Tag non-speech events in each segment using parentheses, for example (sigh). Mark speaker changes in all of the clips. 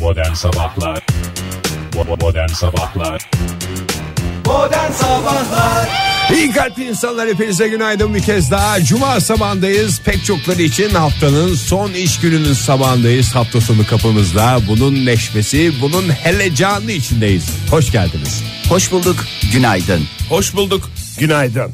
Speaker 1: Modern Sabahlar Bo- Modern Sabahlar
Speaker 2: Modern Sabahlar
Speaker 3: İyi kalpli insanlar hepinize günaydın bir kez daha. Cuma sabahındayız. Pek çokları için haftanın son iş gününün sabahındayız. Hafta sonu kapımızda. Bunun neşmesi, bunun helecanı içindeyiz. Hoş geldiniz.
Speaker 2: Hoş bulduk günaydın
Speaker 4: Hoş bulduk. Günaydın.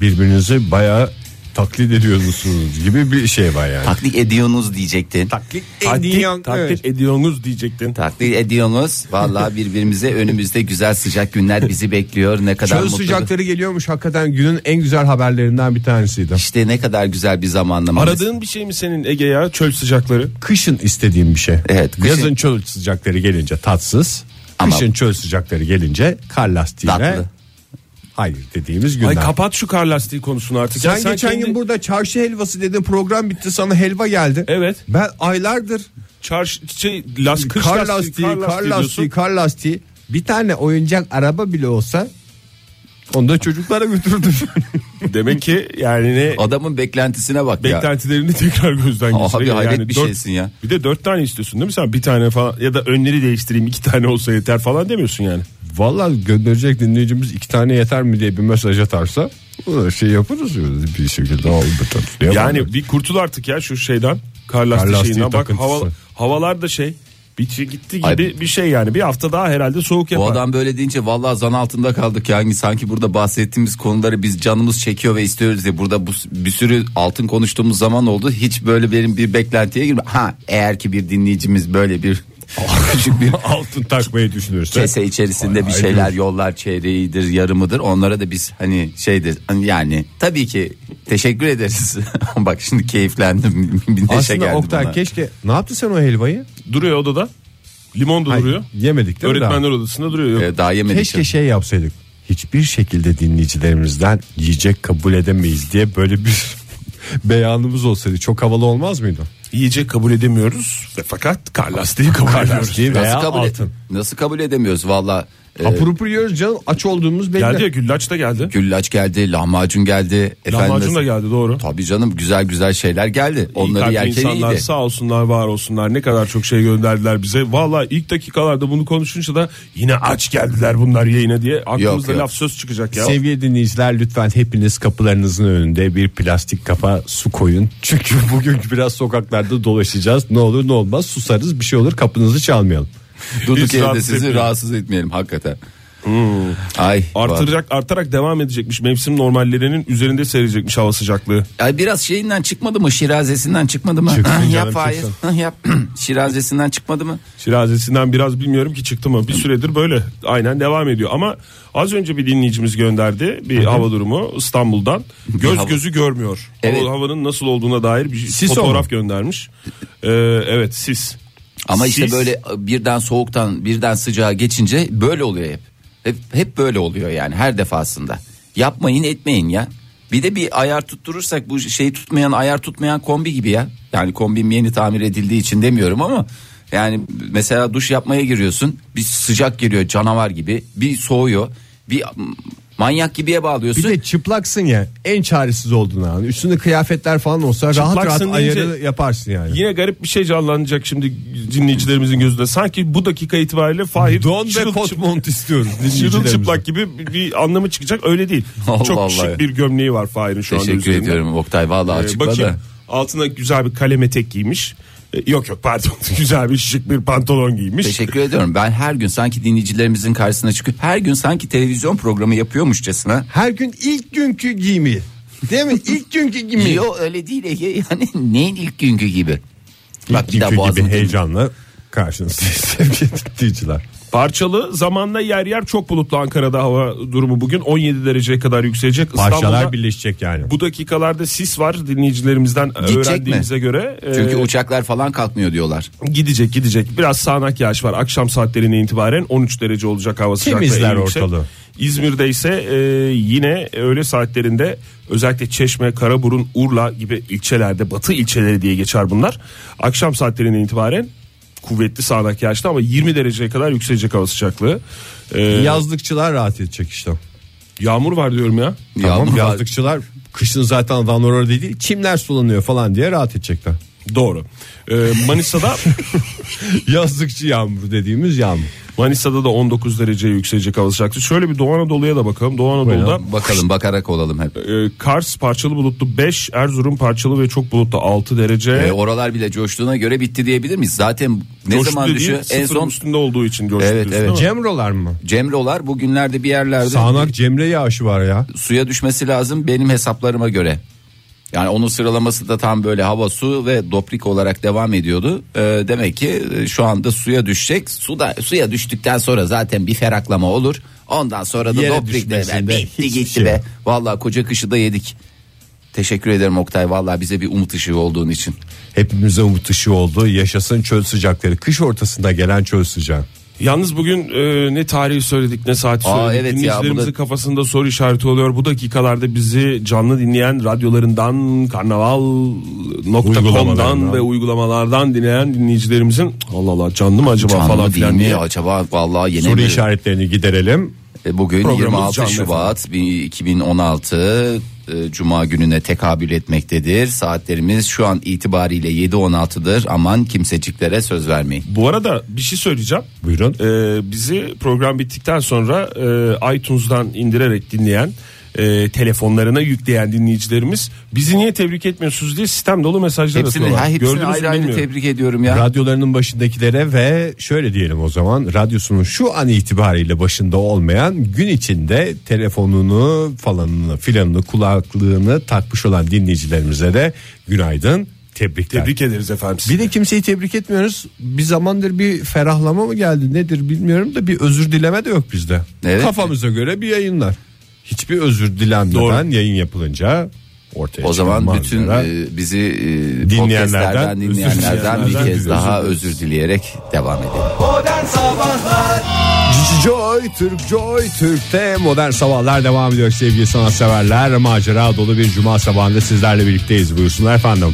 Speaker 3: Birbirinizi bayağı taklit ediyorsunuz gibi bir şey var yani.
Speaker 2: Taklit ediyorsunuz diyecektin
Speaker 3: Taklit
Speaker 4: Taklit, taklit ediyorsunuz diyecektin.
Speaker 2: Taklit ediyorsunuz Vallahi birbirimize önümüzde güzel sıcak günler bizi bekliyor Ne kadar
Speaker 3: Çöl
Speaker 2: mutlu
Speaker 3: sıcakları geliyormuş hakikaten günün en güzel haberlerinden bir tanesiydi.
Speaker 2: İşte ne kadar güzel bir zamanlama
Speaker 4: Aradığın bir şey mi senin Ege ya? Çöl sıcakları.
Speaker 3: Kışın istediğim bir şey.
Speaker 2: Evet, kışın-
Speaker 3: Yazın çöl sıcakları gelince tatsız.
Speaker 2: Ama-
Speaker 3: Kışın çöl sıcakları gelince kar lastiğine
Speaker 2: Tatlı.
Speaker 3: hayır dediğimiz günler.
Speaker 4: Ay kapat şu kar lastiği konusunu artık.
Speaker 3: sen,
Speaker 4: Ya
Speaker 3: geçen
Speaker 4: kendi-
Speaker 3: gün burada çarşı helvası dedin program bitti sana helva geldi.
Speaker 4: Evet.
Speaker 3: Ben aylardır
Speaker 4: Çarş, şey, las, kış
Speaker 3: kar
Speaker 4: lastiği,
Speaker 3: lastiği,
Speaker 4: kar lastiği, diyorsun.
Speaker 3: kar lastiği. Bir tane oyuncak araba bile olsa onu da çocuklara götürdüm. (laughs)
Speaker 4: Demek ki yani ne
Speaker 2: Adamın beklentisine bak ya
Speaker 4: beklentilerini (laughs) tekrar gözden
Speaker 2: Abi
Speaker 4: geçir.
Speaker 2: hayret bir şeysin ya.
Speaker 4: Bir de dört tane istiyorsun değil mi sen? Bir tane falan ya da önleri değiştireyim iki tane olsa yeter falan demiyorsun yani.
Speaker 3: Vallahi gönderecek dinleyicimiz iki tane yeter mi diye bir mesaj atarsa o da şey yaparız ya, bir şekilde al bir tane.
Speaker 4: Yani bir kurtul artık ya şu şeyden. Kar lastiği,
Speaker 3: lastiği
Speaker 4: şeyinden. Bak
Speaker 3: takıntısı.
Speaker 4: hava, havalar da şey. Bitti gitti gibi
Speaker 2: Ay-
Speaker 4: bir şey yani. Bir hafta daha herhalde soğuk
Speaker 2: bu
Speaker 4: yapar.
Speaker 2: adam böyle deyince vallahi zan altında kaldık yani sanki burada bahsettiğimiz konuları biz canımız çekiyor ve istiyoruz diye burada bu, bir sürü altın konuştuğumuz zaman oldu hiç böyle benim bir beklentiye girme ha eğer ki bir dinleyicimiz böyle
Speaker 3: (laughs)
Speaker 2: bir küçük bir
Speaker 3: altın takmayı düşünürsen.
Speaker 2: kese içerisinde bir şeyler yollar çeyreğidir yarımıdır onlara da biz hani şeydir yani tabii ki teşekkür ederiz (laughs) bak şimdi keyiflendim (laughs) bir neşe
Speaker 3: Aslında
Speaker 2: geldi
Speaker 3: Oktay
Speaker 2: bana.
Speaker 3: keşke ne yaptı sen o helvayı?
Speaker 4: Duruyor odada. Limon da
Speaker 3: Hayır,
Speaker 4: duruyor.
Speaker 3: yemedik değil mi
Speaker 4: Öğretmenler
Speaker 3: daha?
Speaker 4: odasında duruyor. Yok.
Speaker 2: Ee, daha yemedik
Speaker 3: Keşke şey yapsaydık. Hiçbir şekilde dinleyicilerimizden yiyecek kabul edemeyiz diye böyle bir (laughs) beyanımız olsaydı çok havalı olmaz mıydı?
Speaker 4: Yiyecek kabul edemiyoruz ve fakat kar lastiği kabul ediyoruz.
Speaker 3: Lastiği
Speaker 2: Nasıl
Speaker 3: veya
Speaker 2: kabul, e-
Speaker 3: altın.
Speaker 2: nasıl kabul edemiyoruz valla Ee,
Speaker 3: Hapur hapur yiyoruz canım aç olduğumuz belli.
Speaker 4: Geldi ya güllaç da geldi.
Speaker 2: güllaç geldi lahmacun geldi
Speaker 4: Lahmacun da geldi doğru.
Speaker 2: Tabii canım güzel güzel şeyler geldi.
Speaker 4: İyi
Speaker 2: Onları
Speaker 4: kalpli
Speaker 2: yerken
Speaker 4: insanlar
Speaker 2: iyiydi.
Speaker 4: sağ olsunlar var olsunlar ne kadar çok şey gönderdiler bize. Valla ilk dakikalarda bunu konuşunca da yine aç geldiler bunlar yayına diye
Speaker 2: Yok,
Speaker 4: aklımızda
Speaker 2: yok.
Speaker 4: laf söz çıkacak ya.
Speaker 3: Sevgili dinleyiciler lütfen hepiniz kapılarınızın önünde bir plastik kapa su koyun. (laughs) Çünkü bugün biraz sokaklarda dolaşacağız. Ne olur ne olmaz susarız bir şey olur kapınızı çalmayalım.
Speaker 2: (laughs) Durduk
Speaker 4: Hiç
Speaker 2: yerde
Speaker 4: rahatsız
Speaker 2: sizi
Speaker 4: etmeyelim.
Speaker 2: rahatsız etmeyelim hakikaten. Ay, bak.
Speaker 4: Artıracak artarak devam edecekmiş mevsim normallerinin üzerinde seyredecekmiş hava sıcaklığı.
Speaker 2: Ay biraz şeyinden çıkmadı mı? Şirazesinden çıkmadı mı?
Speaker 3: Çıktı
Speaker 2: Ah,
Speaker 3: canım,
Speaker 2: yap
Speaker 3: çıktı.
Speaker 2: Fahir. Ah, yap. (clears throat) Şirazesinden çıkmadı mı?
Speaker 4: Şirazesinden biraz bilmiyorum ki çıktı mı. Bir süredir böyle aynen devam ediyor. Ama az önce bir dinleyicimiz gönderdi bir hava durumu İstanbul'dan. Göz
Speaker 2: hava-
Speaker 4: gözü görmüyor.
Speaker 2: Evet.
Speaker 4: Hava- Havanın nasıl olduğuna dair bir
Speaker 3: Sis
Speaker 4: fotoğraf
Speaker 3: o mu?
Speaker 4: göndermiş. Ee, evet sis.
Speaker 2: Ama işte
Speaker 4: Sis.
Speaker 2: böyle birden soğuktan birden sıcağa geçince böyle oluyor hep. Hep hep böyle oluyor yani her defasında. Yapmayın etmeyin ya. Bir de bir ayar tutturursak bu şeyi tutmayan ayar tutmayan kombi gibi ya. Yani kombim yeni tamir edildiği için demiyorum ama yani mesela duş yapmaya giriyorsun. Bir sıcak giriyor canavar gibi. Bir soğuyor. Bir manyak gibiye bağlıyorsun.
Speaker 3: Bir de çıplaksın ya en çaresiz olduğun an. Üstünde kıyafetler falan olsa rahat rahat
Speaker 4: Çıplaksın deyince-
Speaker 2: şey-
Speaker 3: ayarı yaparsın yani.
Speaker 4: Yine garip bir şey canlanacak şimdi dinleyicilerimizin gözünde. Sanki bu dakika itibariyle Fahir
Speaker 3: Don ve
Speaker 4: çırılçıp-
Speaker 3: kot
Speaker 4: (laughs)
Speaker 3: mont istiyoruz
Speaker 4: çırılçıplak
Speaker 3: dinleyicilerimize.
Speaker 4: gibi bir- bir anlamı çıkacak öyle değil.
Speaker 2: (laughs) Allah
Speaker 4: Çok
Speaker 2: Allah
Speaker 4: şık
Speaker 2: ya.
Speaker 4: bir gömleği var Fahir'in şu anda
Speaker 2: Teşekkür
Speaker 4: üzerinde.
Speaker 2: ediyorum Oktay vallahi
Speaker 4: Ee,
Speaker 2: açıkladı.
Speaker 4: bakayım altına güzel bir kalem etek giymiş. Ee, Yok yok pardon (laughs) güzel bir şık bir pantolon giymiş.
Speaker 2: Teşekkür ediyorum. Ben her gün sanki dinleyicilerimizin karşısına çıkıp her gün sanki televizyon programı yapıyormuşçasına.
Speaker 3: Her gün ilk günkü giyimi. Değil mi? İlk günkü giyimi.
Speaker 2: Yo öyle değil Ege yani neyin ilk günkü gibi.
Speaker 3: Bak bir
Speaker 2: daha boğazını
Speaker 3: gibi
Speaker 2: dinle.
Speaker 3: heyecanla karşınızdayız (laughs) sevgili dinleyiciler.
Speaker 4: Parçalı zamanla yer yer çok bulutlu Ankara'da hava durumu bugün 17 dereceye kadar yükselecek.
Speaker 3: Parçalar
Speaker 4: İstanbul'da
Speaker 3: birleşecek yani.
Speaker 4: bu dakikalarda sis var dinleyicilerimizden
Speaker 2: Gidecek
Speaker 4: Ee, öğrendiğimize göre. e,
Speaker 2: Çünkü uçaklar falan kalkmıyor diyorlar.
Speaker 4: Gidecek gidecek. Biraz sağanak yağış var. Akşam saatlerine itibaren 13 derece olacak hava sıcaklığı.
Speaker 3: Temizler
Speaker 4: en yüksek.
Speaker 3: ortalığı.
Speaker 4: İzmir'de ise e, yine öğle saatlerinde özellikle Çeşme, Karaburun, Urla gibi ilçelerde batı ilçeleri diye geçer bunlar. Akşam saatlerine itibaren kuvvetli sağanak yağışlı ama 20 dereceye kadar yükselecek hava sıcaklığı. E,
Speaker 3: Yazlıkçılar rahat edecek işte.
Speaker 4: yağmur var diyorum ya.
Speaker 3: Tamam
Speaker 2: Yağmur var.
Speaker 3: yazlıkçılar kışın zaten adamlar orada değil çimler sulanıyor falan diye rahat edecekler. (laughs)
Speaker 4: Doğru. E, Ee, Manisa'da
Speaker 3: Yazlıkçı yağmur dediğimiz yağmur.
Speaker 4: Manisa'da da 19 derece yükselecek hava sıcaklığı. Şöyle bir Doğu Anadolu'ya da bakalım. Doğu Anadolu'da
Speaker 2: Bakalım bakarak olalım hep.
Speaker 4: e, Kars parçalı bulutlu 5, Erzurum parçalı ve çok bulutlu 6 derece.
Speaker 2: E, oralar bile coştuğuna göre bitti diyebilir miyiz? Zaten ne
Speaker 4: Coştu
Speaker 2: zaman
Speaker 4: dediğin
Speaker 2: düşüyor? En
Speaker 4: sıfırın
Speaker 2: son
Speaker 4: üstünde olduğu için coştu
Speaker 2: Evet,
Speaker 4: diyorsun
Speaker 2: evet.
Speaker 4: ama
Speaker 3: Cemrolar mı?
Speaker 2: Cemrolar bugünlerde bir yerlerde
Speaker 3: Sağnak Cemre yağışı var ya.
Speaker 2: suya düşmesi lazım benim hesaplarıma göre. Yani onun sıralaması da tam böyle hava su ve doprik olarak devam ediyordu. E, demek ki e, şu anda suya düşecek. Su da suya düştükten sonra zaten bir feraklama olur. Ondan sonra da
Speaker 3: Yere
Speaker 2: doprik de
Speaker 3: düşmesinde
Speaker 2: bitti
Speaker 3: hiçbir
Speaker 2: gitti
Speaker 3: şey
Speaker 2: be.
Speaker 3: yok.
Speaker 2: Vallahi koca kışı da yedik. Teşekkür ederim Oktay. Vallahi bize bir umut ışığı olduğun için.
Speaker 3: Hepimize umut ışığı oldu. Yaşasın çöl sıcakları. Kış ortasında gelen çöl sıcağı.
Speaker 4: Yalnız bugün e, ne tarihi söyledik ne saati
Speaker 2: Aa,
Speaker 4: söyledik.
Speaker 2: evet ya,
Speaker 4: Dinleyicilerimizin
Speaker 2: bu da-
Speaker 4: kafasında soru işareti oluyor. Bu dakikalarda bizi canlı dinleyen radyolarından, karnaval.com'dan
Speaker 3: Uygulamalarından.
Speaker 4: ve uygulamalardan dinleyen dinleyicilerimizin Allah Allah canlı mı acaba
Speaker 2: Canlı
Speaker 4: falan
Speaker 2: değil
Speaker 4: filan
Speaker 2: mi
Speaker 4: diye.
Speaker 2: acaba vallahi yine
Speaker 3: Soru
Speaker 2: mi?
Speaker 3: işaretlerini giderelim.
Speaker 2: E, Bugün
Speaker 4: Programımız
Speaker 2: 26
Speaker 4: canlı
Speaker 2: Şubat 2016 e, Cuma gününe tekabül etmektedir. Saatlerimiz şu an itibariyle 7.16'dır. Aman kimseciklere söz vermeyin.
Speaker 4: Bu arada bir şey söyleyeceğim.
Speaker 3: Buyurun.
Speaker 4: Ee, bizi program bittikten sonra e, iTunes'dan indirerek dinleyen e, telefonlarına yükleyen dinleyicilerimiz bizi niye tebrik etmiyorsunuz diye sistem dolu mesajlar
Speaker 2: Hepsini,
Speaker 4: atıyorlar.
Speaker 2: ha, hepsini
Speaker 4: Gördünüz mü
Speaker 2: ayrı ayrı
Speaker 4: bilmiyorum.
Speaker 2: tebrik ediyorum ya.
Speaker 3: Radyolarının başındakilere ve şöyle diyelim o zaman radyosunun şu an itibariyle başında olmayan gün içinde telefonunu falanını filanını kulaklığını takmış olan dinleyicilerimize de günaydın tebrikler.
Speaker 4: Tebrik ederiz efendim. sizi.
Speaker 3: Bir de kimseyi tebrik etmiyoruz. Bir zamandır bir ferahlama mı geldi nedir bilmiyorum da bir özür dileme de yok bizde.
Speaker 2: Evet.
Speaker 3: Kafamıza göre bir yayınlar. Hiçbir özür dilenmeden
Speaker 4: Doğru.
Speaker 3: yayın yapılınca ortaya
Speaker 2: O zaman
Speaker 3: çıkan
Speaker 2: bütün
Speaker 3: manzara-
Speaker 2: e, bizi e,
Speaker 3: Dinleyenlerden,
Speaker 2: dinleyenlerden, dinleyenlerden bir
Speaker 4: dileyenlerden
Speaker 2: kez
Speaker 4: bir
Speaker 2: daha
Speaker 4: özür
Speaker 2: özür dileyerek devam edelim.
Speaker 3: Joy Türk Joy Türk'te modern sabahlar devam ediyor sevgili sanatseverler. Macera dolu bir cuma sabahında sizlerle birlikteyiz buyursunlar efendim.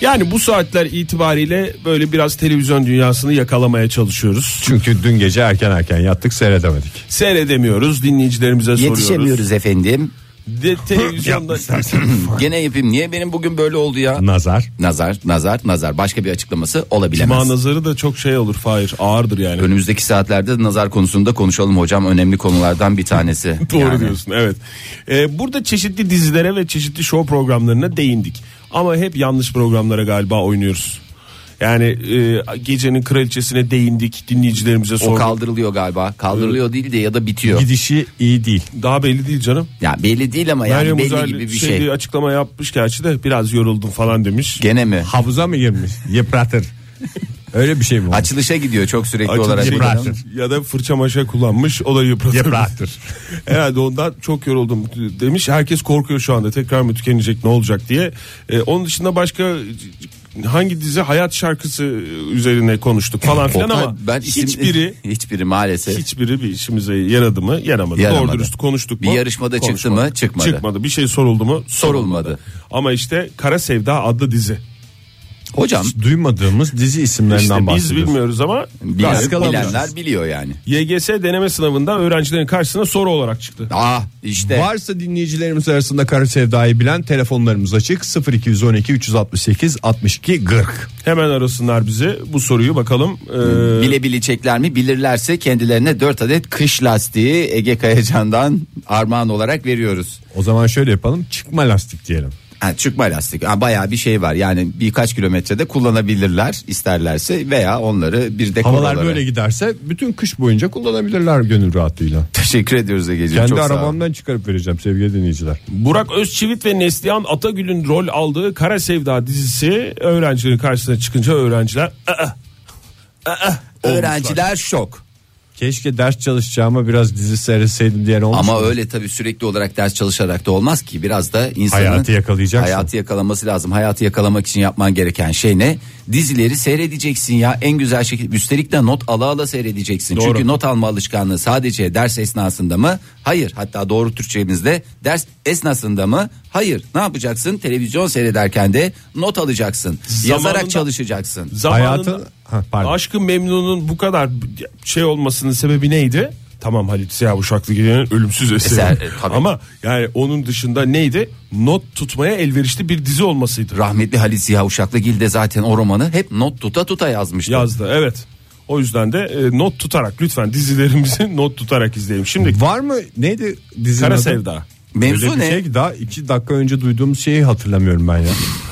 Speaker 4: Yani bu saatler itibariyle böyle biraz televizyon dünyasını yakalamaya çalışıyoruz.
Speaker 3: Çünkü dün gece erken erken yattık seyredemedik.
Speaker 4: Seyredemiyoruz, dinleyicilerimize soruyoruz.
Speaker 2: Yetişemiyoruz efendim. (clears throat)
Speaker 4: De, televizyonda
Speaker 2: Gene yapayım. Niye benim bugün böyle oldu ya?
Speaker 3: Nazar.
Speaker 2: Nazar, nazar, nazar. Başka bir açıklaması olabilemez.
Speaker 4: Cuma nazarı da çok şey olur Fahir ağırdır yani.
Speaker 2: Önümüzdeki saatlerde nazar konusunda konuşalım hocam. Önemli konulardan bir tanesi.
Speaker 4: (laughs) Doğru
Speaker 2: Yani.
Speaker 4: diyorsun evet. Ee, burada çeşitli dizilere ve çeşitli show programlarına değindik. Ama hep yanlış programlara galiba oynuyoruz. Yani e, gecenin kraliçesine değindik dinleyicilerimize
Speaker 2: O
Speaker 4: sorduk.
Speaker 2: kaldırılıyor galiba. Kaldırılıyor değil de ya da bitiyor.
Speaker 3: Gidişi iyi değil.
Speaker 4: Daha belli değil canım.
Speaker 2: Ya belli değil ama yani
Speaker 4: Meryem
Speaker 2: belli
Speaker 4: Uzerli
Speaker 2: gibi bir
Speaker 4: şey
Speaker 2: şey.
Speaker 4: diye açıklama yapmış gerçi de biraz yoruldum falan demiş.
Speaker 2: Gene mi?
Speaker 3: Havuza mı girmiş? Yıpratır. Öyle bir şey mi? olmuş?
Speaker 2: Açılışa gidiyor çok sürekli
Speaker 4: Açık
Speaker 2: olarak.
Speaker 4: bir
Speaker 3: yıpratır.
Speaker 4: adam. Ya da fırça maşa kullanmış o da yıpratır.
Speaker 3: Yıpratır.
Speaker 4: (laughs) Herhalde ondan çok yoruldum demiş. Herkes korkuyor şu anda tekrar mı tükenecek ne olacak diye. Ee, onun dışında başka hangi dizi hayat şarkısı üzerine konuştuk falan filan
Speaker 2: Oktay,
Speaker 4: ama
Speaker 2: ben isim-
Speaker 4: hiçbiri
Speaker 2: hiçbiri maalesef.
Speaker 4: hiçbiri bir işimize yaradı mı yaramadı.
Speaker 2: Yaramadı.
Speaker 4: Doğru dürüst konuştuk
Speaker 2: Bir
Speaker 4: mu?
Speaker 2: yarışmada çıktı
Speaker 4: Konuşmadı.
Speaker 2: mı? Çıkmadı.
Speaker 4: Bir şey soruldu mu?
Speaker 2: Sorulmadı.
Speaker 4: Ama işte Kara Sevda adlı dizi.
Speaker 2: Hocam
Speaker 3: Hiç Duymadığımız dizi isimlerinden
Speaker 4: İşte biz
Speaker 3: bahsediyoruz.
Speaker 4: bilmiyoruz ama
Speaker 2: bilen,
Speaker 4: gayet kalabiliriz.
Speaker 2: bilenler biliyor yani.
Speaker 4: YGS deneme sınavında öğrencilerin karşısına soru olarak çıktı.
Speaker 2: Ah işte
Speaker 3: Varsa dinleyicilerimiz arasında Kara Sevda'yı bilen telefonlarımız açık 0212 368 62 40.
Speaker 4: Hemen arasınlar bizi bu soruyu bakalım.
Speaker 3: e,
Speaker 4: Ee,
Speaker 2: bilebilecekler mi? Bilirlerse kendilerine 4 adet kış lastiği Ege Kayacan'dan armağan olarak veriyoruz.
Speaker 3: O zaman şöyle yapalım çıkma lastik diyelim.
Speaker 2: Ha, çıkma lastik. Ha, bayağı bir şey var. Yani birkaç kilometrede kullanabilirler isterlerse veya onları bir dekor
Speaker 3: Havalar
Speaker 2: olarak.
Speaker 3: böyle giderse bütün kış boyunca kullanabilirler gönül rahatlığıyla.
Speaker 2: Teşekkür ediyoruz Ege'ciğim.
Speaker 3: Kendi
Speaker 2: çok sağ ol.
Speaker 3: arabamdan çıkarıp vereceğim sevgili dinleyiciler.
Speaker 4: Burak Özçivit ve Neslihan Atagül'ün rol aldığı Kara Sevda dizisi öğrencilerin karşısına çıkınca öğrenciler "Aa,
Speaker 2: Öğrenciler şok.
Speaker 3: Keşke ders çalışacağıma biraz dizi seyretseydim diyen olmuş.
Speaker 2: Ama
Speaker 3: mu?
Speaker 2: öyle tabii sürekli olarak ders çalışarak da olmaz ki. Biraz da insanın
Speaker 3: Hayatı yakalayacaksın.
Speaker 2: Hayatı yakalaması lazım. Hayatı yakalamak için yapman gereken şey ne? Dizileri seyredeceksin ya en güzel şekilde. Üstelik de not ala ala seyredeceksin.
Speaker 4: Doğru.
Speaker 2: Çünkü not alma alışkanlığı sadece ders esnasında mı? Hayır. Hatta doğru Türkçemizde ders esnasında mı? Hayır. Ne yapacaksın? Televizyon seyrederken de not alacaksın.
Speaker 4: Zamanında-
Speaker 2: Yazarak çalışacaksın.
Speaker 4: zamanında
Speaker 3: Hayatın- Ha, pardon.
Speaker 4: Aşkı Memnun'un bu kadar şey olmasının sebebi neydi? Tamam Halit Ziya Uşaklı gecenin ölümsüz eseri.
Speaker 2: Eser, e, tabii.
Speaker 4: Ama yani onun dışında neydi? Not tutmaya elverişli bir dizi olmasıydı.
Speaker 2: Rahmetli Halit Ziya Uşaklıgil de zaten o romanı hep not tuta tuta yazmıştı.
Speaker 4: Yazdı evet. O yüzden de e, not tutarak lütfen dizilerimizi (laughs) not tutarak izleyelim. Şimdi
Speaker 5: Var mı neydi dizinin
Speaker 4: Kara
Speaker 5: adı?
Speaker 4: Sevda.
Speaker 2: Mevzu
Speaker 5: Öyle bir
Speaker 2: ne?
Speaker 5: şey ki daha iki dakika önce duyduğum şeyi hatırlamıyorum ben ya.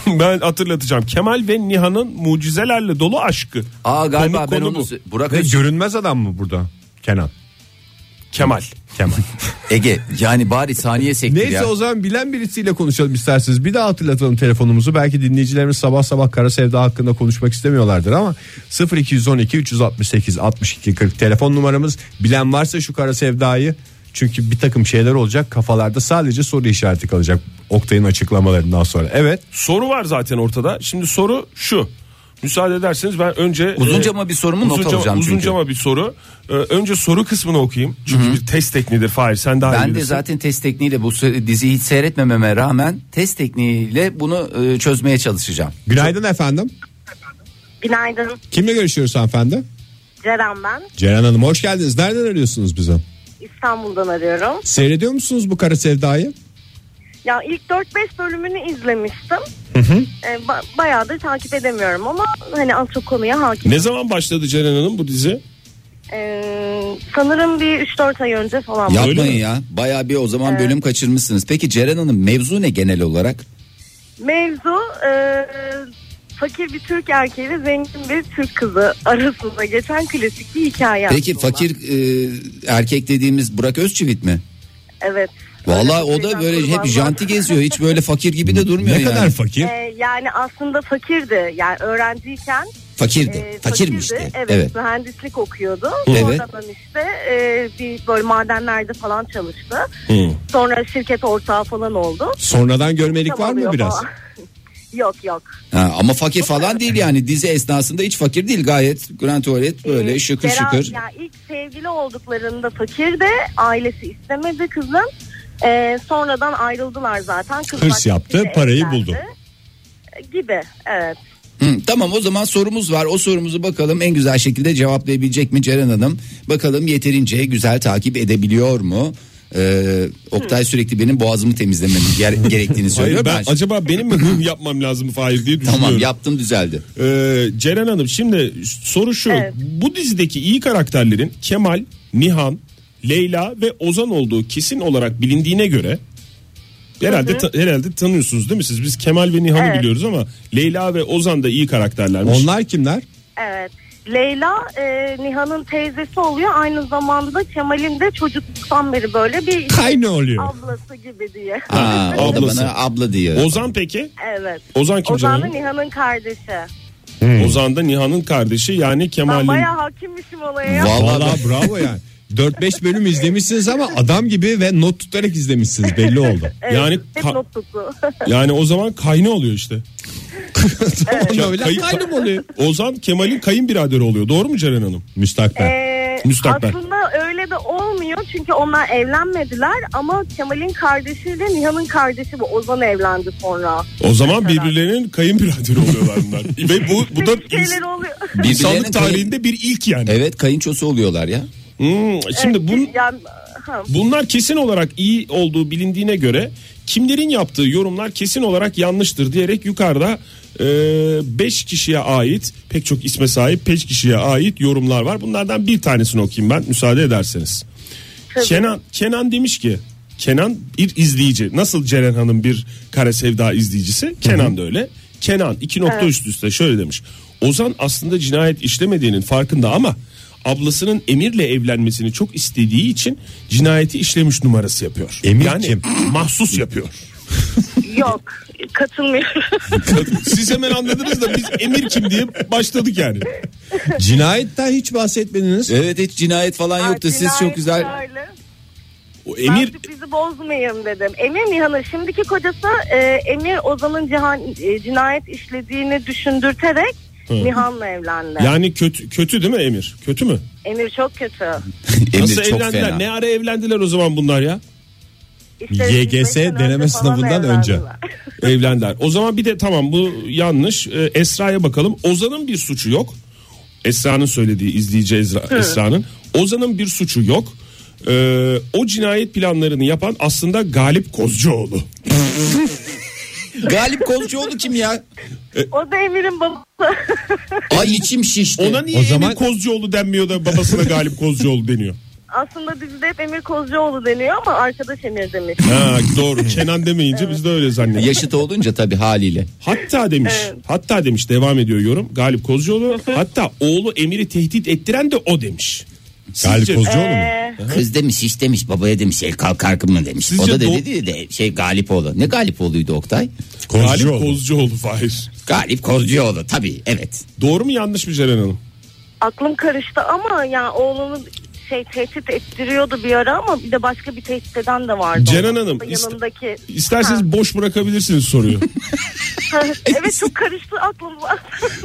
Speaker 4: (laughs) ben hatırlatacağım. Kemal ve Nihan'ın mucizelerle dolu aşkı.
Speaker 2: Aa galiba
Speaker 4: Komik
Speaker 2: ben
Speaker 4: konu
Speaker 2: onu
Speaker 4: bu.
Speaker 2: Burak
Speaker 5: Ve
Speaker 2: Öz-
Speaker 5: görünmez adam mı burada? Kenan.
Speaker 4: Kemal.
Speaker 5: Kemal.
Speaker 2: Ege yani bari saniye sektir
Speaker 5: Neyse
Speaker 2: ya.
Speaker 5: o zaman bilen birisiyle konuşalım isterseniz. Bir daha hatırlatalım telefonumuzu. Belki dinleyicilerimiz sabah sabah Kara Sevda hakkında konuşmak istemiyorlardır ama 0212 368 62 40 telefon numaramız. Bilen varsa şu Kara Sevda'yı çünkü bir takım şeyler olacak kafalarda sadece soru işareti kalacak Oktay'ın açıklamalarından sonra. Evet.
Speaker 4: Soru var zaten ortada. Şimdi soru şu. Müsaade ederseniz ben önce e,
Speaker 2: Uzuncama bir sorumu not alacağım çünkü.
Speaker 4: Uzuncama bir soru. Ee, önce soru kısmını okuyayım. Çünkü bir test tekniğidir Fahir sen daha iyi
Speaker 2: Ben de
Speaker 4: bilirsin.
Speaker 2: zaten test tekniğiyle bu se- diziyi hiç seyretmememe rağmen test tekniğiyle bunu e, çözmeye çalışacağım.
Speaker 5: Günaydın efendim.
Speaker 6: (laughs) Günaydın
Speaker 5: Kimle görüşüyoruz hanımefendi?
Speaker 6: Ceren ben.
Speaker 5: Ceren Hanım hoş geldiniz. Nereden arıyorsunuz bize?
Speaker 6: İstanbul'dan arıyorum.
Speaker 5: Seyrediyor musunuz bu Kara Sevda'yı?
Speaker 6: Ya ilk 4-5 bölümünü izlemiştim. Ee, ba- bayağı da takip edemiyorum ama hani az çok konuya hakim.
Speaker 4: Ne zaman başladı Ceren Hanım bu dizi?
Speaker 6: Ee, sanırım bir 3-4 ay önce falan.
Speaker 4: öyle
Speaker 2: Yapmayın
Speaker 4: mi?
Speaker 2: ya. Bayağı bir o zaman
Speaker 6: Ee,
Speaker 2: bölüm kaçırmışsınız. Peki Ceren Hanım mevzu ne genel olarak?
Speaker 6: Mevzu e, fakir bir Türk erkeği ve zengin bir Türk kızı arasında geçen klasik bir hikaye
Speaker 2: Peki
Speaker 6: aslında.
Speaker 2: fakir e, erkek dediğimiz Burak Özçivit mi?
Speaker 6: Evet.
Speaker 2: Vallahi
Speaker 6: Öyle bir şey
Speaker 2: o da
Speaker 6: şeyden
Speaker 2: böyle hep
Speaker 6: kurbanlar.
Speaker 2: janti geziyor. Hiç böyle fakir gibi de durmuyor
Speaker 5: Ne
Speaker 2: yani.
Speaker 5: kadar fakir?
Speaker 6: Ee, yani aslında fakirdi. Yani öğrenciyken
Speaker 2: Fakirdi.
Speaker 6: Ee,
Speaker 2: Fakirmişti.
Speaker 6: fakirdi. Evet,
Speaker 2: Evet. evet.
Speaker 6: mühendislik okuyordu.
Speaker 2: Evet.
Speaker 6: Sonradan işte e, bir böyle madenlerde falan çalıştı. Sonra şirket ortağı falan oldu.
Speaker 5: Sonradan görmelik var mı
Speaker 6: Tamamlıyor
Speaker 5: biraz?
Speaker 6: falan. (laughs) yok yok.
Speaker 2: Ha, ama fakir falan değil yani. Dizi esnasında hiç fakir değil. Gayet grand tuvalet böyle
Speaker 6: Ee,
Speaker 2: şıkır
Speaker 6: Ceren-
Speaker 2: şıkır.
Speaker 6: Ya ilk sevgili olduklarında fakirdi. Ailesi istemedi kızın. Ee, sonradan ayrıldılar zaten. Kız
Speaker 5: Hırs
Speaker 6: başka
Speaker 5: yaptı,
Speaker 6: biriyle
Speaker 5: parayı
Speaker 6: evlendi.
Speaker 5: buldu.
Speaker 6: Ee, Gibi evet.
Speaker 2: Hı, tamam o zaman sorumuz var. O sorumuzu bakalım en güzel şekilde cevaplayabilecek mi Ceren Hanım? Bakalım yeterince güzel takip edebiliyor mu? Ee, Oktay sürekli benim boğazımı temizlemem
Speaker 4: (laughs)
Speaker 2: ger- gerektiğini söylüyor.
Speaker 4: Hayır, ben,
Speaker 2: Ben-
Speaker 4: acaba benim
Speaker 2: (laughs)
Speaker 4: mi hım yapmam lazım Fahir diye düşünüyorum.
Speaker 2: Tamam yaptım düzeldi.
Speaker 4: Ee, Ceren Hanım şimdi soru şu.
Speaker 6: Evet.
Speaker 4: Bu dizideki iyi karakterlerin Kemal, Nihan, Leyla ve Ozan olduğu kesin olarak bilindiğine göre herhalde ta- herhalde tanıyorsunuz değil mi siz? Biz Kemal ve Nihan'ı
Speaker 6: Evet.
Speaker 4: biliyoruz ama Leyla ve Ozan da iyi karakterlermiş.
Speaker 5: Onlar kimler?
Speaker 6: Evet. Leyla e, Nihan'ın teyzesi oluyor. Aynı zamanda da Kemal'in de çocukluktan beri böyle bir
Speaker 5: Kayna oluyor.
Speaker 6: ablası gibi diye.
Speaker 2: Aa, o da
Speaker 4: Ablası.
Speaker 2: bana abla diyor.
Speaker 4: Ozan peki?
Speaker 6: Evet.
Speaker 4: Ozan kim
Speaker 6: Ozan da
Speaker 4: canım?
Speaker 6: Nihan'ın kardeşi.
Speaker 4: Ozan da Nihan'ın kardeşi yani
Speaker 6: Ben
Speaker 4: Kemal'in.
Speaker 6: bayağı hakimmişim olaya. ya.
Speaker 2: Vallahi
Speaker 5: Valla bravo yani. 4-5 bölüm izlemişsiniz ama adam gibi ve not tutarak izlemişsiniz belli oldu.
Speaker 6: Evet,
Speaker 4: yani
Speaker 6: hep
Speaker 4: ka-
Speaker 6: not
Speaker 4: (laughs)
Speaker 6: tuttu.
Speaker 4: Yani o zaman kayna oluyor işte.
Speaker 5: Tamam öyle
Speaker 4: Kayın-
Speaker 5: kaynım oluyor.
Speaker 4: Ozan Kemal'in kayınbiraderi oluyor. Doğru mu Ceren Hanım?
Speaker 5: Müstakbel.
Speaker 6: Ee,
Speaker 4: Müstakbel.
Speaker 6: aslında öyle de olmuyor çünkü onlar evlenmediler ama Kemal'in kardeşiyle Nihan'ın kardeşi bu Ozan evlendi sonra.
Speaker 4: O zaman
Speaker 6: Mesela.
Speaker 4: birbirlerinin kayınbiraderi oluyorlar
Speaker 6: (laughs)
Speaker 4: bunlar. Ve bu, bu da
Speaker 6: Bir şeyler
Speaker 4: ins-
Speaker 6: oluyor.
Speaker 2: birbirlerinin kayın,
Speaker 4: insanlık tarihinde bir ilk yani.
Speaker 2: evet kayınçosu oluyorlar ya.
Speaker 4: Hmm, şimdi
Speaker 6: Evet,
Speaker 4: bun,
Speaker 6: yani, ha.
Speaker 4: bunlar kesin olarak iyi olduğu bilindiğine göre kimlerin yaptığı yorumlar kesin olarak yanlıştır diyerek yukarıda 5 kişiye ait pek çok isme sahip 5 kişiye ait yorumlar var. Bunlardan bir tanesini okuyayım ben müsaade ederseniz.
Speaker 6: Tabii.
Speaker 4: Kenan Kenan demiş ki Kenan bir izleyici. Nasıl Ceren Hanım bir kara sevda izleyicisi? Kenan da öyle. Kenan iki nokta üst üste şöyle demiş. Ozan aslında cinayet işlemediğinin farkında ama ablasının Emir'le evlenmesini çok istediği için cinayeti işlemiş numarası yapıyor.
Speaker 5: Emir
Speaker 4: yani
Speaker 5: kim?
Speaker 4: mahsus yapıyor.
Speaker 6: Yok katılmıyorum.
Speaker 4: Siz hemen anladınız da biz Emir kim diye başladık yani.
Speaker 5: (laughs) Cinayetten hiç bahsetmediniz.
Speaker 2: Evet hiç cinayet falan yoktu. Siz çok güzel.
Speaker 6: Cinayetlerle.
Speaker 4: O
Speaker 6: Ben
Speaker 4: Emir
Speaker 6: sürprizi bozmayayım dedim. Emir Nihan'ın şimdiki kocası e, Emir Ozan'ın cihan, e, cinayet işlediğini düşündürterek Nihan'la evlendi.
Speaker 4: yani kötü kötü değil mi Emir? Kötü mü?
Speaker 6: Emir çok kötü.
Speaker 2: Emir
Speaker 4: Nasıl
Speaker 2: çok
Speaker 4: evlendiler?
Speaker 2: fena.
Speaker 4: Ne ara evlendiler o zaman bunlar ya?
Speaker 6: İşte
Speaker 5: YGS
Speaker 6: 25 sene
Speaker 5: deneme
Speaker 6: önce falan
Speaker 5: sınavından önce.
Speaker 6: evlendiler.
Speaker 2: (laughs)
Speaker 4: Evlendiler. O zaman bir de tamam bu yanlış. Ee, Esra'ya bakalım. Ozan'ın bir suçu yok. Esra'nın söylediği izleyici Ezra- Esra'nın. Ozan'ın bir suçu yok. Ee, o cinayet planlarını yapan aslında Galip Kozcuoğlu.
Speaker 2: (laughs) Galip Kozcuoğlu kim ya?
Speaker 4: Ee,
Speaker 6: O da Emir'in babası.
Speaker 2: Ay içim şişti.
Speaker 4: Ona niye
Speaker 5: O zaman-
Speaker 4: Emir Kozcuoğlu denmiyor da babasına Galip Kozcuoğlu deniyor?
Speaker 6: Aslında dizide hep Emir Kozcuoğlu deniyor ama arkadaş Emir demiş.
Speaker 4: Ha, doğru. Kenan demeyince biz de öyle zannediyoruz.
Speaker 2: Yaşıt olunca tabii haliyle.
Speaker 4: Hatta demiş. Hatta demiş devam ediyor yorum. Galip Kozcuoğlu hatta oğlu Emir'i tehdit ettiren de o demiş.
Speaker 5: Galip
Speaker 4: Sizce-
Speaker 5: Kozcuoğlu mu?
Speaker 6: Ee,
Speaker 2: Kız demiş hiç demiş babaya demiş el kalk kalkınma demiş.
Speaker 4: Sizce
Speaker 2: o da
Speaker 4: do-
Speaker 2: dedi diye de şey Galipoğlu. Ne Galipoğlu'ydu Oktay?
Speaker 4: Galip
Speaker 5: Kozcuoğlu.
Speaker 4: Kozcuoğlu Fahir.
Speaker 2: Galip Kozcuoğlu tabii evet.
Speaker 4: Doğru mu yanlış mı Ceren Hanım?
Speaker 6: aklım karıştı ama yani oğlunu şey tehdit ettiriyordu bir ara ama bir de başka bir tehdit eden de vardı.
Speaker 4: Ceren
Speaker 6: Onun
Speaker 4: Hanım, ist-
Speaker 6: yanındaki.
Speaker 4: İsterseniz boş
Speaker 2: (laughs)
Speaker 4: bırakabilirsiniz soruyu.
Speaker 6: Ha, evet çok karıştı aklım.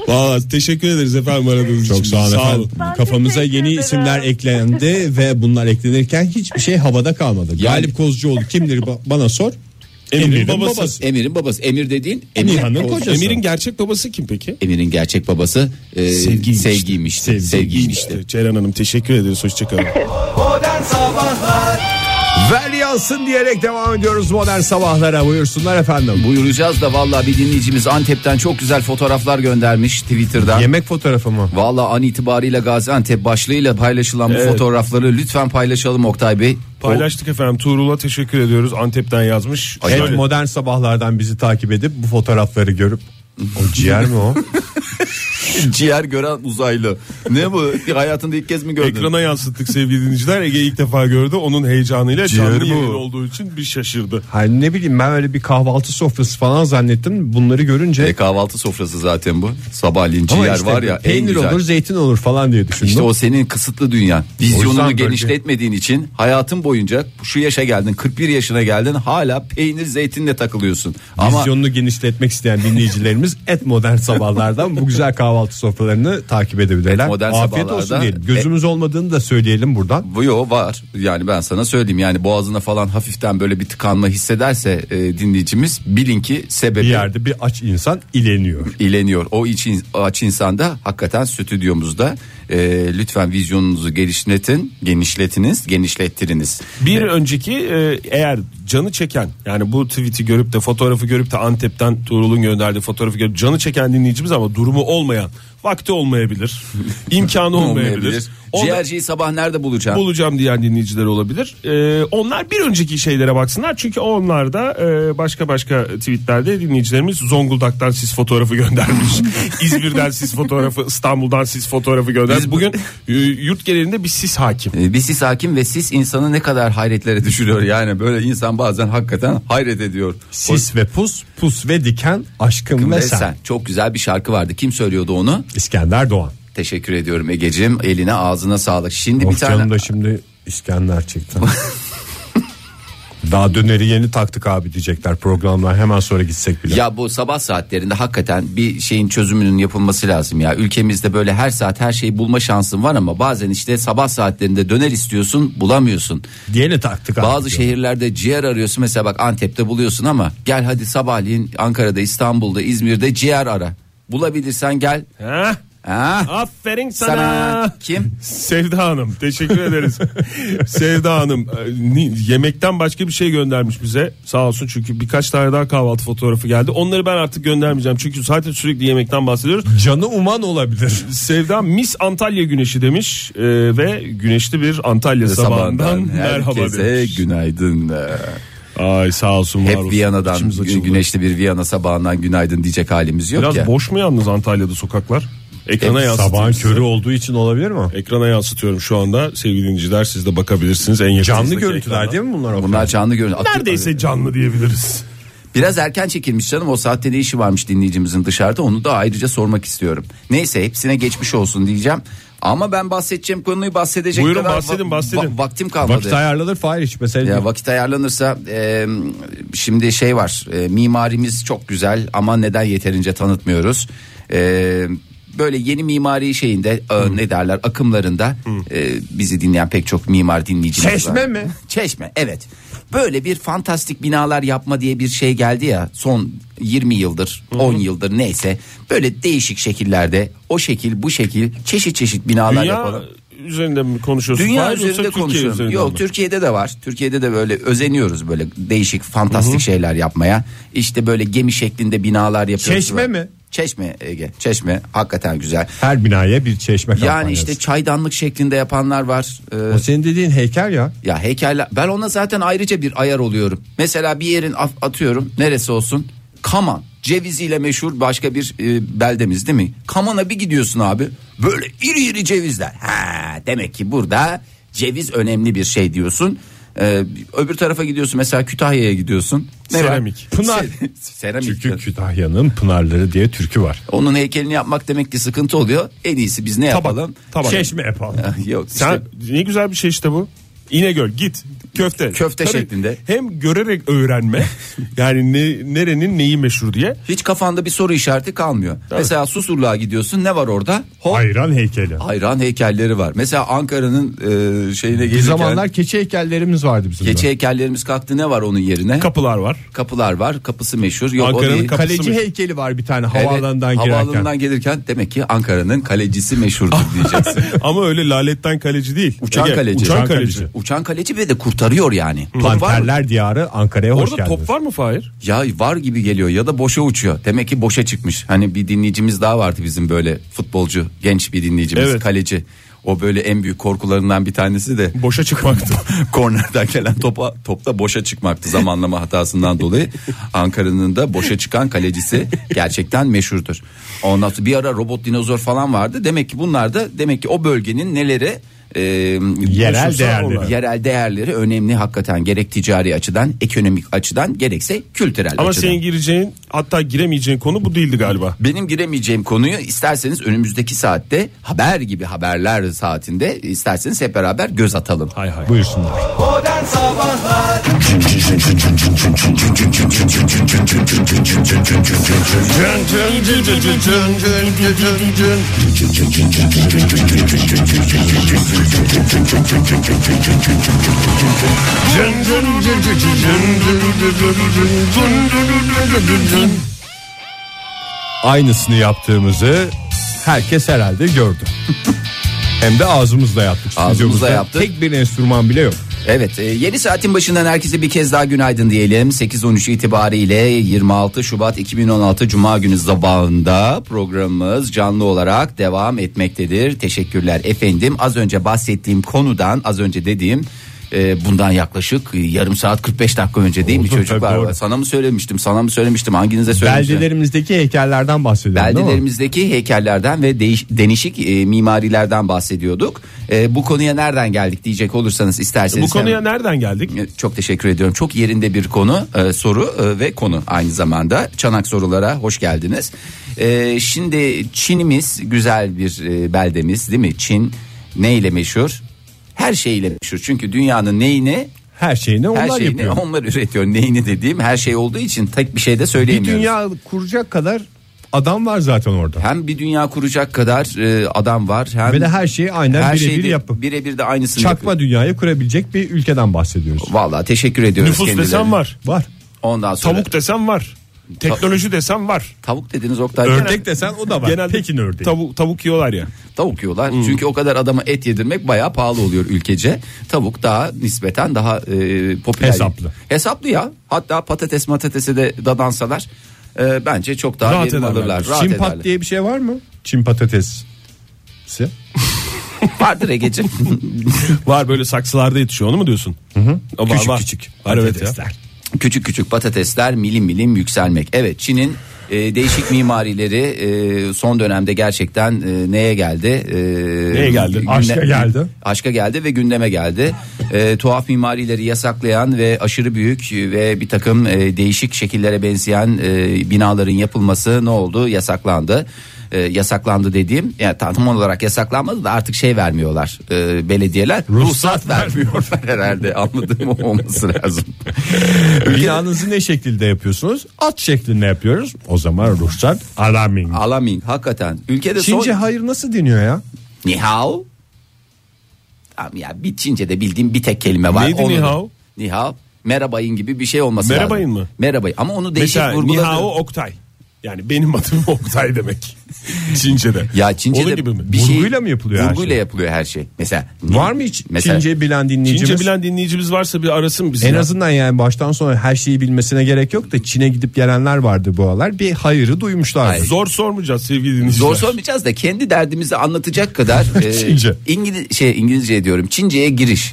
Speaker 4: Vallahi teşekkür ederiz efendim aradığınız
Speaker 5: Çok
Speaker 4: için.
Speaker 5: sağ olun efendim.
Speaker 6: Ben
Speaker 5: Kafamıza
Speaker 6: teşekkür
Speaker 5: yeni
Speaker 6: ederim.
Speaker 5: isimler eklendi ve bunlar eklenirken hiçbir şey havada kalmadı. Galip Kozcuoğlu kimdir ba- bana sor.
Speaker 4: Emir'in
Speaker 5: Emir'in babası.
Speaker 4: babası.
Speaker 2: Emir'in babası. Emir dediğin
Speaker 5: Emir Han'ın
Speaker 2: Kozcuoğlu.
Speaker 5: kocası.
Speaker 4: Emir'in gerçek babası kim peki?
Speaker 2: Emir'in gerçek babası e, sevgiymişti. Sevgiymişti.
Speaker 4: Ceren Hanım teşekkür ederiz. Hoşçakalın.
Speaker 5: Ver yansın diyerek devam ediyoruz modern sabahlara buyursunlar efendim.
Speaker 2: Buyuracağız da vallahi bir dinleyicimiz Antep'ten çok güzel fotoğraflar göndermiş Twitter'dan.
Speaker 5: Yemek fotoğrafı mı?
Speaker 2: Valla an itibariyle Gaziantep başlığıyla paylaşılan bu fotoğrafları lütfen paylaşalım Oktay Bey.
Speaker 4: Paylaştık efendim. Tuğrul'a teşekkür ediyoruz. Antep'ten yazmış.
Speaker 2: Ay,
Speaker 5: Evet
Speaker 2: Şöyle.
Speaker 5: modern sabahlardan bizi takip edip bu fotoğrafları görüp o ciğer mi
Speaker 4: (laughs)
Speaker 5: o?
Speaker 2: O- (laughs) ciğer gören uzaylı. Ne bu? Hayatında ilk kez mi gördün?
Speaker 4: Ekrana yansıttık sevgili dinleyiciler. Ege ilk defa gördü. Onun heyecanıyla
Speaker 5: Ciğer
Speaker 4: canlı
Speaker 5: bu.
Speaker 4: yayın olduğu için bir şaşırdı.
Speaker 5: Hani ne bileyim ben öyle bir kahvaltı sofrası falan zannettim. Bunları görünce
Speaker 2: E, kahvaltı sofrası zaten bu. Sabahleyin
Speaker 5: Ama
Speaker 2: ciğer
Speaker 5: işte
Speaker 2: var ya en
Speaker 5: peynir
Speaker 2: güzel.
Speaker 5: olur, zeytin olur falan diye düşündüm.
Speaker 2: İşte o senin kısıtlı dünyan. Vizyonunu
Speaker 5: böyle-
Speaker 2: genişletmediğin için hayatın boyunca şu yaşa geldin 41 yaşına geldin hala peynir zeytinle takılıyorsun. Ama
Speaker 5: Vizyonunu genişletmek isteyen
Speaker 2: (laughs)
Speaker 5: dinleyicilerimiz et modern sabahlardan bu güzel kahvaltı sofralarını takip edebilirler.
Speaker 2: Et Modern e-
Speaker 5: Afiyet olsun
Speaker 2: Sabahlar'da-
Speaker 5: diyelim. Gözümüz olmadığını da söyleyelim buradan.
Speaker 2: bu yo var yani ben sana söyleyeyim yani boğazına falan hafiften böyle bir tıkanma hissederse e, dinleyicimiz bilin ki
Speaker 5: Bir
Speaker 2: sebebi
Speaker 5: yerde bir aç insan
Speaker 2: (laughs)
Speaker 5: ileniyor.
Speaker 2: ileniyor. O için aç insanda hakikaten stüdyomuzda e, lütfen vizyonunuzu genişletin, genişletiniz, genişlettiriniz.
Speaker 4: Bir önceki e, eğer canı çeken yani bu tweet'i görüp de fotoğrafı görüp de Antep'ten Tuğrul'un gönderdiği fotoğrafı görüp canı çeken dinleyicimiz ama durumu olmayan vakti olmayabilir. imkanı olmayabilir.
Speaker 2: Olmayabilir.
Speaker 4: Onda-
Speaker 2: Ciğerciyi sabah nerede bulacağım?
Speaker 4: bulacağım diyen dinleyiciler olabilir. Ee, onlar bir önceki şeylere baksınlar. Çünkü onlar da e, başka başka tweetlerde dinleyicilerimiz Zonguldak'tan siz fotoğrafı göndermiş. İzmir'den siz fotoğrafı, İstanbul'dan siz fotoğrafı göndermiş.
Speaker 2: Biz-
Speaker 4: Bugün e, yurt genelinde bir sis hakim.
Speaker 2: E, Bir sis hakim ve sis insanı ne kadar hayretlere düşürüyor. Yani böyle insan bazen hakikaten hayret ediyor.
Speaker 5: Sis ve pus, pus ve diken, aşkım
Speaker 2: Ve
Speaker 5: ve
Speaker 2: sen.
Speaker 5: sen.
Speaker 2: Çok güzel bir şarkı vardı. Kim söylüyordu onu?
Speaker 5: İskender Doğan.
Speaker 2: Teşekkür ediyorum Egeciğim. Eline ağzına sağlık. Şimdi bir
Speaker 5: Of
Speaker 2: tane
Speaker 5: Oh, canım da şimdi
Speaker 2: (laughs)
Speaker 5: İskender çıktı. Daha döneri yeni taktık abi diyecekler programlar hemen sonra gitsek bile.
Speaker 2: Ya bu sabah saatlerinde hakikaten bir şeyin çözümünün yapılması lazım ya. Ülkemizde böyle her saat her şeyi bulma şansın var ama bazen işte sabah saatlerinde döner istiyorsun bulamıyorsun.
Speaker 5: Yeni taktık abi.
Speaker 2: Bazı
Speaker 5: diyor.
Speaker 2: şehirlerde ciğer arıyorsun mesela bak Antep'te buluyorsun ama gel hadi sabahleyin Ankara'da İstanbul'da İzmir'de ciğer ara. Bulabilirsen gel.
Speaker 4: Heh,
Speaker 2: Ha?
Speaker 4: aferin sana.
Speaker 2: Sana kim?
Speaker 4: Sevda Hanım teşekkür ederiz. Sevda Hanım e, ni- yemekten başka bir şey göndermiş bize. Sağ olsun çünkü birkaç tane daha kahvaltı fotoğrafı geldi. Onları ben artık göndermeyeceğim. Çünkü zaten sürekli yemekten bahsediyoruz.
Speaker 5: Canı uman olabilir.
Speaker 4: Sevda Mis Antalya güneşi demiş e, ve güneşli bir Antalya sabahından, merhaba
Speaker 2: herkese
Speaker 4: demiş.
Speaker 2: günaydın.
Speaker 4: Ay sağ olsun var
Speaker 2: Hep
Speaker 4: olsun.
Speaker 2: Viyana'dan
Speaker 4: İçimiz açıldı.
Speaker 2: güneşli bir Viyana sabahından günaydın diyecek halimiz yok
Speaker 4: Biraz
Speaker 2: ya.
Speaker 4: boş mu yalnız Antalya'da sokaklar? Ekrana
Speaker 2: Hep
Speaker 4: yansıtıyorum.
Speaker 5: Sabahın
Speaker 4: size.
Speaker 5: körü olduğu için olabilir mi?
Speaker 4: Ekrana yansıtıyorum şu anda sevgili dinleyiciler siz de bakabilirsiniz en
Speaker 5: Canlı
Speaker 4: yakınızdaki
Speaker 5: görüntüler
Speaker 4: ekrana.
Speaker 5: değil mi bunlar?
Speaker 2: Bunlar canlı görün.
Speaker 4: Neredeyse canlı diyebiliriz.
Speaker 2: Biraz erken çekilmiş canım o saatte ne işi varmış dinleyicimizin dışarıda onu da ayrıca sormak istiyorum. Neyse hepsine geçmiş olsun diyeceğim. Ama ben bahsedeceğim konuyu bahsedecek
Speaker 4: Buyurun,
Speaker 2: kadar
Speaker 4: bahsedin, bahsedin.
Speaker 2: vaktim kalmadı.
Speaker 5: Vakit ayarlanır Fahir hiç mesele
Speaker 2: Ya
Speaker 5: değil.
Speaker 2: vakit ayarlanırsa e, şimdi şey var e, mimarimiz çok güzel ama neden yeterince tanıtmıyoruz. E, böyle yeni mimari şeyinde e, ne derler akımlarında e, bizi dinleyen pek çok mimar dinleyicimiz var.
Speaker 5: Çeşme mi?
Speaker 2: Çeşme evet. Böyle bir fantastik binalar yapma diye bir şey geldi ya son 20 yıldır 10 yıldır neyse böyle değişik şekillerde o şekil bu şekil çeşit çeşit binalar
Speaker 4: Dünya
Speaker 2: yapalım.
Speaker 4: üzerinde mi konuşuyorsun?
Speaker 2: Dünya
Speaker 4: Hayır, yoksa
Speaker 2: üzerinde
Speaker 4: Türkiye
Speaker 2: konuşuyorum.
Speaker 4: üzerinden
Speaker 2: Yok
Speaker 4: mi?
Speaker 2: Türkiye'de de var. Türkiye'de de böyle özeniyoruz böyle değişik fantastik şeyler yapmaya. İşte böyle gemi şeklinde binalar yapıyoruz.
Speaker 5: Çeşme mi?
Speaker 2: Çeşme e, Ege. Çeşme hakikaten güzel.
Speaker 5: Her binaya bir çeşme
Speaker 2: Yani işte çaydanlık şeklinde yapanlar var. Ee,
Speaker 5: o senin dediğin heykel ya.
Speaker 2: ya heykeller ben ona zaten ayrıca bir ayar oluyorum. Mesela bir yerin af- atıyorum neresi olsun? Kaman. Ceviziyle meşhur başka bir e, beldemiz değil mi? Kaman'a bir gidiyorsun abi. Böyle iri iri cevizler. Ha demek ki burada ceviz önemli bir şey diyorsun. Ee, öbür tarafa gidiyorsun mesela Kütahya'ya gidiyorsun. var?
Speaker 4: Seramik.
Speaker 5: Pınar.
Speaker 2: Seramik.
Speaker 5: Çünkü Kütahya'nın pınarları diye türkü var.
Speaker 2: (laughs) Onun heykelini yapmak demek ki sıkıntı oluyor. En iyisi biz ne yapalım?
Speaker 4: Tabak.
Speaker 5: Çeşme yapalım.
Speaker 2: (laughs) Ah, Yok işte
Speaker 4: Sen ne güzel bir şey işte bu. İnegöl git köfte. (laughs)
Speaker 2: Köfte şeklinde.
Speaker 4: Hem görerek öğrenme. yani ne, nerenin neyi meşhur diye.
Speaker 2: hiç kafanda bir soru işareti kalmıyor. Mesela Susurluğa gidiyorsun ne var orada? Hop,
Speaker 5: Ayran heykeli.
Speaker 2: hayran heykelleri var. Mesela Ankara'nın e, şeyine
Speaker 5: Bir
Speaker 2: gelirken
Speaker 5: zamanlar keçi heykellerimiz vardı bizim.
Speaker 2: keçi
Speaker 5: de.
Speaker 2: heykellerimiz kalktı ne var onun yerine?
Speaker 4: Kapılar var.
Speaker 2: Kapılar var. Kapısı meşhur. Yok o
Speaker 4: Ankara'nın
Speaker 2: değil.
Speaker 4: kapısı
Speaker 5: Kaleci
Speaker 4: mı?
Speaker 5: heykeli var bir tane
Speaker 2: Evet,
Speaker 5: havaalanından girerken.
Speaker 2: Hani havaalanından gelirken demek ki Ankara'nın kalecisi
Speaker 4: (laughs)
Speaker 2: meşhurdur diyeceksin.
Speaker 4: Ama öyle laletten kaleci değil.
Speaker 2: Uçan
Speaker 4: Ege,
Speaker 2: kaleci.
Speaker 4: Uçan
Speaker 2: Uçan
Speaker 4: kaleci.
Speaker 2: Uçan kaleci ve de kurtarıyor yani. Top var mı?
Speaker 5: Panterler diyarı Ankara'ya hoş
Speaker 4: Orada
Speaker 5: geldiniz.
Speaker 4: top var mı Fahir?
Speaker 2: Ya var gibi geliyor ya da boşa uçuyor. Demek ki boşa çıkmış. Hani bir dinleyicimiz daha vardı bizim böyle futbolcu, genç bir dinleyicimiz,
Speaker 4: Evet.
Speaker 2: kaleci. O böyle en büyük korkularından bir tanesi de
Speaker 4: Boşa çıkmaktı.
Speaker 2: (laughs) kornerden gelen topa topta boşa çıkmaktı zamanlama hatasından dolayı. Ankara'nın da boşa çıkan kalecisi gerçekten meşhurdur. Ondan sonra bir ara robot dinozor falan vardı. Demek ki bunlar da demek ki o bölgenin neleri e,
Speaker 5: Yerel değerleri.
Speaker 2: olan- yerel değerleri önemli hakikaten gerek ticari açıdan, ekonomik açıdan gerekse kültürel
Speaker 4: Ama
Speaker 2: açıdan.
Speaker 4: senin gireceğin hatta giremeyeceğin konu bu değildi galiba.
Speaker 2: Benim giremeyeceğim konuyu isterseniz önümüzdeki saatte haber gibi haberler saatinde isterseniz hep beraber göz atalım.
Speaker 4: Hay hay.
Speaker 5: Buyursunlar. Aynısını yaptığımızı herkes
Speaker 2: (laughs)
Speaker 5: herhalde gördü. Hem de ağzımızla yaptık.
Speaker 2: Ağzımızla
Speaker 5: stüdyomuzda.
Speaker 2: yaptık.
Speaker 5: Tek bir enstrüman bile yok.
Speaker 2: Evet e, yeni saatin başından herkese bir kez daha günaydın diyelim. 8.13 itibariyle 26 Şubat 2016 Cuma günü sabahında programımız canlı olarak devam etmektedir. Teşekkürler efendim. Az önce bahsettiğim konudan az önce dediğim e, bundan yaklaşık yarım saat 45 dakika önce değil mi
Speaker 5: Oldu,
Speaker 2: çocuklar?
Speaker 5: tabii, doğru.
Speaker 2: Sana mı söylemiştim sana mı söylemiştim hanginize söylemiştim?
Speaker 5: Beldelerimizdeki heykellerden bahsediyorum değil mi?
Speaker 2: Beldelerimizdeki heykellerden ve değiş, denişik e, mimarilerden bahsediyorduk. E, bu konuya nereden geldik diyecek olursanız isterseniz.
Speaker 4: Bu konuya
Speaker 2: hemen-
Speaker 4: nereden geldik?
Speaker 2: E, çok teşekkür ediyorum. Çok yerinde bir konu, e, soru e, ve konu aynı zamanda. Çanak sorulara hoş geldiniz. E, şimdi Çin'imiz güzel bir e, beldemiz değil mi? Çin neyle meşhur? Her şeyle meşhur. Çünkü dünyanın neyini
Speaker 5: Her şeyini onlar
Speaker 2: her şeyini
Speaker 5: yapıyor.
Speaker 2: onlar üretiyor. Neyini dediğim her şey olduğu için tek bir şey de
Speaker 5: Bir
Speaker 2: söyleyemiyoruz.
Speaker 5: dünya kuracak kadar adam var zaten orada.
Speaker 2: Hem bir dünya kuracak kadar e, adam var. Hem
Speaker 5: Ve de her şeyi aynen birebir
Speaker 2: şeyde-
Speaker 5: yapıp-
Speaker 2: Birebir de aynısını
Speaker 5: Çakma dünyayı kurabilecek bir ülkeden bahsediyoruz.
Speaker 2: yapıyor. Vallahi teşekkür ediyoruz
Speaker 4: Nüfus
Speaker 2: kendilerine.
Speaker 4: desem var.
Speaker 5: Var.
Speaker 2: Ondan sonra
Speaker 4: Tavuk desem var. Teknoloji desem var.
Speaker 2: tavuk dediniz Oktay.
Speaker 5: Ördek desen o da var.
Speaker 4: Genelde
Speaker 5: Pekin ördeği.
Speaker 4: Tavuk, tavuk yiyorlar ya. Hmm.
Speaker 2: Tavuk yiyorlar. Çünkü o kadar adama et yedirmek bayağı pahalı oluyor ülkece. Tavuk daha nispeten daha e, popüler.
Speaker 5: Hesaplı.
Speaker 2: Hesaplı ya. Hatta patates matatese de dadansalar e, bence çok daha
Speaker 4: Rahat
Speaker 2: verim
Speaker 4: ederler.
Speaker 2: alırlar. Rahat
Speaker 5: Çin pat
Speaker 2: ederler.
Speaker 5: diye bir şey var mı?
Speaker 2: (laughs)
Speaker 5: Çin patatesi.
Speaker 2: Vardır Ege'ciğim.
Speaker 4: (laughs) Var böyle saksılarda yetişiyor onu mu diyorsun? Hı hı. Var,
Speaker 5: Küçük
Speaker 4: var.
Speaker 5: küçük
Speaker 4: Var evet ya.
Speaker 5: patatesler.
Speaker 2: küçük küçük patatesler milim milim yükselmek. Evet Çin'in e, değişik mimarileri e, son dönemde gerçekten e, neye geldi? E,
Speaker 4: Neye geldi?
Speaker 5: Aşka geldi.
Speaker 2: Aşka geldi ve gündeme geldi. E, tuhaf mimarileri yasaklayan ve aşırı büyük ve bir takım e, değişik şekillere benzeyen e, binaların yapılması ne oldu? Yasaklandı. E, yasaklandı dediğim yani tam olarak yasaklanmadı da artık şey vermiyorlar e, belediyeler ruhsat, vermiyorlar (laughs) herhalde anladığım o olması lazım.
Speaker 5: Binanızı ne şekilde yapıyorsunuz? At şeklinde yapıyoruz. O zaman ruhsat alamin.
Speaker 2: Alamin hakikaten. Ülkede
Speaker 5: Çince
Speaker 2: son...
Speaker 5: hayır nasıl deniyor ya?
Speaker 2: Ni hao. Abi Ya bir Çince'de bildiğim bir tek kelime var.
Speaker 4: Neydi
Speaker 2: Onu
Speaker 4: ni
Speaker 2: da-
Speaker 4: hao?
Speaker 2: Ni hao. Merhabayın gibi bir şey olması lazım.
Speaker 4: Merhabayın mı?
Speaker 2: Merhabayın ama onu değişik
Speaker 4: Mesela
Speaker 2: vurguladı.
Speaker 4: Nihao (laughs) Oktay. Yani benim adım Oktay demek. Çince'de.
Speaker 2: Ya Çince'de
Speaker 4: Onun gibi mi?
Speaker 2: bir şey
Speaker 5: Vurguyla mı yapılıyor her
Speaker 2: Vurguyla
Speaker 5: şey?
Speaker 2: yapılıyor her şey. Mesela
Speaker 5: Var mı hiç
Speaker 2: Mesela-
Speaker 5: Çince bilen dinleyicimiz?
Speaker 4: Çince bilen dinleyicimiz varsa bir arasın bizi.
Speaker 5: En
Speaker 4: ya.
Speaker 5: azından yani baştan sona her şeyi bilmesine gerek yok da Çin'e gidip gelenler vardı bu aralar. Bir hayırı duymuşlar.
Speaker 4: Zor sormayacağız sevgili dinleyiciler.
Speaker 2: Zor sormayacağız da kendi derdimizi anlatacak kadar
Speaker 4: (laughs)
Speaker 2: e,
Speaker 5: Çince.
Speaker 2: İngiliz şey İngilizce diyorum. Çince'ye giriş.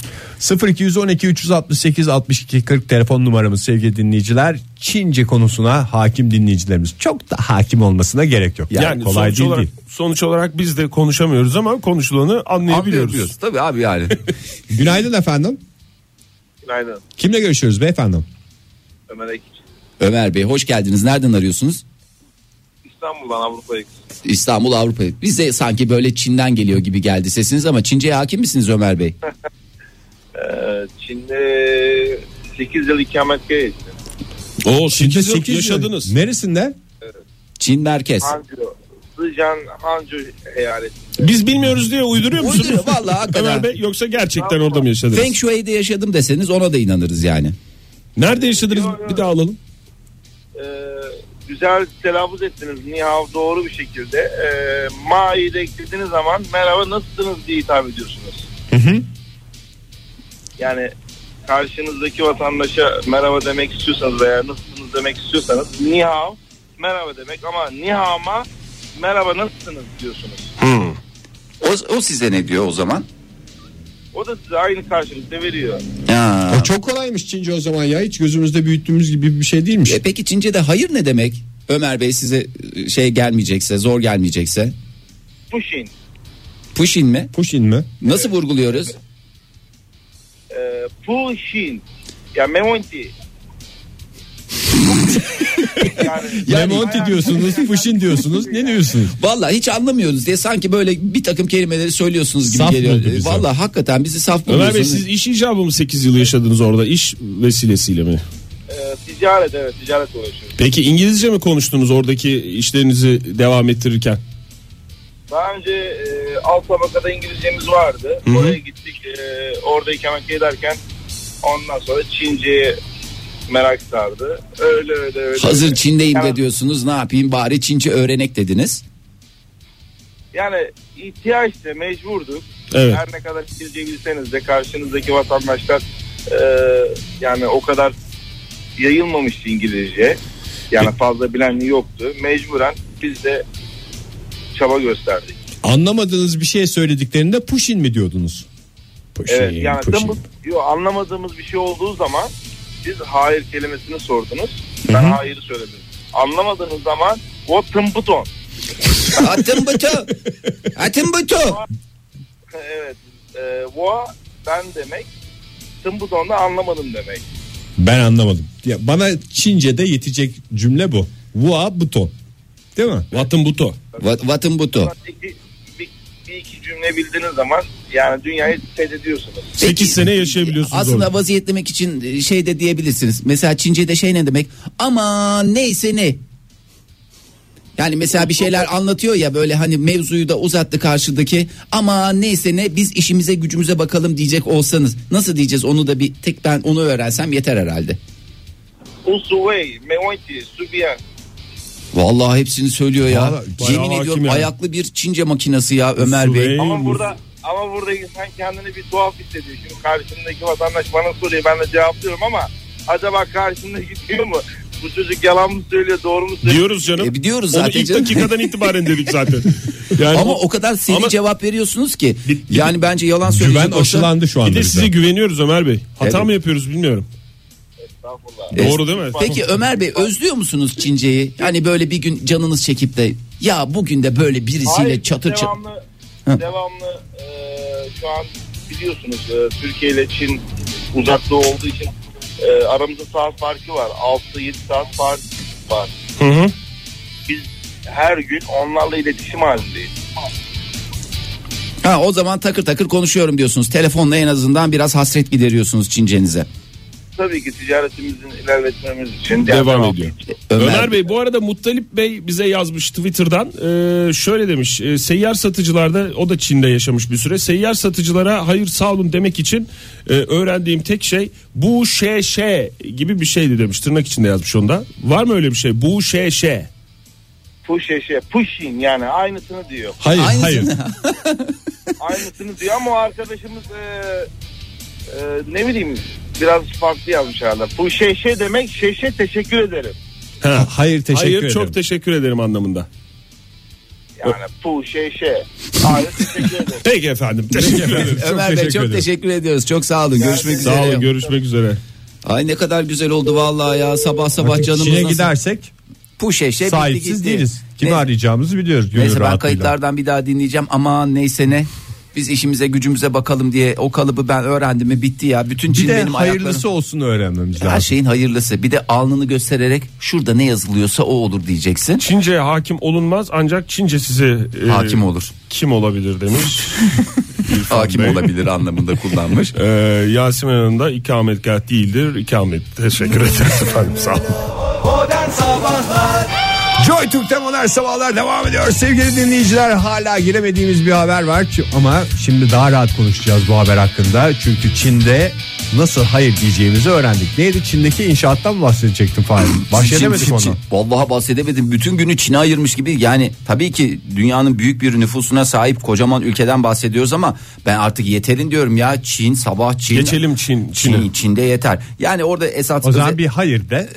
Speaker 5: 0212 368 62 40 telefon numaramız sevgili dinleyiciler. Çince konusuna hakim dinleyicilerimiz. Çok da hakim olmasına gerek yok. Yani,
Speaker 4: Yani,
Speaker 5: kolay
Speaker 4: sonuç,
Speaker 5: değil,
Speaker 4: olarak,
Speaker 5: değil.
Speaker 4: sonuç olarak biz de konuşamıyoruz ama konuşulanı anlayabiliyoruz.
Speaker 2: Anlıyoruz. Tabii abi yani.
Speaker 5: (laughs) Günaydın efendim.
Speaker 7: Günaydın.
Speaker 5: Kimle görüşüyoruz beyefendi?
Speaker 7: Ömer Ekiç.
Speaker 2: Ömer Bey hoş geldiniz. Nereden arıyorsunuz?
Speaker 7: İstanbul'dan Avrupa'ya gittim.
Speaker 2: İstanbul Avrupa. Bize sanki böyle Çin'den geliyor gibi geldi sesiniz ama Çince'ye hakim misiniz Ömer Bey?
Speaker 7: Ee, Çin'de 8 yıl ikametgah ettim.
Speaker 5: Çin'de
Speaker 4: O 8 yıl
Speaker 5: sekiz yıl.
Speaker 4: yaşadınız.
Speaker 5: Neresinde?
Speaker 2: Çin merkez.
Speaker 7: Hangzhou. Zhejiang, Hangzhou eyaleti.
Speaker 4: Biz bilmiyoruz diye uyduruyor musunuz?
Speaker 2: Uyduruyor, vallahi hakikaten.
Speaker 4: Ömer Bey yoksa gerçekten orada mı yaşadınız?
Speaker 2: Feng Shui'de yaşadım deseniz ona da inanırız yani.
Speaker 4: Nerede yaşadınız? Bir daha alalım.
Speaker 7: Ee, güzel telaffuz ettiniz. Nihav doğru bir şekilde. Ee, Ma'yı da eklediğiniz zaman merhaba nasılsınız diye hitap ediyorsunuz. Yani karşınızdaki vatandaşa merhaba demek istiyorsanız veya nasılsınız demek istiyorsanız Nihav merhaba demek ama Nihav'a merhaba nasılsınız diyorsunuz.
Speaker 5: Hmm.
Speaker 2: O, o size ne diyor o zaman?
Speaker 7: O da size aynı karşılıkta veriyor.
Speaker 2: Ya.
Speaker 5: O çok kolaymış Çince o zaman ya. Hiç gözümüzde büyüttüğümüz gibi bir şey değilmiş.
Speaker 2: E peki Çince'de hayır ne demek? Ömer Bey size e, şey gelmeyecekse, zor gelmeyecekse.
Speaker 7: Pushing.
Speaker 2: Pushin mi?
Speaker 5: Pushing mi?
Speaker 2: Nasıl vurguluyoruz?
Speaker 7: E, pushing. Ya memonti. yani,
Speaker 5: Lemonti diyorsunuz, Pushin diyorsunuz. Ne diyorsunuz?
Speaker 2: Vallahi hiç anlamıyoruz diye sanki böyle bir takım kelimeleri söylüyorsunuz gibi
Speaker 5: Saf
Speaker 2: geliyor.
Speaker 5: buldu bizi.
Speaker 2: Vallahi hakikaten bizi saf
Speaker 4: Ömer Bey
Speaker 2: buluyorsunuz.
Speaker 4: siz iş icabı mı 8 yıl yaşadınız orada? İş vesilesiyle mi?
Speaker 7: e, ticaret evet ticaret uğraşıyorum.
Speaker 4: Peki İngilizce mi konuştunuz oradaki işlerinizi devam ettirirken?
Speaker 7: Daha önce e, alt tabakada İngilizcemiz vardı. Oraya gittik. E, orada ikamet ederken ondan sonra Çince'ye merak sardı. Öyle öyle öyle.
Speaker 2: Hazır Çin'deyim de
Speaker 7: Yani-
Speaker 2: diyorsunuz ne yapayım bari Çince öğrenek dediniz.
Speaker 7: Yani ihtiyaçla mecburduk.
Speaker 4: Evet.
Speaker 7: Her ne kadar İngilizce bilseniz de karşınızdaki vatandaşlar e, yani o kadar yayılmamıştı İngilizce. Yani fazla bilen yoktu. Mecburen biz de çaba gösterdik.
Speaker 5: Anlamadığınız bir şey söylediklerinde Pushin mi diyordunuz?
Speaker 7: Evet yani dımbıl- yo, anlamadığımız bir şey olduğu zaman siz hayır kelimesini sordunuz. Ben hayırı söyledim. Anlamadığınız zaman o tımbıton.
Speaker 2: Atın butu. Atın butu.
Speaker 7: (laughs) evet. E, o ben demek. Tımbıton da anlamadım demek.
Speaker 5: Ben anlamadım. Ya bana Çince'de yetecek cümle bu. Vua buton. Değil mi?
Speaker 4: Vatın buto.
Speaker 2: Vat- Vatın butu.
Speaker 7: Bir, bir, bir iki cümle bildiğiniz zaman yani dünyayı fethediyorsunuz.
Speaker 4: 8 sene yaşayabiliyorsunuz
Speaker 2: Aslında
Speaker 4: orada.
Speaker 2: vaziyetlemek için şey de diyebilirsiniz. Mesela Çince'de şey ne demek? Aman neyse ne. Yani mesela bir şeyler anlatıyor ya böyle hani mevzuyu da uzattı karşıdaki. Ama neyse ne biz işimize gücümüze bakalım diyecek olsanız. Nasıl diyeceğiz onu da bir tek ben onu öğrensem yeter herhalde.
Speaker 7: Usuvey, Meonti, Subiyan.
Speaker 2: Vallahi hepsini söylüyor ya.
Speaker 5: Vallahi
Speaker 4: bayağı
Speaker 2: Yemin
Speaker 4: hakim
Speaker 2: ediyorum
Speaker 4: ya.
Speaker 2: ayaklı bir Çince makinası ya Ömer
Speaker 4: Sürey-
Speaker 2: Bey.
Speaker 7: Ama burada ama burada insan kendini bir tuhaf hissediyor. Şimdi karşımdaki vatandaş bana soruyor ben de cevaplıyorum ama acaba karşımda gidiyor mu? Bu çocuk yalan mı söylüyor doğru mu söylüyor?
Speaker 4: Diyoruz canım.
Speaker 2: E, diyoruz
Speaker 4: Onu
Speaker 2: zaten
Speaker 4: ilk
Speaker 2: canım. (laughs)
Speaker 4: dakikadan itibaren dedik zaten. Yani
Speaker 2: Ama
Speaker 4: bu-
Speaker 2: o kadar seri
Speaker 4: Ama-
Speaker 2: cevap veriyorsunuz ki.
Speaker 4: Bir- bir-
Speaker 2: yani bence yalan söyleyecek
Speaker 5: Güven
Speaker 2: olsa-
Speaker 5: aşılandı şu
Speaker 4: bir
Speaker 5: anda.
Speaker 4: de
Speaker 5: bize.
Speaker 4: size güveniyoruz Ömer Bey. Hata
Speaker 2: Evet.
Speaker 4: mı yapıyoruz bilmiyorum.
Speaker 7: Estağfurullah.
Speaker 2: Evet.
Speaker 4: Doğru değil mi?
Speaker 2: Peki Ömer Bey özlüyor musunuz Çince'yi? Yani böyle bir gün canınız çekip de ya bugün de böyle birisiyle
Speaker 7: Hayır,
Speaker 2: çatır çatır.
Speaker 7: devamlı,
Speaker 2: Hı.
Speaker 7: devamlı e, şu an biliyorsunuz e, Türkiye ile Çin uzakta olduğu için e, aramızda saat farkı var. 6-7 saat fark var.
Speaker 4: Hı hı.
Speaker 7: Biz her gün onlarla iletişim halindeyiz.
Speaker 2: Ha o zaman takır takır konuşuyorum diyorsunuz. Telefonla en azından biraz hasret gideriyorsunuz Çince'nize.
Speaker 7: Tabii ki ticaretimizin ilerletmemiz için
Speaker 4: Devam
Speaker 7: Yani-
Speaker 4: ediyor. Ömer, Bey bu arada Muttalip Bey bize yazmış Twitter'dan Ee, şöyle demiş e, seyyar satıcılarda o da Çin'de yaşamış bir süre seyyar satıcılara hayır sağ olun demek için e, öğrendiğim tek şey bu şey şey gibi bir şeydi demiş tırnak içinde yazmış onda var mı öyle bir şey bu şey şey
Speaker 7: push eşe pushing yani aynısını diyor.
Speaker 8: Hayır
Speaker 2: Aynısını-
Speaker 8: hayır.
Speaker 7: aynısını diyor ama o arkadaşımız e, e, ne bileyim biraz farklı yazmış herhalde. Bu şeşe demek şeşe teşekkür ederim.
Speaker 8: Ha, hayır teşekkür
Speaker 4: Hayır
Speaker 8: ederim.
Speaker 4: çok teşekkür ederim anlamında.
Speaker 7: Yani şey. bu şeşe. Hayır teşekkür ederim.
Speaker 8: Peki efendim. Teşekkür ederim.
Speaker 2: (laughs) Ömer Bey çok
Speaker 8: ederim.
Speaker 2: teşekkür ediyoruz. Çok sağ olun. Görüşmek üzere.
Speaker 8: Sağ olun görüşmek üzere.
Speaker 2: Ay ne kadar güzel oldu vallahi ya. Sabah sabah canımız
Speaker 3: İçine
Speaker 2: nasıl
Speaker 3: gidersek
Speaker 2: bu şeşe bitti
Speaker 3: sahipsiz
Speaker 2: gitti.
Speaker 3: değiliz. Kimi
Speaker 2: Şey Ne-
Speaker 3: arayacağımızı biliyoruz. gönül
Speaker 2: Neyse ben
Speaker 3: rahatlığıyla.
Speaker 2: kayıtlardan bir daha dinleyeceğim. Aman neyse ne. Biz işimize gücümüze bakalım diye o kalıbı ben öğrendim mi bitti ya. Bütün
Speaker 3: Bir
Speaker 2: cin
Speaker 3: de
Speaker 2: benim
Speaker 3: hayırlısı
Speaker 2: ayaklarım.
Speaker 3: olsun öğrenmemiz
Speaker 2: Her
Speaker 3: lazım.
Speaker 2: şeyin hayırlısı. Bir de alnını göstererek şurada ne yazılıyorsa o olur diyeceksin.
Speaker 4: Çince'ye hakim olunmaz ancak Çince sizi e,
Speaker 2: Hakim olur.
Speaker 4: kim
Speaker 2: (laughs)
Speaker 4: olabilir demiş. İrfan
Speaker 2: Hakim
Speaker 4: Bey.
Speaker 2: olabilir anlamında kullanmış.
Speaker 4: E, Yasemin Hanım da ikametgah değildir. İkamet teşekkür ederiz efendim sağ olun.
Speaker 3: Joy Türk'te modern sabahlar devam ediyor. Sevgili dinleyiciler hala giremediğimiz bir haber var. Ç- Ama şimdi daha rahat konuşacağız bu haber hakkında. Çünkü Çin'de nasıl hayır diyeceğimizi öğrendik. Neydi Çin'deki inşaattan mı bahsedecektim Fahir? Bahsedemedik
Speaker 2: Çin-
Speaker 3: ondan.
Speaker 2: Çin- Çin- Vallahi bahsedemedim. Bütün günü Çin'e ayırmış gibi. Yani tabii ki dünyanın büyük bir nüfusuna sahip kocaman ülkeden bahsediyoruz ama ben artık yeterin diyorum ya. Çin sabah Çin.
Speaker 4: Geçelim Çin, Çin'e.
Speaker 2: Çin, Çin'de yeter. Yani orada esas
Speaker 3: O zaman
Speaker 2: öze-
Speaker 3: bir hayır de.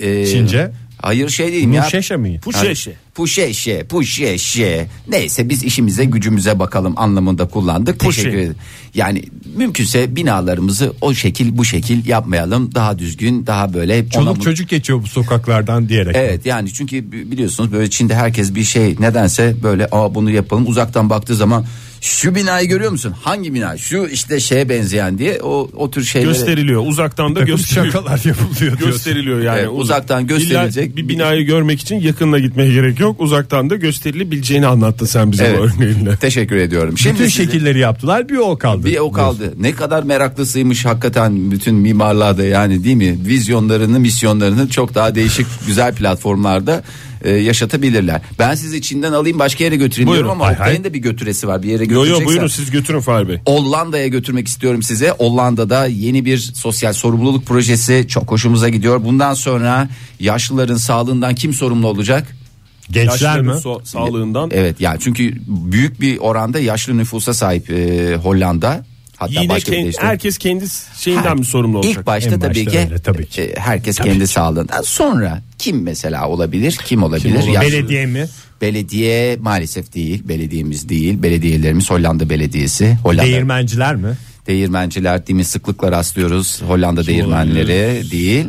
Speaker 2: e,
Speaker 3: Çince?
Speaker 2: Hayır şey diyeyim ya.
Speaker 3: Muşeşe miyim?
Speaker 4: Puşeşe.
Speaker 2: Puşeşe, puşeşe. Neyse biz işimize gücümüze bakalım anlamında kullandık.
Speaker 4: Puşe.
Speaker 2: Teşekkür ederim. Yani mümkünse binalarımızı o şekil bu şekil yapmayalım. Daha düzgün, daha böyle ona
Speaker 3: Çoluk
Speaker 2: bu-
Speaker 3: çocuk geçiyor bu sokaklardan diyerek.
Speaker 2: Evet yani çünkü bi- biliyorsunuz böyle Çin'de herkes bir şey nedense böyle aa bunu yapalım uzaktan baktığı zaman şu binayı görüyor musun? Hangi bina? Şu işte şeye benzeyen diye o o tür şeyleri
Speaker 4: Gösteriliyor uzaktan
Speaker 2: (laughs)
Speaker 4: da gösteriliyor.
Speaker 3: Şakalar yapılıyor diyorsun.
Speaker 4: gösteriliyor yani.
Speaker 2: Evet, uzaktan
Speaker 4: İlla
Speaker 2: gösterilecek.
Speaker 4: Bir binayı görmek için yakınına gitmeye gerek yok. Uzaktan da gösterilebileceğini anlattın sen bize
Speaker 2: Evet.
Speaker 4: bu örneğinle.
Speaker 2: Teşekkür ediyorum.
Speaker 3: Bütün
Speaker 2: Şimdi sizi-
Speaker 3: şekilleri yaptılar bir o kaldı.
Speaker 2: Bir o kaldı. Ne kadar meraklısıymış hakikaten bütün mimarlarda yani değil mi? Vizyonlarını, misyonlarını çok daha değişik (laughs) güzel platformlarda e, yaşatabilirler. Ben sizi içinden alayım başka yere götüreyim
Speaker 4: Buyurun.
Speaker 2: diyorum ama
Speaker 4: Hay hay.
Speaker 2: Oktay'ın da bir götüresi var. Bir yere
Speaker 4: Yo yo
Speaker 2: götüreceksen.
Speaker 4: buyurun siz götürün Fahir Bey.
Speaker 2: Hollanda'ya götürmek istiyorum size. Hollanda'da yeni bir sosyal sorumluluk projesi çok hoşumuza gidiyor. Bundan sonra yaşlıların sağlığından kim sorumlu olacak?
Speaker 3: Gençler mi?
Speaker 4: Yaşlıların so- sağlığından.
Speaker 2: Evet yani çünkü büyük bir oranda yaşlı nüfusa sahip e, Hollanda. Hatta
Speaker 4: Yine
Speaker 2: başka bir
Speaker 4: kend-
Speaker 2: de işte-
Speaker 4: herkes kendi şeyinden mi sorumlu olacak?
Speaker 2: İlk başta
Speaker 3: En
Speaker 2: tabii
Speaker 3: başta
Speaker 2: ki
Speaker 3: öyle, tabii ki.
Speaker 2: e, herkes kendi sağlığından sonra kim mesela olabilir? Kim olabilir?
Speaker 3: Oğlum,
Speaker 2: Yaşlı-
Speaker 3: Belediye mi?
Speaker 2: Belediye maalesef değil. Belediyemiz değil. Belediyelerimiz Hollanda Belediyesi. Hollanda
Speaker 3: Değirmenciler mi?
Speaker 2: değirmenciler değil mi? Sıklıkla rastlıyoruz. Hollanda değirmenleri değil.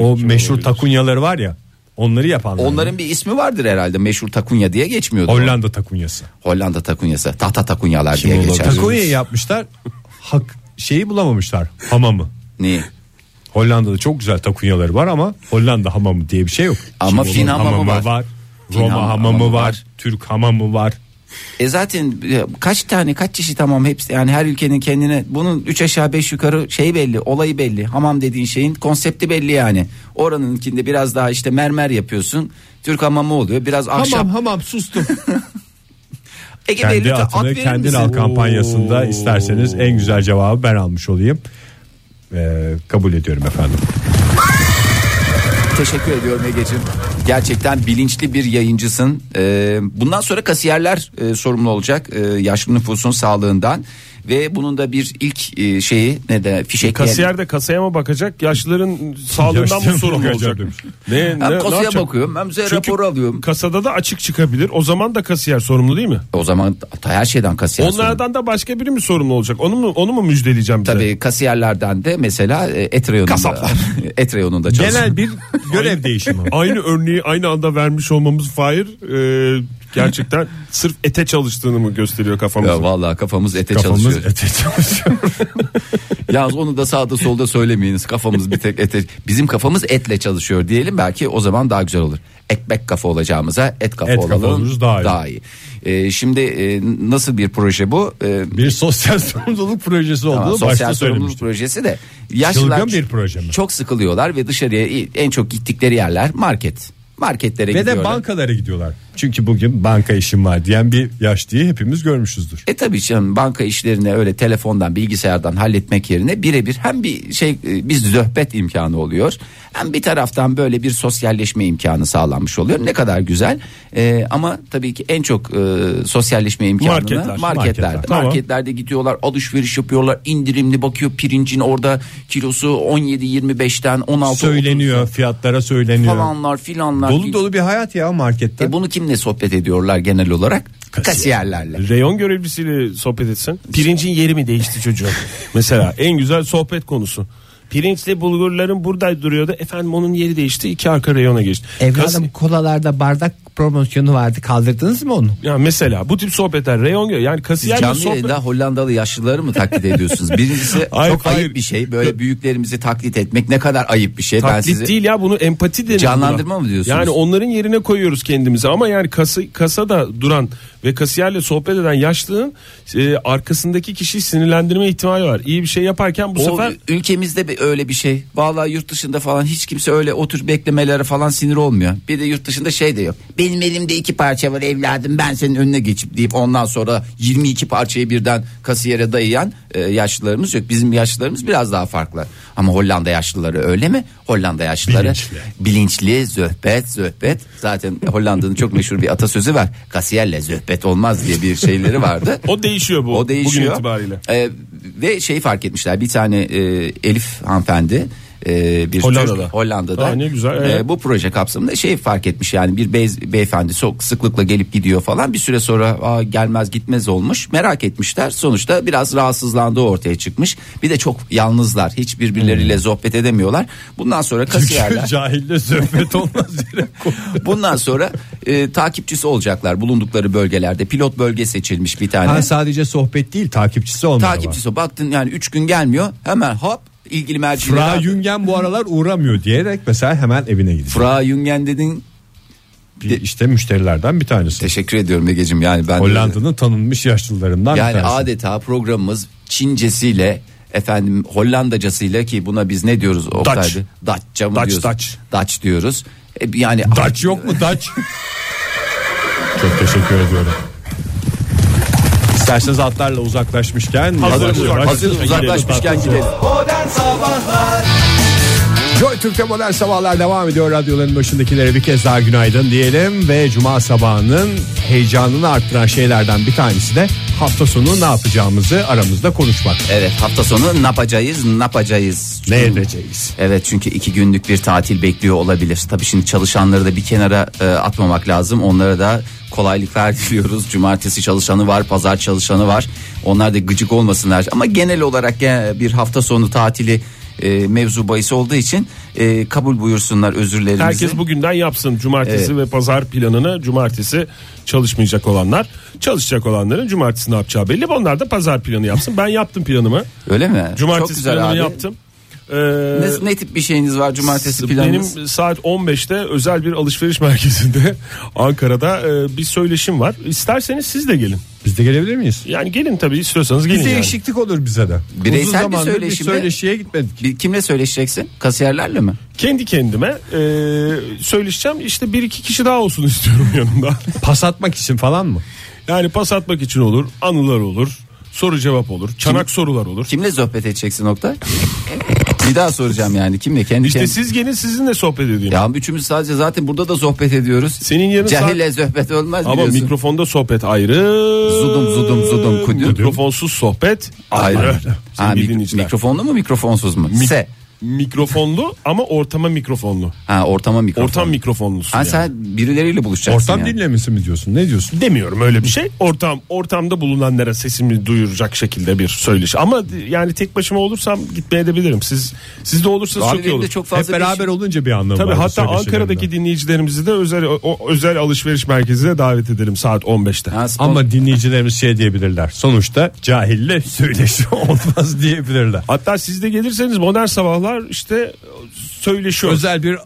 Speaker 3: O meşhur takunyaları var ya. Onları yapanlar.
Speaker 2: Onların bir ismi vardır herhalde. Meşhur takunya diye geçmiyordu.
Speaker 3: Hollanda takunyası.
Speaker 2: Hollanda takunyası. Tahta takunyalar diye
Speaker 3: Kim
Speaker 2: geçer.
Speaker 3: Takunya'yı yapmışlar. Hak şeyi bulamamışlar. Hamamı.
Speaker 2: Niye?
Speaker 3: Hollanda'da çok güzel takunyaları var ama Hollanda hamamı diye bir şey yok.
Speaker 2: Ama
Speaker 3: Kim
Speaker 2: Fin
Speaker 3: onun
Speaker 2: hamamı var. Fin
Speaker 3: Roma
Speaker 2: hamamı
Speaker 3: hamamı,
Speaker 2: var.
Speaker 3: var. Türk hamamı var.
Speaker 2: E zaten e, kaç tane kaç çeşit hamam hepsi yani her ülkenin kendine bunun 3 aşağı 5 yukarı şey belli olayı belli hamam dediğin şeyin konsepti belli yani oranınkinde biraz daha işte mermer yapıyorsun Türk hamamı oluyor biraz ahşap
Speaker 3: Hamam hamam sustum.
Speaker 2: (laughs) Ege Bey,
Speaker 3: Kendi
Speaker 2: lütfen at
Speaker 3: atını
Speaker 2: verir
Speaker 3: kendin
Speaker 2: misin?
Speaker 3: al
Speaker 4: Şey,
Speaker 3: kampanyasında isterseniz en güzel cevabı ben almış olayım. Ee, kabul ediyorum efendim.
Speaker 2: Teşekkür ediyorum Ege'ciğim gerçekten bilinçli bir yayıncısın Ee, bundan sonra kasiyerler e, sorumlu olacak e, yaşlı nüfusun sağlığından ve bunun da bir ilk e, şeyi ne de fişek
Speaker 4: Kasiyer de kasaya mı bakacak?
Speaker 3: (laughs)
Speaker 4: Yaşlıların sağlığından mı
Speaker 3: Yaşlıların
Speaker 4: sorumlu
Speaker 3: bakacak
Speaker 4: olacak?
Speaker 3: demiş.
Speaker 4: Ne,
Speaker 2: hem kasaya
Speaker 4: yapacak?
Speaker 2: bakıyorum hem size
Speaker 4: Çünkü
Speaker 2: rapor alıyorum.
Speaker 4: Kasada da açık çıkabilir. O zaman da kasiyer sorumlu değil mi?
Speaker 2: O zaman her şeyden kasiyer sorumlu.
Speaker 4: Onlardan da başka biri mi sorumlu olacak? Onu mu onu mu müjdeleyeceğim bize?
Speaker 2: Tabii kasiyerlerden de mesela e, et reyonunda.
Speaker 4: Kasaplar.
Speaker 2: (laughs) et reyonunda çalışan. (laughs)
Speaker 3: Genel bir görev değişimi.
Speaker 4: (laughs) Aynı örneği aynı anda vermiş olmamız Fahir e, gerçekten sırf ete çalıştığını mı gösteriyor
Speaker 2: Ya
Speaker 4: kafamızda?
Speaker 2: vallahi kafamız ete
Speaker 3: Kafamız
Speaker 2: çalışıyor.
Speaker 3: ete çalışıyor.
Speaker 2: Yalnız onu da sağda solda söylemeyiniz. Kafamız bir tek ete. Bizim kafamız etle çalışıyor diyelim belki o zaman daha güzel olur. Ekmek kafa olacağımıza et kafa
Speaker 3: Et kafa
Speaker 2: olalım.
Speaker 3: oluruz, daha iyi.
Speaker 2: Daha iyi. E, şimdi e, nasıl bir proje bu? E,
Speaker 3: bir sosyal sorumluluk projesi olduğunu
Speaker 2: Ama
Speaker 3: başta
Speaker 2: sosyal sorumluluk
Speaker 3: söylemiştim.
Speaker 2: projesi de yaşlılar
Speaker 3: Çılgın bir proje mi?
Speaker 2: çok sıkılıyorlar ve dışarıya en çok gittikleri yerler market. Marketlere
Speaker 3: Ve
Speaker 2: gidiyorlar.
Speaker 3: de bankalara gidiyorlar.
Speaker 5: Çünkü bugün banka işim var diyen bir yaş diye hepimiz görmüşüzdür.
Speaker 2: E tabii canım banka işlerini öyle telefondan bilgisayardan halletmek yerine birebir hem bir şey e, bir zöhbet imkanı oluyor hem bir taraftan böyle bir sosyalleşme imkanı sağlanmış oluyor. Ne kadar güzel E, ama tabii ki en çok e, sosyalleşme imkanını
Speaker 4: Marketler,
Speaker 2: marketlerde.
Speaker 5: marketler. Tamam.
Speaker 2: Marketlerde gidiyorlar alışveriş yapıyorlar indirimli bakıyor pirincin orada kilosu 17-25'ten 16
Speaker 5: Söyleniyor fiyatlara söyleniyor.
Speaker 2: falanlar filanlar.
Speaker 5: Dolu dolu bir hayat ya markette.
Speaker 2: E bunu kimle sohbet ediyorlar genel olarak? Kasiyerlerle.
Speaker 4: Reyon görevlisiyle sohbet etsin. Pirincin yeri mi değişti çocuğum? Mesela en güzel sohbet konusu. Pirinçli bulgurların burada duruyordu. Efendim onun yeri değişti. iki arka reyona geçti. Kas-
Speaker 9: Evladım kolalarda bardak promosyonu vardı kaldırdınız mı onu?
Speaker 4: ya mesela bu tip sohbetler reyon gö- yani
Speaker 2: Siz
Speaker 4: kasiyer
Speaker 2: canlı
Speaker 4: sohbet.
Speaker 2: yayında Hollandalı yaşlıları mı taklit ediyorsunuz?
Speaker 4: (laughs)
Speaker 2: Birincisi
Speaker 4: Hayır,
Speaker 2: çok
Speaker 4: hayır.
Speaker 2: ayıp bir şey. Böyle büyüklerimizi taklit etmek ne kadar ayıp bir şey. ben
Speaker 4: Taklit
Speaker 2: sizi
Speaker 4: değil ya bunu empati deniyor.
Speaker 2: Canlandırma
Speaker 4: buna.
Speaker 2: mı diyorsunuz?
Speaker 4: Yani onların yerine koyuyoruz kendimizi ama yani kasa, kasada duran ve kasiyerle sohbet eden yaşlının e, arkasındaki kişiyi sinirlendirme ihtimali var. İyi bir şey yaparken bu
Speaker 2: o
Speaker 4: sefer
Speaker 2: ülkemizde bir, öyle bir şey. Vallahi yurt dışında falan hiç kimse öyle o tür beklemelere falan sinir olmuyor. Bir de yurt dışında şey de yok. Benim elimde iki parça var evladım ben senin önüne geçip deyip ondan sonra 22 parçayı birden kasiyere dayayan e, yaşlılarımız yok. Bizim yaşlılarımız biraz daha farklı. Ama Hollanda yaşlıları öyle mi? Hollanda yaşlıları bilinçli, zöhbet zöhbet. Zaten Hollanda'nın çok meşhur bir atasözü var. Kasiyerle zöhbet olmaz diye bir şeyleri vardı.
Speaker 4: (laughs) o değişiyor bu.
Speaker 2: O değişiyor.
Speaker 4: Bugün itibariyle.
Speaker 2: Ee, ve şey fark etmişler. Bir tane e, Elif hanımefendi e, bir
Speaker 4: Hollanda'da.
Speaker 2: Türk- Hollanda'da.
Speaker 4: Aa, ne güzel,
Speaker 2: E,
Speaker 4: evet.
Speaker 2: bu proje kapsamında şey fark etmiş yani bir bey- beyefendi çok sıklıkla gelip gidiyor falan. Bir süre sonra Aa, gelmez gitmez olmuş. Merak etmişler. Sonuçta biraz rahatsızlandığı ortaya çıkmış. Bir de çok yalnızlar. Hiç
Speaker 4: Hmm.
Speaker 2: birbirleriyle sohbet edemiyorlar. Bundan sonra
Speaker 4: (laughs)
Speaker 2: kasiyerler
Speaker 5: Cahille
Speaker 2: (laughs)
Speaker 5: sohbet olmaz yere koy.
Speaker 2: bundan sonra e, takipçisi olacaklar bulundukları bölgelerde. Pilot bölge seçilmiş bir tane.
Speaker 5: Ha, sadece sohbet değil takipçisi olmalı.
Speaker 2: takipçisi o. baktın yani 3 gün gelmiyor hemen hop ilgili mercilere
Speaker 5: Fra Yüngen bu aralar uğramıyor diyerek mesela hemen evine gidecek.
Speaker 2: Fra Yüngen dedin
Speaker 5: Bir işte müşterilerden bir tanesi.
Speaker 2: teşekkür ediyorum Egeciğim yani ben
Speaker 5: Hollanda'nın tanınmış yaşlılarından bir
Speaker 2: yani
Speaker 5: tanesi.
Speaker 2: adeta programımız Çincesiyle efendim Hollandacasıyla ki buna biz ne diyoruz Oktay'da Datça mı
Speaker 4: Dutch,
Speaker 2: diyoruz
Speaker 4: Dutch.
Speaker 2: Dutch diyoruz E, yani
Speaker 5: Daç yok mu
Speaker 2: (laughs)
Speaker 5: Daç? Çok teşekkür ediyorum. İsterseniz atlarla uzaklaşmışken
Speaker 4: Hazır
Speaker 5: yavaş yavaş-
Speaker 2: hazır uzaklaşmışken gidelim
Speaker 5: Joy Türk'te modern sabahlar devam ediyor. Radyoların başındakilere bir kez daha günaydın diyelim ve cuma sabahının heyecanını arttıran şeylerden bir tanesi de hafta sonu ne yapacağımızı aramızda konuşmak.
Speaker 2: evet hafta sonu ne yapacağız ne yapacağız
Speaker 5: Ne edeceğiz?
Speaker 2: Evet çünkü iki günlük bir tatil bekliyor olabilir. Tabii şimdi çalışanları da bir kenara e, atmamak lazım. Onlara da kolaylıklar (laughs) diliyoruz. Cumartesi çalışanı var, pazar çalışanı var. Onlar da gıcık olmasınlar. Ama genel olarak e, bir hafta sonu tatili e, mevzu bahis olduğu için e, kabul buyursunlar özürlerimizi.
Speaker 4: Herkes bugünden yapsın cumartesi ve pazar planını cumartesi çalışmayacak olanlar çalışacak olanların cumartesi ne yapacağı belli onlar da pazar planı yapsın ben yaptım planımı
Speaker 2: Öyle mi?
Speaker 4: cumartesi
Speaker 2: Çok güzel
Speaker 4: planını
Speaker 2: abi.
Speaker 4: yaptım Ee,
Speaker 2: Ne, ne tip bir şeyiniz var cumartesi planınız?
Speaker 4: benim saat 15'te özel bir alışveriş (laughs) merkezinde Ankara'da e, bir söyleşim var İsterseniz siz de gelin
Speaker 5: Biz de gelebilir miyiz?
Speaker 4: yani gelin tabii istiyorsanız gelin
Speaker 5: Bir
Speaker 4: yani.
Speaker 5: değişiklik olur bize de.
Speaker 2: Bireysel bir
Speaker 5: zamandır
Speaker 2: söyleşimde-
Speaker 5: söyleşiye gitmedik.
Speaker 2: Bir- Kimle söyleşeceksin? Kasiyerlerle mi?
Speaker 4: kendi kendime e, söyleşeceğim işte bir iki kişi daha olsun istiyorum (laughs) yanımda
Speaker 5: Pas atmak için falan mı?
Speaker 4: Yani pas atmak için olur, anılar olur, soru cevap olur, çanak sorular olur.
Speaker 2: Kimle sohbet edeceksin nokta? bir daha soracağım yani kimle? Kendi
Speaker 4: İşte
Speaker 2: kendi-
Speaker 4: siz gelin sizinle sohbet edeyim.
Speaker 2: Ya üçümüz sadece zaten burada da sohbet ediyoruz.
Speaker 4: Senin yarın
Speaker 2: Cahille sohbet olmaz
Speaker 4: Ama
Speaker 2: biliyorsun.
Speaker 4: mikrofonda sohbet ayrı.
Speaker 2: Zudum, zudum, zudum, kudüm.
Speaker 4: Mikrofonsuz sohbet ayrı.
Speaker 2: Ayrı.
Speaker 4: Sevgili
Speaker 2: Ha, mik-
Speaker 4: dinleyiciler.
Speaker 2: mikrofonlu mu mikrofonsuz mu? S.
Speaker 4: Mikrofonlu ama ortama mikrofonlu.
Speaker 2: Ha ortama mikrofon.
Speaker 4: Ortam mikrofonlusun.
Speaker 2: Ha
Speaker 4: yani.
Speaker 2: sen birileriyle buluşacaksın.
Speaker 5: Ortam
Speaker 2: yani.
Speaker 5: dinlemesi mi diyorsun? Ne diyorsun?
Speaker 4: Demiyorum öyle bir şey. Ortam ortamda bulunanlara sesimi duyuracak şekilde bir söyleşi. Ama yani tek başıma olursam gitmeye de bilirim. Siz siz de olursanız
Speaker 2: Abi
Speaker 4: çok iyi
Speaker 2: benim
Speaker 4: olur.
Speaker 2: de çok
Speaker 5: Hep
Speaker 2: fazla
Speaker 5: beraber
Speaker 2: bir-
Speaker 5: olunca bir anlamı
Speaker 4: Tabii
Speaker 5: var bu
Speaker 4: hatta
Speaker 5: söyleşilerin
Speaker 4: Ankara'daki
Speaker 5: de.
Speaker 4: dinleyicilerimizi de özel o- o, özel alışveriş merkezine davet edelim saat 15'te.
Speaker 2: Ha, spon-
Speaker 5: ama dinleyicilerimiz şey diyebilirler. Sonuçta cahille
Speaker 4: (laughs)
Speaker 5: söyleşi olmaz diyebilirler.
Speaker 4: Hatta siz de gelirseniz modern sabahlar işte söyleşiyor.
Speaker 5: Özel bir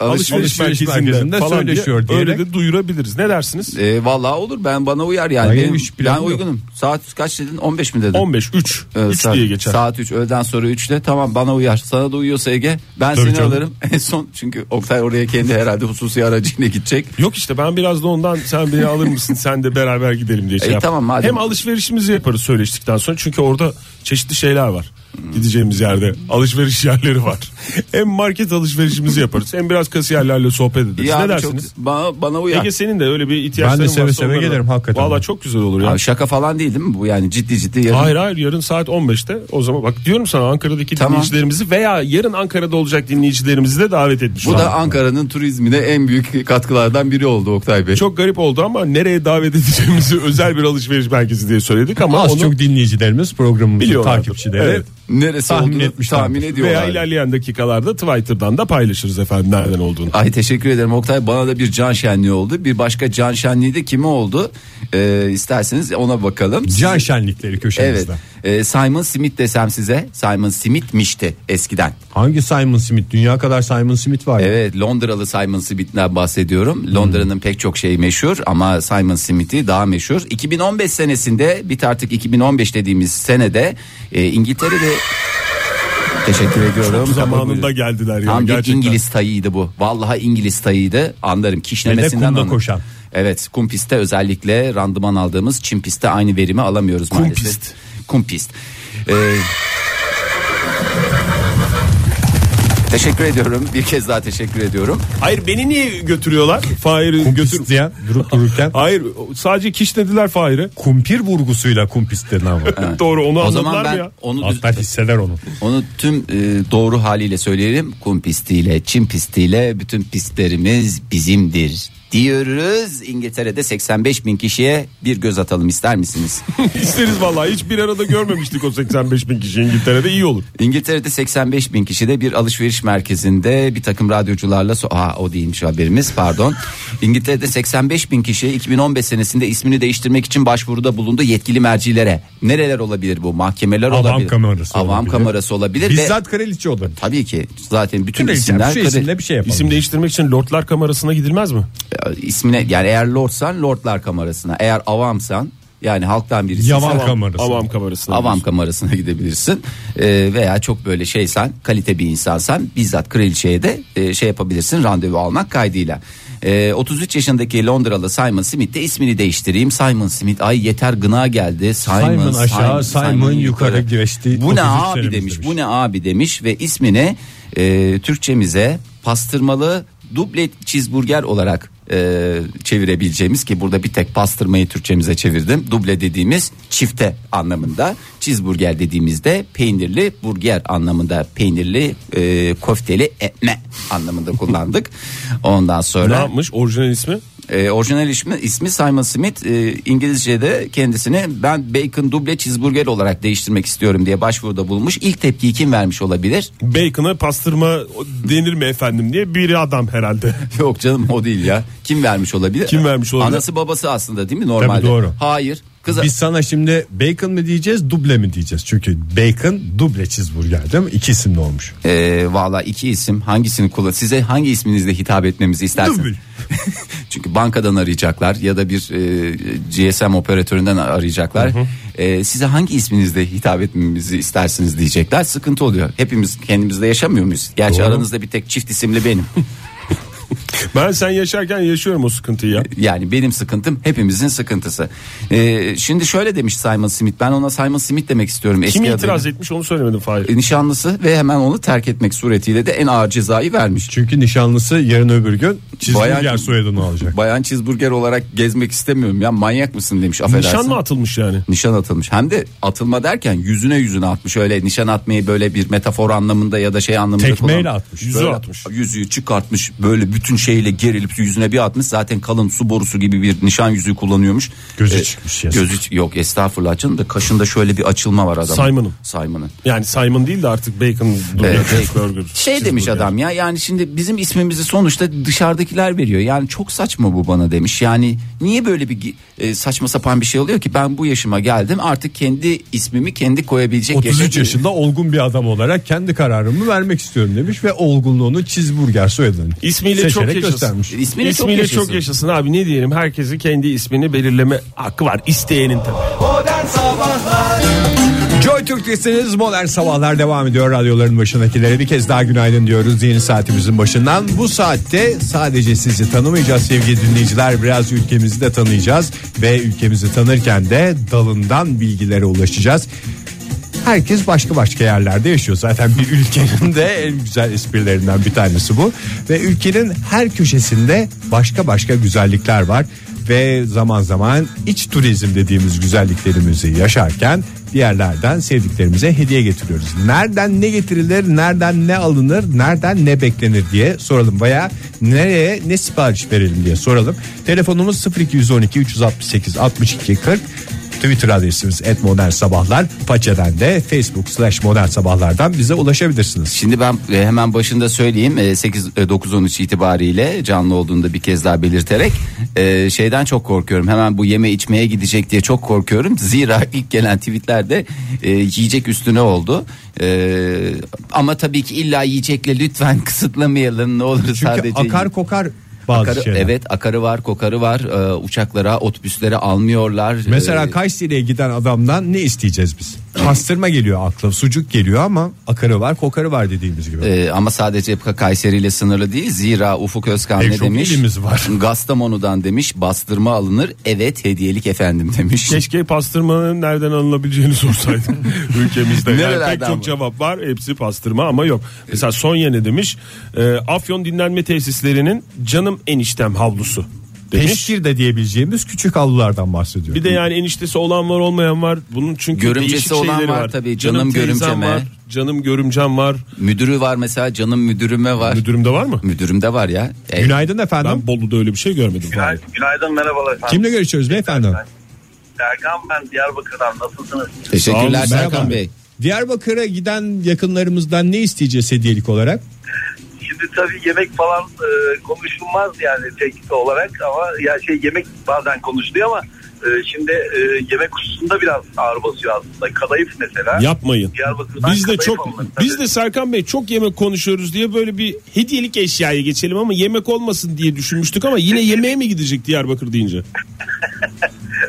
Speaker 4: alışveriş
Speaker 3: Alışveriş merkezinde
Speaker 4: merkezinde falan diye
Speaker 3: söyleşiyor
Speaker 4: öyle
Speaker 3: diyerek-
Speaker 4: de duyurabiliriz. Ne dersiniz?
Speaker 2: E, vallahi olur ben bana uyar yani.
Speaker 3: Hayır,
Speaker 2: Benim-
Speaker 3: hiç plan
Speaker 2: ben
Speaker 3: yok.
Speaker 2: uygunum. Saat kaç dedin? 15 mi dedin?
Speaker 4: 15 3
Speaker 2: Ee,
Speaker 4: 3
Speaker 2: saat-
Speaker 4: diye geçer.
Speaker 2: Saat 3 öğleden sonra 3'te tamam bana uyar. Sana da uyuyorsa Ege ben
Speaker 4: Tabii
Speaker 2: seni
Speaker 4: canım.
Speaker 2: alırım. (laughs) En son çünkü Oktay oraya kendi herhalde hususi aracıyla gidecek.
Speaker 4: Yok işte ben biraz da ondan sen beni alır mısın sen de beraber gidelim diye şey
Speaker 2: E,
Speaker 4: yaptım.
Speaker 2: tamam madem.
Speaker 4: Hem alışverişimizi yaparız söyleştikten sonra çünkü orada çeşitli şeyler var.
Speaker 2: Hmm.
Speaker 4: Gideceğimiz yerde alışveriş
Speaker 2: (laughs)
Speaker 4: yerleri var. hem market alışverişimizi yaparız hem biraz kasiyerlerle sohbet ederiz.
Speaker 2: Ya
Speaker 4: ne
Speaker 2: abi çok-
Speaker 4: dersiniz?
Speaker 2: bana, bana uyar.
Speaker 4: Ege senin de öyle bir ihtiyaçların
Speaker 3: Ben de seve
Speaker 4: varsa
Speaker 3: seve
Speaker 4: onlara da-
Speaker 3: gelirim hakikaten.
Speaker 4: Vallahi çok güzel olur ya.
Speaker 2: Abi şaka falan değil değil mi bu yani ciddi ciddi yarın.
Speaker 4: Hayır hayır yarın saat 15'te o zaman bak diyorum sana Ankara'daki
Speaker 2: Tamam.
Speaker 4: dinleyicilerimizi veya yarın Ankara'da olacak dinleyicilerimizi de davet etmiş.
Speaker 2: Bu
Speaker 4: olalım.
Speaker 2: da Ankara'nın turizmine en büyük katkılardan biri oldu Oktay Bey.
Speaker 4: Çok garip oldu ama nereye
Speaker 2: (laughs)
Speaker 4: davet edeceğimizi özel bir alışveriş merkezi diye söyledik ama
Speaker 3: Az
Speaker 4: onu
Speaker 3: çok dinleyicilerimiz programımızın
Speaker 4: Biliyorlardır.
Speaker 3: takipçileri.
Speaker 4: Evet.
Speaker 2: Neresi
Speaker 3: Tahmin
Speaker 2: olduğunu
Speaker 3: etmişlerdir.
Speaker 2: tahmin
Speaker 4: veya
Speaker 2: ediyorlar.
Speaker 4: ilerleyen dakikalarda Twitter'dan da paylaşırız efendim nereden olduğunu.
Speaker 2: Ay teşekkür ederim Oktay bana da bir can şenliği oldu. Bir başka can şenliği de kime oldu? Ee, isterseniz ona bakalım.
Speaker 3: Can şenlikleri
Speaker 2: Evet.
Speaker 3: köşemizde.
Speaker 2: Ee, Simon Smith desem size. Simon Smith'mişti eskiden.
Speaker 3: Hangi Simon Smith? Dünya kadar Simon Smith var. ya.
Speaker 2: Evet Londralı Simon Smith'ten bahsediyorum. Londra'nın pek çok şeyi meşhur ama Simon Smith'i daha meşhur. 2015 senesinde bit artık 2015 dediğimiz senede e, İngiltere'de teşekkür ediyorum.
Speaker 4: Zamanında geldiler ya
Speaker 2: Tam bir
Speaker 4: gerçekten.
Speaker 2: İngiliz tayıydı bu. Vallahi İngiliz tayıydı. Anlarım kişnemesinden
Speaker 3: kumda
Speaker 2: anlarım.
Speaker 3: koşan.
Speaker 2: Evet kum pistte özellikle randıman aldığımız çim pistte aynı verimi alamıyoruz maalesef.
Speaker 4: pist.
Speaker 2: Kum pist. Ee, teşekkür ediyorum. Bir kez daha teşekkür
Speaker 4: (laughs)
Speaker 2: ediyorum.
Speaker 4: Hayır beni niye götürüyorlar? Fahir'i götür.
Speaker 3: Kumpist diyen durup dururken
Speaker 4: Hayır sadece kişnediler Fahir'i.
Speaker 3: kumpir vurgusuyla kumpist dedin ama.
Speaker 4: Doğru onu
Speaker 2: o
Speaker 4: anladılar
Speaker 2: zaman ben
Speaker 4: mı ya?
Speaker 2: onu düz-
Speaker 3: Altlar hisseder onu.
Speaker 2: onu tüm e, doğru haliyle söyleyelim. Kum pistiyle, çim pistiyle bütün pistlerimiz bizimdir diyoruz. İngiltere'de 85 bin kişiye bir göz atalım ister misiniz?
Speaker 4: (laughs) İsteriz vallahi hiç bir arada görmemiştik o 85 bin kişi İngiltere'de iyi olur.
Speaker 2: İngiltere'de 85 bin kişide bir alışveriş merkezinde bir takım radyocularla... So- Aa, o değilmiş haberimiz pardon. İngiltere'de 85 bin kişi 2015 senesinde ismini değiştirmek için başvuruda bulundu yetkili mercilere. Nereler olabilir bu? Mahkemeler
Speaker 3: Avam
Speaker 2: olabilir.
Speaker 3: kamerası
Speaker 2: Avam
Speaker 3: olabilir.
Speaker 2: kamerası olabilir. ve-
Speaker 3: Bizzat kraliçe olur.
Speaker 2: Tabii ki zaten bütün
Speaker 3: Kraliçe
Speaker 2: isimler...
Speaker 3: şu
Speaker 2: kadın-
Speaker 3: isimle bir şey yapalım.
Speaker 4: İsim değiştirmek için Lordlar Kamerası'na gidilmez mi?
Speaker 2: ismine yani eğer lordsan lordlar kamerasına eğer avamsan yani halktan birisi
Speaker 3: Yavan kamerası.
Speaker 4: Avam Kamerası'na.
Speaker 2: avam kamerasına gidebilirsin Ee, veya çok böyle şeysen kalite bir insansan bizzat kraliçeye de e, şey yapabilirsin randevu almak kaydıyla. Ee, 33 yaşındaki Londralı Simon Smith de ismini değiştireyim Simon Smith ay yeter gına geldi Simon,
Speaker 3: Simon aşağı, Simon yukarı geçti.
Speaker 2: bu ne
Speaker 3: 33
Speaker 2: abi
Speaker 3: senemiz
Speaker 2: demiş,
Speaker 3: demiş.
Speaker 2: bu ne abi demiş ve ismini e, Türkçemize pastırmalı dublet cheeseburger olarak e, çevirebileceğimiz ki burada bir tek pastırmayı Türkçemize çevirdim. Duble dediğimiz çifte anlamında cheeseburger dediğimizde peynirli burger anlamında peynirli e, köfteli etme anlamında kullandık. Ondan
Speaker 4: Ne
Speaker 2: sonra
Speaker 4: yapmış orijinal ismi?
Speaker 2: ee, orijinal ismi, ismi Simon Smith e, İngilizce'de kendisini ben bacon duble cheeseburger olarak değiştirmek istiyorum diye başvuruda bulmuş. İlk tepkiyi kim vermiş olabilir?
Speaker 4: Bacon'a pastırma denir mi efendim diye bir adam herhalde.
Speaker 2: (laughs) Yok canım o değil ya. Kim vermiş olabilir?
Speaker 4: Kim vermiş olabilir?
Speaker 2: Anası babası aslında değil mi normalde?
Speaker 3: Tabii doğru.
Speaker 2: Hayır. Kız
Speaker 3: Biz sana şimdi bacon mı diyeceğiz duble mi diyeceğiz? Çünkü bacon duble cheeseburger değil mi? İki isimli olmuş.
Speaker 2: Ee, valla iki isim hangisini kullan size hangi isminizle hitap etmemizi istersiniz?
Speaker 3: Duble.
Speaker 2: (laughs) Çünkü bankadan arayacaklar ya da bir e, GSM operatöründen arayacaklar. Ee, size hangi isminizle hitap etmemizi istersiniz diyecekler. Sıkıntı oluyor. Hepimiz kendimizde yaşamıyor muyuz? Gerçi aranızda bir tek çift isimli benim.
Speaker 4: (laughs) Ben sen yaşarken yaşıyorum o sıkıntıyı ya.
Speaker 2: Yani benim sıkıntım hepimizin sıkıntısı. Ee, şimdi şöyle demiş Simon Smith. Ben ona Simon Smith demek istiyorum. Eski
Speaker 4: Kim
Speaker 2: adıyla.
Speaker 4: itiraz etmiş onu söylemedim Fahir.
Speaker 2: E, Nişanlısı ve hemen onu terk etmek suretiyle de en ağır cezayı vermiş.
Speaker 3: Çünkü nişanlısı yarın öbür gün cheeseburger
Speaker 2: Bayağı-
Speaker 3: soyadını alacak.
Speaker 2: Bayan cheeseburger olarak gezmek istemiyorum ya manyak mısın demiş affedersin.
Speaker 4: Nişan mı atılmış yani?
Speaker 2: Nişan atılmış hem de atılma derken yüzüne yüzüne atmış öyle nişan atmayı böyle bir metafor anlamında ya da şey anlamında
Speaker 3: Tekmeyle
Speaker 2: kullan-
Speaker 3: atmış.
Speaker 4: Yüzü
Speaker 2: Böyle
Speaker 4: atmış.
Speaker 2: yüzüğü çıkartmış böyle bütün şeyle gerilip yüzüne bir atmış. Zaten kalın su borusu gibi bir nişan yüzüğü kullanıyormuş. E,
Speaker 3: Gözü çıkmış yazık.
Speaker 2: Gözü ç- yok estağfurullah canım da kaşında şöyle bir açılma var adamın.
Speaker 4: Simon'ın.
Speaker 2: Saymanın.
Speaker 4: Yani Simon değil de artık Bacon Burger,
Speaker 2: Evet,
Speaker 4: Cheese Burger.
Speaker 2: Şey
Speaker 4: Cheese
Speaker 2: demiş
Speaker 4: Burger.
Speaker 2: adam ya yani şimdi bizim ismimizi sonuçta dışarıdakiler veriyor. Yani çok saçma bu bana demiş. Yani niye böyle bir gi- e, saçma sapan bir şey oluyor ki ben bu yaşıma geldim artık kendi ismimi kendi koyabilecek
Speaker 3: 33
Speaker 2: yaşa-
Speaker 3: yaşında olgun bir adam olarak kendi kararımı vermek istiyorum demiş ve olgunluğunu cheeseburger soyadını
Speaker 4: İsmiyle çok
Speaker 3: seçerek
Speaker 4: yaşasın.
Speaker 3: göstermiş.
Speaker 2: İsmini
Speaker 4: İsmiyle
Speaker 2: çok,
Speaker 4: çok yaşasın abi ne diyelim herkesin kendi ismini belirleme hakkı var isteyenin tabii.
Speaker 3: Joy Türk'tesiniz modern sabahlar devam ediyor radyoların başındakilere bir kez daha günaydın diyoruz yeni saatimizin başından bu saatte sadece sizi tanımayacağız sevgili dinleyiciler biraz ülkemizi de tanıyacağız ve ülkemizi tanırken de dalından bilgilere ulaşacağız Herkes başka başka yerlerde yaşıyor. Zaten bir ülkenin de en güzel esprilerinden bir tanesi bu. Ve ülkenin her köşesinde başka başka güzellikler var. Ve zaman zaman iç turizm dediğimiz güzelliklerimizi yaşarken bir yerlerden sevdiklerimize hediye getiriyoruz. Nereden ne getirilir, nereden ne alınır, nereden ne beklenir diye soralım veya nereye ne sipariş verelim diye soralım. Telefonumuz 0212 368 62 40 Twitter adresimiz et modern sabahlar. Paçeden de Facebook slash modern sabahlardan bize ulaşabilirsiniz.
Speaker 2: Şimdi ben e, hemen başında söyleyeyim E, 8 e, 9 13 itibariyle canlı olduğunda bir kez daha belirterek e, şeyden çok korkuyorum. Hemen bu yeme içmeye gidecek diye çok korkuyorum. Zira (laughs) ilk gelen tweetlerde e, yiyecek üstüne oldu. E, ama tabii ki illa yiyecekle lütfen (laughs) kısıtlamayalım ne olur
Speaker 3: Çünkü
Speaker 2: sadece.
Speaker 3: akar kokar bazı
Speaker 2: Akarı-
Speaker 3: şeyler.
Speaker 2: evet akarı var kokarı var E, uçaklara otobüslere almıyorlar.
Speaker 3: Mesela
Speaker 2: E,
Speaker 3: Kayseri'ye giden adamdan ne isteyeceğiz biz? Pastırma geliyor akla, sucuk geliyor ama akarı var, kokarı var dediğimiz gibi.
Speaker 2: Ee, ama sadece Kayseri ile sınırlı değil. Zira Ufuk Özkan
Speaker 3: Pek
Speaker 2: ne
Speaker 3: çok
Speaker 2: demiş?
Speaker 3: ilimiz var.
Speaker 2: (laughs) Gastamonu'dan demiş bastırma alınır. Evet hediyelik efendim demiş.
Speaker 4: Keşke pastırmanın nereden alınabileceğini (laughs) sorsaydım
Speaker 2: (laughs)
Speaker 4: ülkemizde. Yani
Speaker 2: Nerelerden
Speaker 4: pek çok
Speaker 2: bu?
Speaker 4: cevap var hepsi pastırma ama yok. Mesela Sonya ne demiş? Ee, Afyon dinlenme tesislerinin canım eniştem havlusu demiş.
Speaker 3: Teşhir de diyebileceğimiz küçük havlulardan bahsediyor.
Speaker 4: Bir de yani eniştesi olan var olmayan var. Bunun çünkü
Speaker 2: Görümcesi
Speaker 4: değişik
Speaker 2: olan
Speaker 4: şeyleri
Speaker 2: var tabii. Canım
Speaker 4: teyzem
Speaker 2: görümceme.
Speaker 4: var, Canım görümcem var.
Speaker 2: Müdürü var mesela canım müdürüme var.
Speaker 4: Müdürümde var mı?
Speaker 2: Müdürümde var ya. (laughs) E,
Speaker 3: Günaydın efendim.
Speaker 4: Ben Bolu'da öyle bir şey görmedim.
Speaker 7: Günaydın, günaydın merhabalar efendim.
Speaker 3: Kimle görüşüyoruz beyefendi?
Speaker 7: Erkan ben Diyarbakır'dan nasılsınız?
Speaker 4: Sağ
Speaker 2: teşekkürler
Speaker 4: olun,
Speaker 2: Serkan
Speaker 3: merhaba.
Speaker 2: Bey.
Speaker 3: Diyarbakır'a giden yakınlarımızdan ne isteyeceğiz hediyelik olarak?
Speaker 7: Şimdi tabii yemek falan e, konuşulmaz yani teknik olarak ama ya şey yemek bazen konuşuluyor ama e, şimdi e, yemek hususunda biraz ağır basıyor aslında. Kadayıf mesela.
Speaker 4: Yapmayın.
Speaker 7: Diyarbakır'dan
Speaker 4: Biz de
Speaker 7: kadayıf
Speaker 4: çok
Speaker 7: alınır tabii.
Speaker 4: biz de Serkan Bey çok yemek konuşuyoruz diye böyle bir hediyelik eşyaya geçelim ama yemek olmasın diye düşünmüştük ama yine yemeğe mi gidecek Diyarbakır deyince?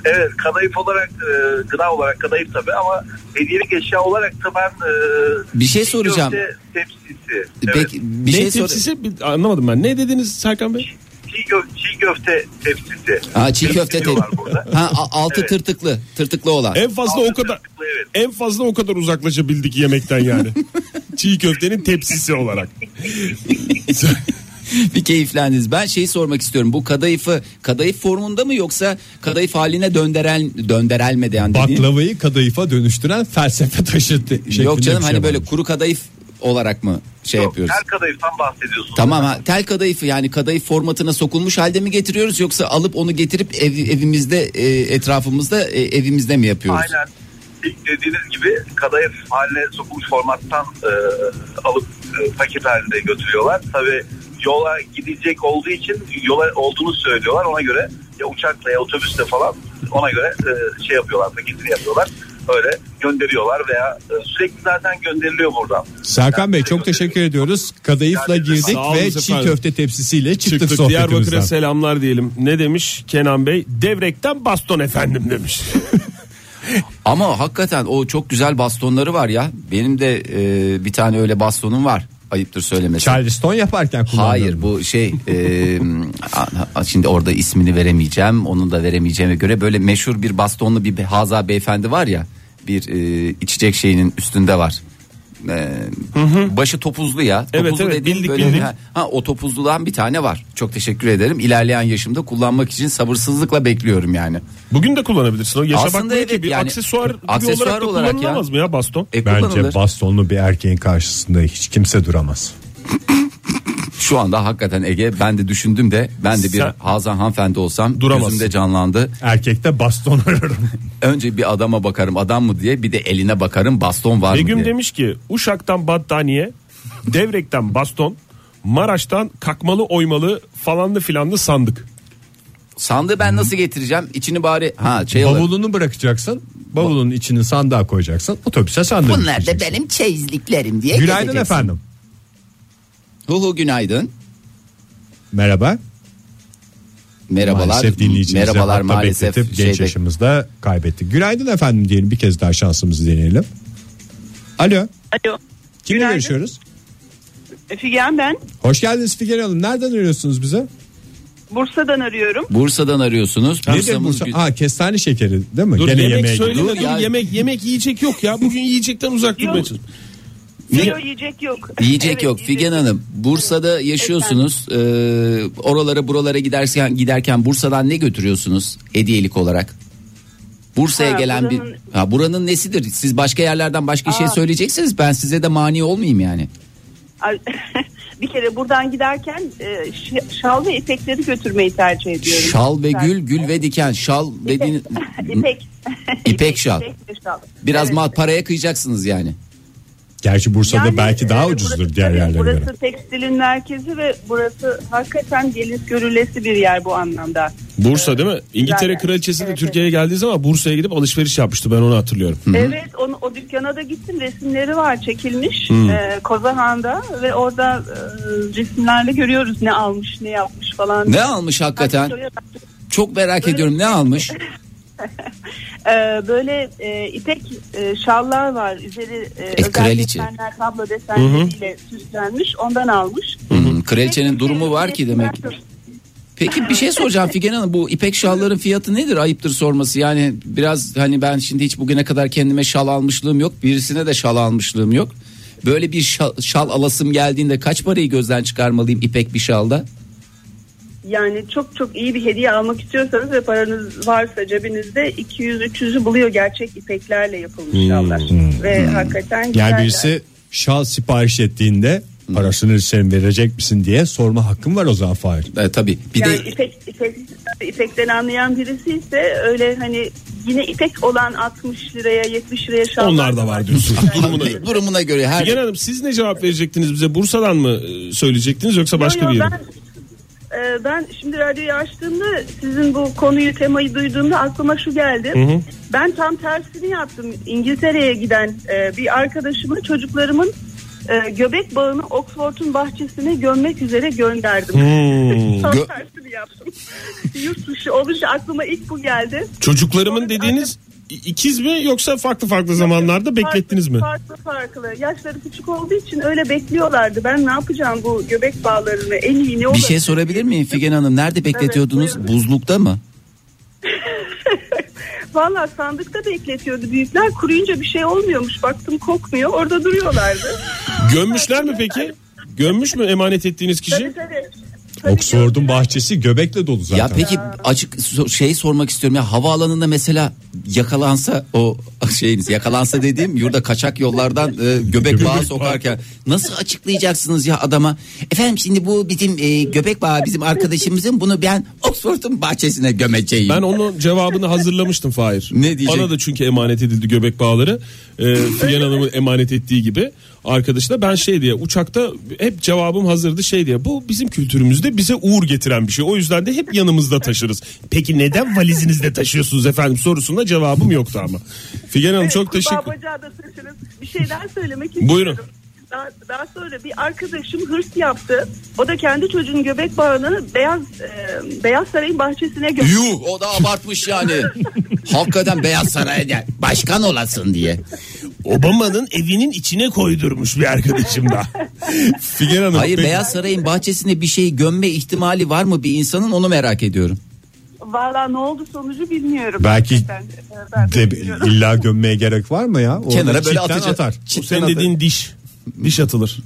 Speaker 7: Evet kadayıf olarak e, gıda olarak kadayıf tabii ama hediyelik eşya olarak da ben e,
Speaker 2: Bir şey
Speaker 7: çiğ
Speaker 2: soracağım.
Speaker 7: köfte tepsisi.
Speaker 2: Peki bir
Speaker 4: ne
Speaker 2: şey sor.
Speaker 4: tepsisi Bir- anlamadım ben. Ne dediniz Serkan Bey?
Speaker 7: Evet, çiğ, gö- çiğ köfte tepsisi.
Speaker 2: Ha çiğ köfte
Speaker 7: Tepsi diyorlar
Speaker 2: te-
Speaker 7: burada.
Speaker 2: Ha a- altı
Speaker 7: Evet.
Speaker 2: tırtıklı, tırtıklı olan.
Speaker 4: En fazla o
Speaker 7: Altı
Speaker 4: kadar
Speaker 7: tırtıklı, evet.
Speaker 4: en fazla o kadar uzaklaşabildik
Speaker 2: (laughs)
Speaker 4: yemekten yani. Çiğ köftenin tepsisi olarak.
Speaker 2: bir keyiflendiniz. Ben şeyi sormak istiyorum. Bu kadayıfı kadayıf formunda mı yoksa kadayıf haline döndürel döndürelmedi yani dediğin-
Speaker 3: Baklavayı kadayıfa dönüştüren felsefe taşı te- şeklinde
Speaker 2: Yok canım
Speaker 3: bir şey
Speaker 2: hani böyle
Speaker 3: varmış.
Speaker 2: kuru kadayıf olarak mı şey
Speaker 7: Yok,
Speaker 2: yapıyoruz?
Speaker 7: Her kadayıftan bahsediyorsunuz.
Speaker 2: Tamam ha tel kadayıfı yani kadayıf formatına sokulmuş halde mi getiriyoruz yoksa alıp onu getirip ev, evimizde e, etrafımızda e, evimizde mi yapıyoruz?
Speaker 7: Aynen. İlk dediğiniz gibi kadayıf haline sokulmuş formattan e, alıp e, paket halinde götürüyorlar. Tabii yola gidecek olduğu için yola olduğunu söylüyorlar. Ona göre ya uçakla ya otobüsle falan ona göre e, şey yapıyorlar, paketini yapıyorlar. Öyle gönderiyorlar veya e, sürekli zaten gönderiliyor buradan.
Speaker 3: Serkan Bey çok teşekkür ediyoruz. Kadayıfla girdik
Speaker 4: Sağ olun
Speaker 3: ve
Speaker 4: efendim.
Speaker 3: çiğ köfte tepsisiyle çıktık,
Speaker 4: Çıktık Diyarbakır'a
Speaker 3: sohbetimizden.
Speaker 4: selamlar diyelim. Ne demiş Kenan Bey? Devrekten baston efendim demiş.
Speaker 2: Ama hakikaten o çok güzel bastonları var ya. Benim de e, bir tane öyle bastonum var. Ayıptır söylemesi.
Speaker 3: Charleston yaparken kullandım.
Speaker 2: Hayır bu şey e, a- a- şimdi orada ismini veremeyeceğim onun da veremeyeceğime göre böyle meşhur bir bastonlu bir haza beyefendi var ya bir e, içecek şeyinin üstünde var. E, başı topuzlu ya.
Speaker 4: Evet,
Speaker 2: Topuzlu
Speaker 4: evet,
Speaker 2: dediğim
Speaker 4: bildik,
Speaker 2: böyle
Speaker 4: bildik.
Speaker 2: Ha, ha, o topuzludan bir tane var. Çok teşekkür ederim. İlerleyen yaşımda kullanmak için sabırsızlıkla bekliyorum yani.
Speaker 4: Bugün de kullanabilirsin. O yaşa
Speaker 2: Aslında
Speaker 4: bakmıyor ki
Speaker 2: evet,
Speaker 4: bir
Speaker 2: yani
Speaker 4: aksesuar, gibi
Speaker 2: aksesuar
Speaker 4: olarak, da
Speaker 2: olarak ya.
Speaker 4: kullanılamaz mı ya baston?
Speaker 2: E,
Speaker 3: Bence
Speaker 2: kullanılır.
Speaker 3: bastonlu bir erkeğin karşısında hiç kimse duramaz.
Speaker 2: Şu anda hakikaten Ege ben de düşündüm de ben de bir
Speaker 4: Sen-
Speaker 2: Hazan hanımefendi olsam
Speaker 4: Duramazsın.
Speaker 2: gözümde canlandı.
Speaker 4: (laughs)
Speaker 3: Erkekte baston ararım.
Speaker 2: Önce bir adama bakarım adam mı diye bir de eline bakarım baston var mı
Speaker 4: Begüm
Speaker 2: diye.
Speaker 4: demiş ki Uşak'tan battaniye, Devrek'ten baston, Maraş'tan kakmalı oymalı falanlı filanlı sandık.
Speaker 2: Sandığı ben nasıl getireceğim? İçini bari ha şey alırım.
Speaker 3: Bavulunu bırakacaksın. Bavulun içini sandığa koyacaksın. Otobüse sandığa
Speaker 2: Bunlar da
Speaker 3: yükleyeceksin.
Speaker 2: benim çeyizliklerim diye
Speaker 3: Günaydın
Speaker 2: gezeceksin.
Speaker 3: efendim.
Speaker 2: Huhu günaydın.
Speaker 3: Merhaba.
Speaker 2: Merhabalar.
Speaker 3: Maalesef dinleyicimizi
Speaker 2: Merhabalar
Speaker 3: hatta
Speaker 2: maalesef.
Speaker 3: bekletip genç
Speaker 2: şeyde-
Speaker 3: yaşımızda kaybettik. Günaydın efendim diyelim bir kez daha şansımızı deneyelim. Alo.
Speaker 10: Alo.
Speaker 3: Kimle
Speaker 10: Günaydın.
Speaker 3: görüşüyoruz?
Speaker 10: Figen ben.
Speaker 3: Hoş geldiniz Figen Hanım. Nereden arıyorsunuz bize?
Speaker 10: Bursa'dan arıyorum.
Speaker 2: Buradan arıyorsunuz.
Speaker 3: Nedir
Speaker 2: Bursa'mız
Speaker 3: Bursa?
Speaker 2: gü-
Speaker 3: Aa, kestane şekeri değil mi?
Speaker 11: Dur
Speaker 3: Gene
Speaker 11: yemek
Speaker 3: yemeğe
Speaker 11: söyleme
Speaker 3: gidiyor.
Speaker 2: gidiyor.
Speaker 11: dur,
Speaker 2: Ya-
Speaker 11: yemek yemek yiyecek yok ya. Bugün
Speaker 10: (laughs)
Speaker 11: yiyecekten uzak durmaya
Speaker 10: Yok.
Speaker 11: çalış.
Speaker 10: Yok yiyecek yok.
Speaker 2: Yiyecek
Speaker 10: Evet,
Speaker 2: yok.
Speaker 10: yiyecek
Speaker 2: Figen Hanım Bursa'da yaşıyorsunuz. Ee, oralara buralara giderken giderken Bursa'dan ne götürüyorsunuz hediyelik olarak? Bursa'ya
Speaker 10: Ha,
Speaker 2: gelen
Speaker 10: buranın-
Speaker 2: bir ha, buranın nesidir? Siz başka yerlerden başka şey söyleyeceksiniz. Ben size de mani olmayayım yani.
Speaker 10: Ay, (laughs) bir kere buradan giderken e, ş- şal ve ipekleri götürmeyi tercih ediyorum.
Speaker 2: Şal ve
Speaker 10: Ben-
Speaker 2: gül, gül ve diken. Şal dediğin
Speaker 10: (laughs) İpek.
Speaker 2: İpek şal.
Speaker 10: İpek ve şal.
Speaker 2: biraz
Speaker 10: Evet.
Speaker 2: ma- paraya kıyacaksınız yani.
Speaker 3: Gerçi Bursa'da
Speaker 10: Yani,
Speaker 3: belki
Speaker 10: e,
Speaker 3: daha
Speaker 10: burası-
Speaker 3: ucuzdur diğer
Speaker 10: tabii
Speaker 3: yerlere
Speaker 10: Burası
Speaker 3: göre.
Speaker 10: tekstilin merkezi ve burası hakikaten gelip görülesi bir yer bu anlamda.
Speaker 11: Bursa değil mi? İngiltere
Speaker 10: Güzel.
Speaker 11: kraliçesi de
Speaker 10: Evet,
Speaker 11: Türkiye'ye geldiği zaman Bursa'ya gidip alışveriş yapmıştı. Ben onu hatırlıyorum.
Speaker 10: Evet onu, o dükkana da gittim resimleri var çekilmiş e, Kozahan'da ve orada e, resimlerle görüyoruz ne almış ne yapmış falan.
Speaker 2: Ne almış hakikaten? Çok merak ediyorum ne almış?
Speaker 10: E, böyle e, ipek e, şallar var üzeri e, özel
Speaker 2: kraliçe.
Speaker 10: desenler tablo desenleriyle süslenmiş ondan almış.
Speaker 2: Hmm, Kraliçenin durumu var ki demek. Peki bir şey soracağım Figen Hanım bu ipek şalların fiyatı nedir ayıptır sorması yani biraz hani ben şimdi hiç bugüne kadar kendime şal almışlığım yok birisine de şal almışlığım yok. Böyle bir şal, şal alasım geldiğinde kaç parayı gözden çıkarmalıyım ipek bir şalda?
Speaker 10: Yani çok çok iyi bir hediye almak istiyorsanız ve paranız varsa cebinizde 200-300'ü buluyor gerçek ipeklerle yapılmış şallar. Ve hakikaten
Speaker 3: Yani
Speaker 10: güzeller.
Speaker 3: Hmm. birisi şal sipariş ettiğinde
Speaker 2: Hmm.
Speaker 3: parasını sen verecek misin diye sorma hakkım var o zaman Fahir.
Speaker 2: E, tabii bir
Speaker 10: yani
Speaker 2: de
Speaker 10: ipek, ipek, ipekten anlayan birisi ise öyle hani yine ipek olan 60 liraya 70 liraya şallar.
Speaker 11: Onlar da
Speaker 10: (laughs)
Speaker 11: var diyorsun. Durumuna göre.
Speaker 2: durumuna göre her
Speaker 11: Figen Hanım siz ne cevap verecektiniz bize? Bursa'dan mı e, söyleyecektiniz yoksa başka
Speaker 10: Yo, yo,
Speaker 11: bir yere? mi?
Speaker 10: ben, e, ben şimdi radyoyu açtığımda sizin bu konuyu temayı duyduğumda aklıma şu geldi. Ben tam tersini yaptım. İngiltere'ye giden e, bir arkadaşıma çocuklarımın e, göbek bağını Oxford'un bahçesine gömmek üzere gönderdim. (laughs)
Speaker 11: Hmm.
Speaker 10: Tam
Speaker 2: Gö-
Speaker 10: tersini yaptım. (laughs) Yurt dışı olunca aklıma ilk bu geldi.
Speaker 11: Çocuklarımın dediğiniz i- ikiz mi yoksa farklı farklı zamanlarda beklettiniz mi?
Speaker 10: Farklı farklı. Yaşları küçük olduğu için öyle bekliyorlardı. Ben ne yapacağım bu göbek bağlarını en iyi ne olur?
Speaker 2: bir şey sorabilir miyim Figen Hanım nerede bekletiyordunuz
Speaker 10: buyurun.
Speaker 2: buzlukta mı?
Speaker 10: Valla sandıkta bekletiyordu büyükler. Kuruyunca bir şey olmuyormuş. Baktım kokmuyor. Orada duruyorlardı.
Speaker 11: Gömmüşler mi peki? Gömmüş mü emanet ettiğiniz kişi?
Speaker 10: tabii tabii. Tabii
Speaker 3: Oxford'un
Speaker 10: gördüler.
Speaker 3: bahçesi göbekle dolu zaten.
Speaker 2: Ya peki açık so- şey sormak istiyorum ya havaalanında mesela yakalansa o (laughs) şeyiniz yakalansa dediğim yurda kaçak yollardan e, göbek bağı sokarken nasıl açıklayacaksınız ya adama efendim şimdi bu bizim e, göbek bağı bizim arkadaşımızın bunu ben Oxford'un bahçesine gömeceğim.
Speaker 11: Ben onun cevabını hazırlamıştım Fahir.
Speaker 2: Ne diyecek?
Speaker 11: Bana da çünkü emanet edildi göbek bağları. Ee, Figen Hanım'ın emanet ettiği gibi arkadaşına ben şey diye uçakta hep cevabım hazırdı şey diye. Bu bizim kültürümüzde bize uğur getiren bir şey. O yüzden de hep yanımızda taşırız. Peki neden valizinizde taşıyorsunuz efendim sorusuna cevabım yoktu ama. Figen Hanım
Speaker 10: Evet,
Speaker 11: çok
Speaker 10: kurbağa
Speaker 11: teşekkür
Speaker 10: bacağı da taşırız. Bir şey daha söylemek istiyorum.
Speaker 11: Buyurun.
Speaker 10: Daha, daha sonra bir arkadaşım hırs yaptı. O da kendi çocuğun göbek bağını beyaz e, Beyaz Saray'ın bahçesine gömdü.
Speaker 2: Yuh o da abartmış yani.
Speaker 4: (laughs)
Speaker 2: Hakikaten Beyaz Saray'a gel, başkan olasın diye.
Speaker 11: Obama'nın evinin içine koydurmuş bir arkadaşım da. Figen Hanım.
Speaker 2: Hayır
Speaker 11: peki-
Speaker 2: Beyaz Saray'ın bahçesinde bir şeyi gömme ihtimali var mı bir insanın onu merak ediyorum.
Speaker 10: Valla ne oldu sonucu bilmiyorum.
Speaker 3: Belki
Speaker 10: Gerçekten, e, ben de
Speaker 3: De,
Speaker 10: bilmiyorum.
Speaker 3: illa gömmeye gerek var mı ya? Orada
Speaker 2: Kenara böyle
Speaker 3: çitten
Speaker 2: atacak.
Speaker 3: atar.
Speaker 11: Bu
Speaker 2: Çitten
Speaker 11: senin
Speaker 2: atar.
Speaker 11: dediğin diş. Diş atılır.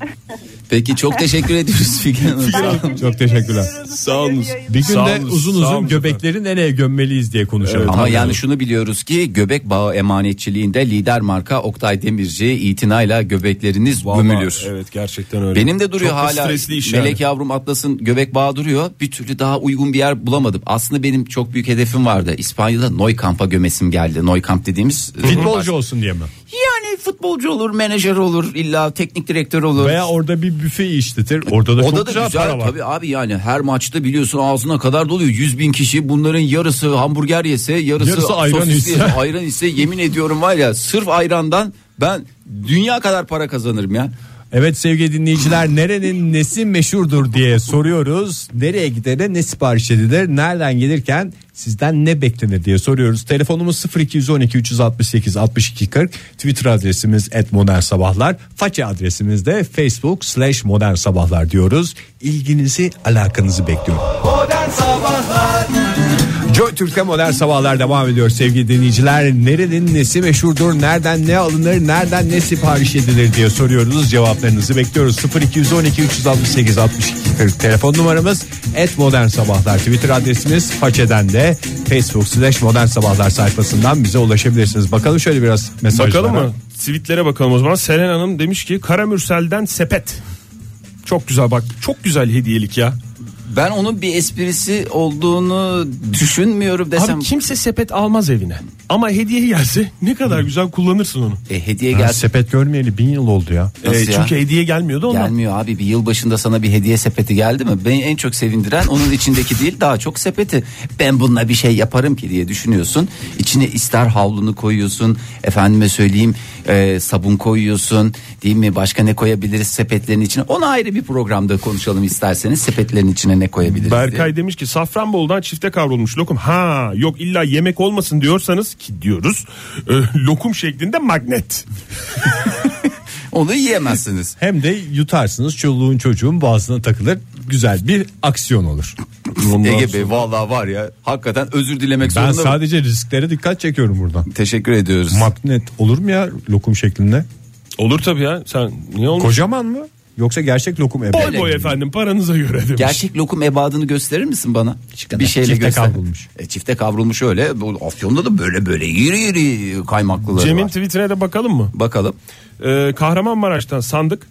Speaker 2: Peki çok teşekkür ediyoruz Figen Hanım. Sağ olun.
Speaker 3: şey Çok teşekkürler.
Speaker 11: Sağ olun.
Speaker 3: Bir gün
Speaker 11: Sağ
Speaker 3: de
Speaker 11: olun,
Speaker 3: uzun
Speaker 11: sağ
Speaker 3: uzun
Speaker 11: olun.
Speaker 3: göbekleri nereye gömmeliyiz diye konuşalım.
Speaker 2: Ama yani şunu biliyoruz ki göbek bağı emanetçiliğinde lider marka Oktay Demirci itinayla göbekleriniz gömülür.
Speaker 11: Evet gerçekten öyle.
Speaker 2: Benim de duruyor
Speaker 11: Çok da
Speaker 2: hala
Speaker 11: stresli iş
Speaker 2: Melek Yavrum Atlas'ın göbek bağı duruyor. Bir türlü daha uygun bir yer bulamadım. Aslında benim çok büyük hedefim vardı. İspanya'da Neukamp'a gömesim geldi. Neukamp dediğimiz e,
Speaker 3: Futbolcu olsun diye mi?
Speaker 2: Yani futbolcu olur, menajer olur, illa teknik direktör olur.
Speaker 3: Veya orada bir büfe işletir. Orada da
Speaker 2: O
Speaker 3: çok
Speaker 2: da
Speaker 3: güzel,
Speaker 2: da güzel
Speaker 3: para var.
Speaker 2: tabii abi yani her maçta biliyorsun ağzına kadar doluyor 100 bin kişi bunların yarısı hamburger yese yarısı,
Speaker 3: Yarısı ayran
Speaker 2: sosis
Speaker 3: ise.
Speaker 2: yese, ayran ise yemin ediyorum var ya sırf ayrandan ben dünya kadar para kazanırım ya.
Speaker 3: Evet sevgili dinleyiciler nerenin nesi meşhurdur diye soruyoruz. Nereye gider ne sipariş edilir nereden gelirken sizden ne beklenir diye soruyoruz. Telefonumuz 0212 368 62 40 Twitter adresimiz et modern sabahlar. Faça adresimiz de facebook slash modern sabahlar diyoruz. İlginizi alakanızı bekliyorum. Joy Türk'te modern sabahlar devam ediyor sevgili dinleyiciler. Nerenin nesi meşhurdur, nereden ne alınır, nereden ne sipariş edilir diye soruyoruz. Cevaplarınızı bekliyoruz. 0212 368 62 40 telefon numaramız. Et modern sabahlar Twitter adresimiz. Façeden de Facebook slash modern sabahlar sayfasından bize ulaşabilirsiniz. Bakalım şöyle biraz mesajlara.
Speaker 4: Bakalım mı? Tweetlere bakalım o zaman. Selen Hanım demiş ki Karamürsel'den sepet. Çok güzel bak. Çok güzel hediyelik ya.
Speaker 2: Ben onun bir esprisi olduğunu düşünmüyorum desem.
Speaker 4: Abi kimse sepet almaz evine. Ama hediye gelse ne kadar güzel kullanırsın onu.
Speaker 2: E, hediye
Speaker 3: Ya,
Speaker 2: gelse
Speaker 3: sepet görmeyeli bin yıl oldu ya.
Speaker 2: Nasıl ya?
Speaker 4: Ee, Çünkü hediye gelmiyordu ondan.
Speaker 2: Gelmiyor abi bir yıl başında sana bir hediye sepeti geldi mi? Beni en çok sevindiren onun içindeki değil daha çok sepeti. Ben bununla bir şey yaparım ki diye düşünüyorsun. İçine ister havlunu koyuyorsun. Efendime söyleyeyim e, sabun koyuyorsun. Değil mi başka ne koyabiliriz sepetlerin içine? Onu ayrı bir programda konuşalım isterseniz. Sepetlerin içine ne koyabiliriz diye.
Speaker 4: Berkay demiş ki Safranbolu'dan çifte kavrulmuş lokum. Ha yok illa yemek olmasın diyorsanız ki diyoruz. e, lokum şeklinde magnet.
Speaker 2: Onu yiyemezsiniz.
Speaker 3: Hem de yutarsınız çoluğun çocuğun boğazına takılır. Güzel bir aksiyon olur.
Speaker 2: Ege Bey vallahi var ya hakikaten özür dilemek
Speaker 3: Ben
Speaker 2: zorunda.
Speaker 3: sadece risklere dikkat çekiyorum buradan.
Speaker 2: Teşekkür ediyoruz.
Speaker 3: Magnet olur mu ya lokum şeklinde?
Speaker 4: Olur tabii ya. Sen niye olmuş?
Speaker 3: Kocaman mı? Yoksa gerçek lokum
Speaker 2: E,
Speaker 3: ebe.
Speaker 4: Boy boy efendim paranıza göre demiş.
Speaker 2: Gerçek lokum ebadını gösterir misin bana? Bir şeyle
Speaker 3: Çifte
Speaker 2: göster.
Speaker 3: kavrulmuş.
Speaker 2: E, çifte kavrulmuş öyle. Bu Afyon'da da böyle böyle iri iri kaymaklıları
Speaker 4: Cem'in
Speaker 2: var.
Speaker 4: tweetine de bakalım mı?
Speaker 2: Bakalım.
Speaker 4: Ee, Kahramanmaraş'tan sandık.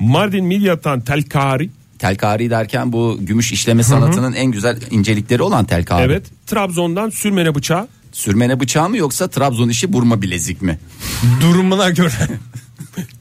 Speaker 4: Mardin Midyat'tan telkari.
Speaker 2: Telkari derken bu gümüş işleme sanatının en güzel incelikleri olan telkari.
Speaker 4: Evet. Trabzon'dan sürmene bıçağı.
Speaker 2: Sürmene bıçağı mı yoksa Trabzon işi burma bilezik mi?
Speaker 3: Durumuna göre.
Speaker 4: (laughs)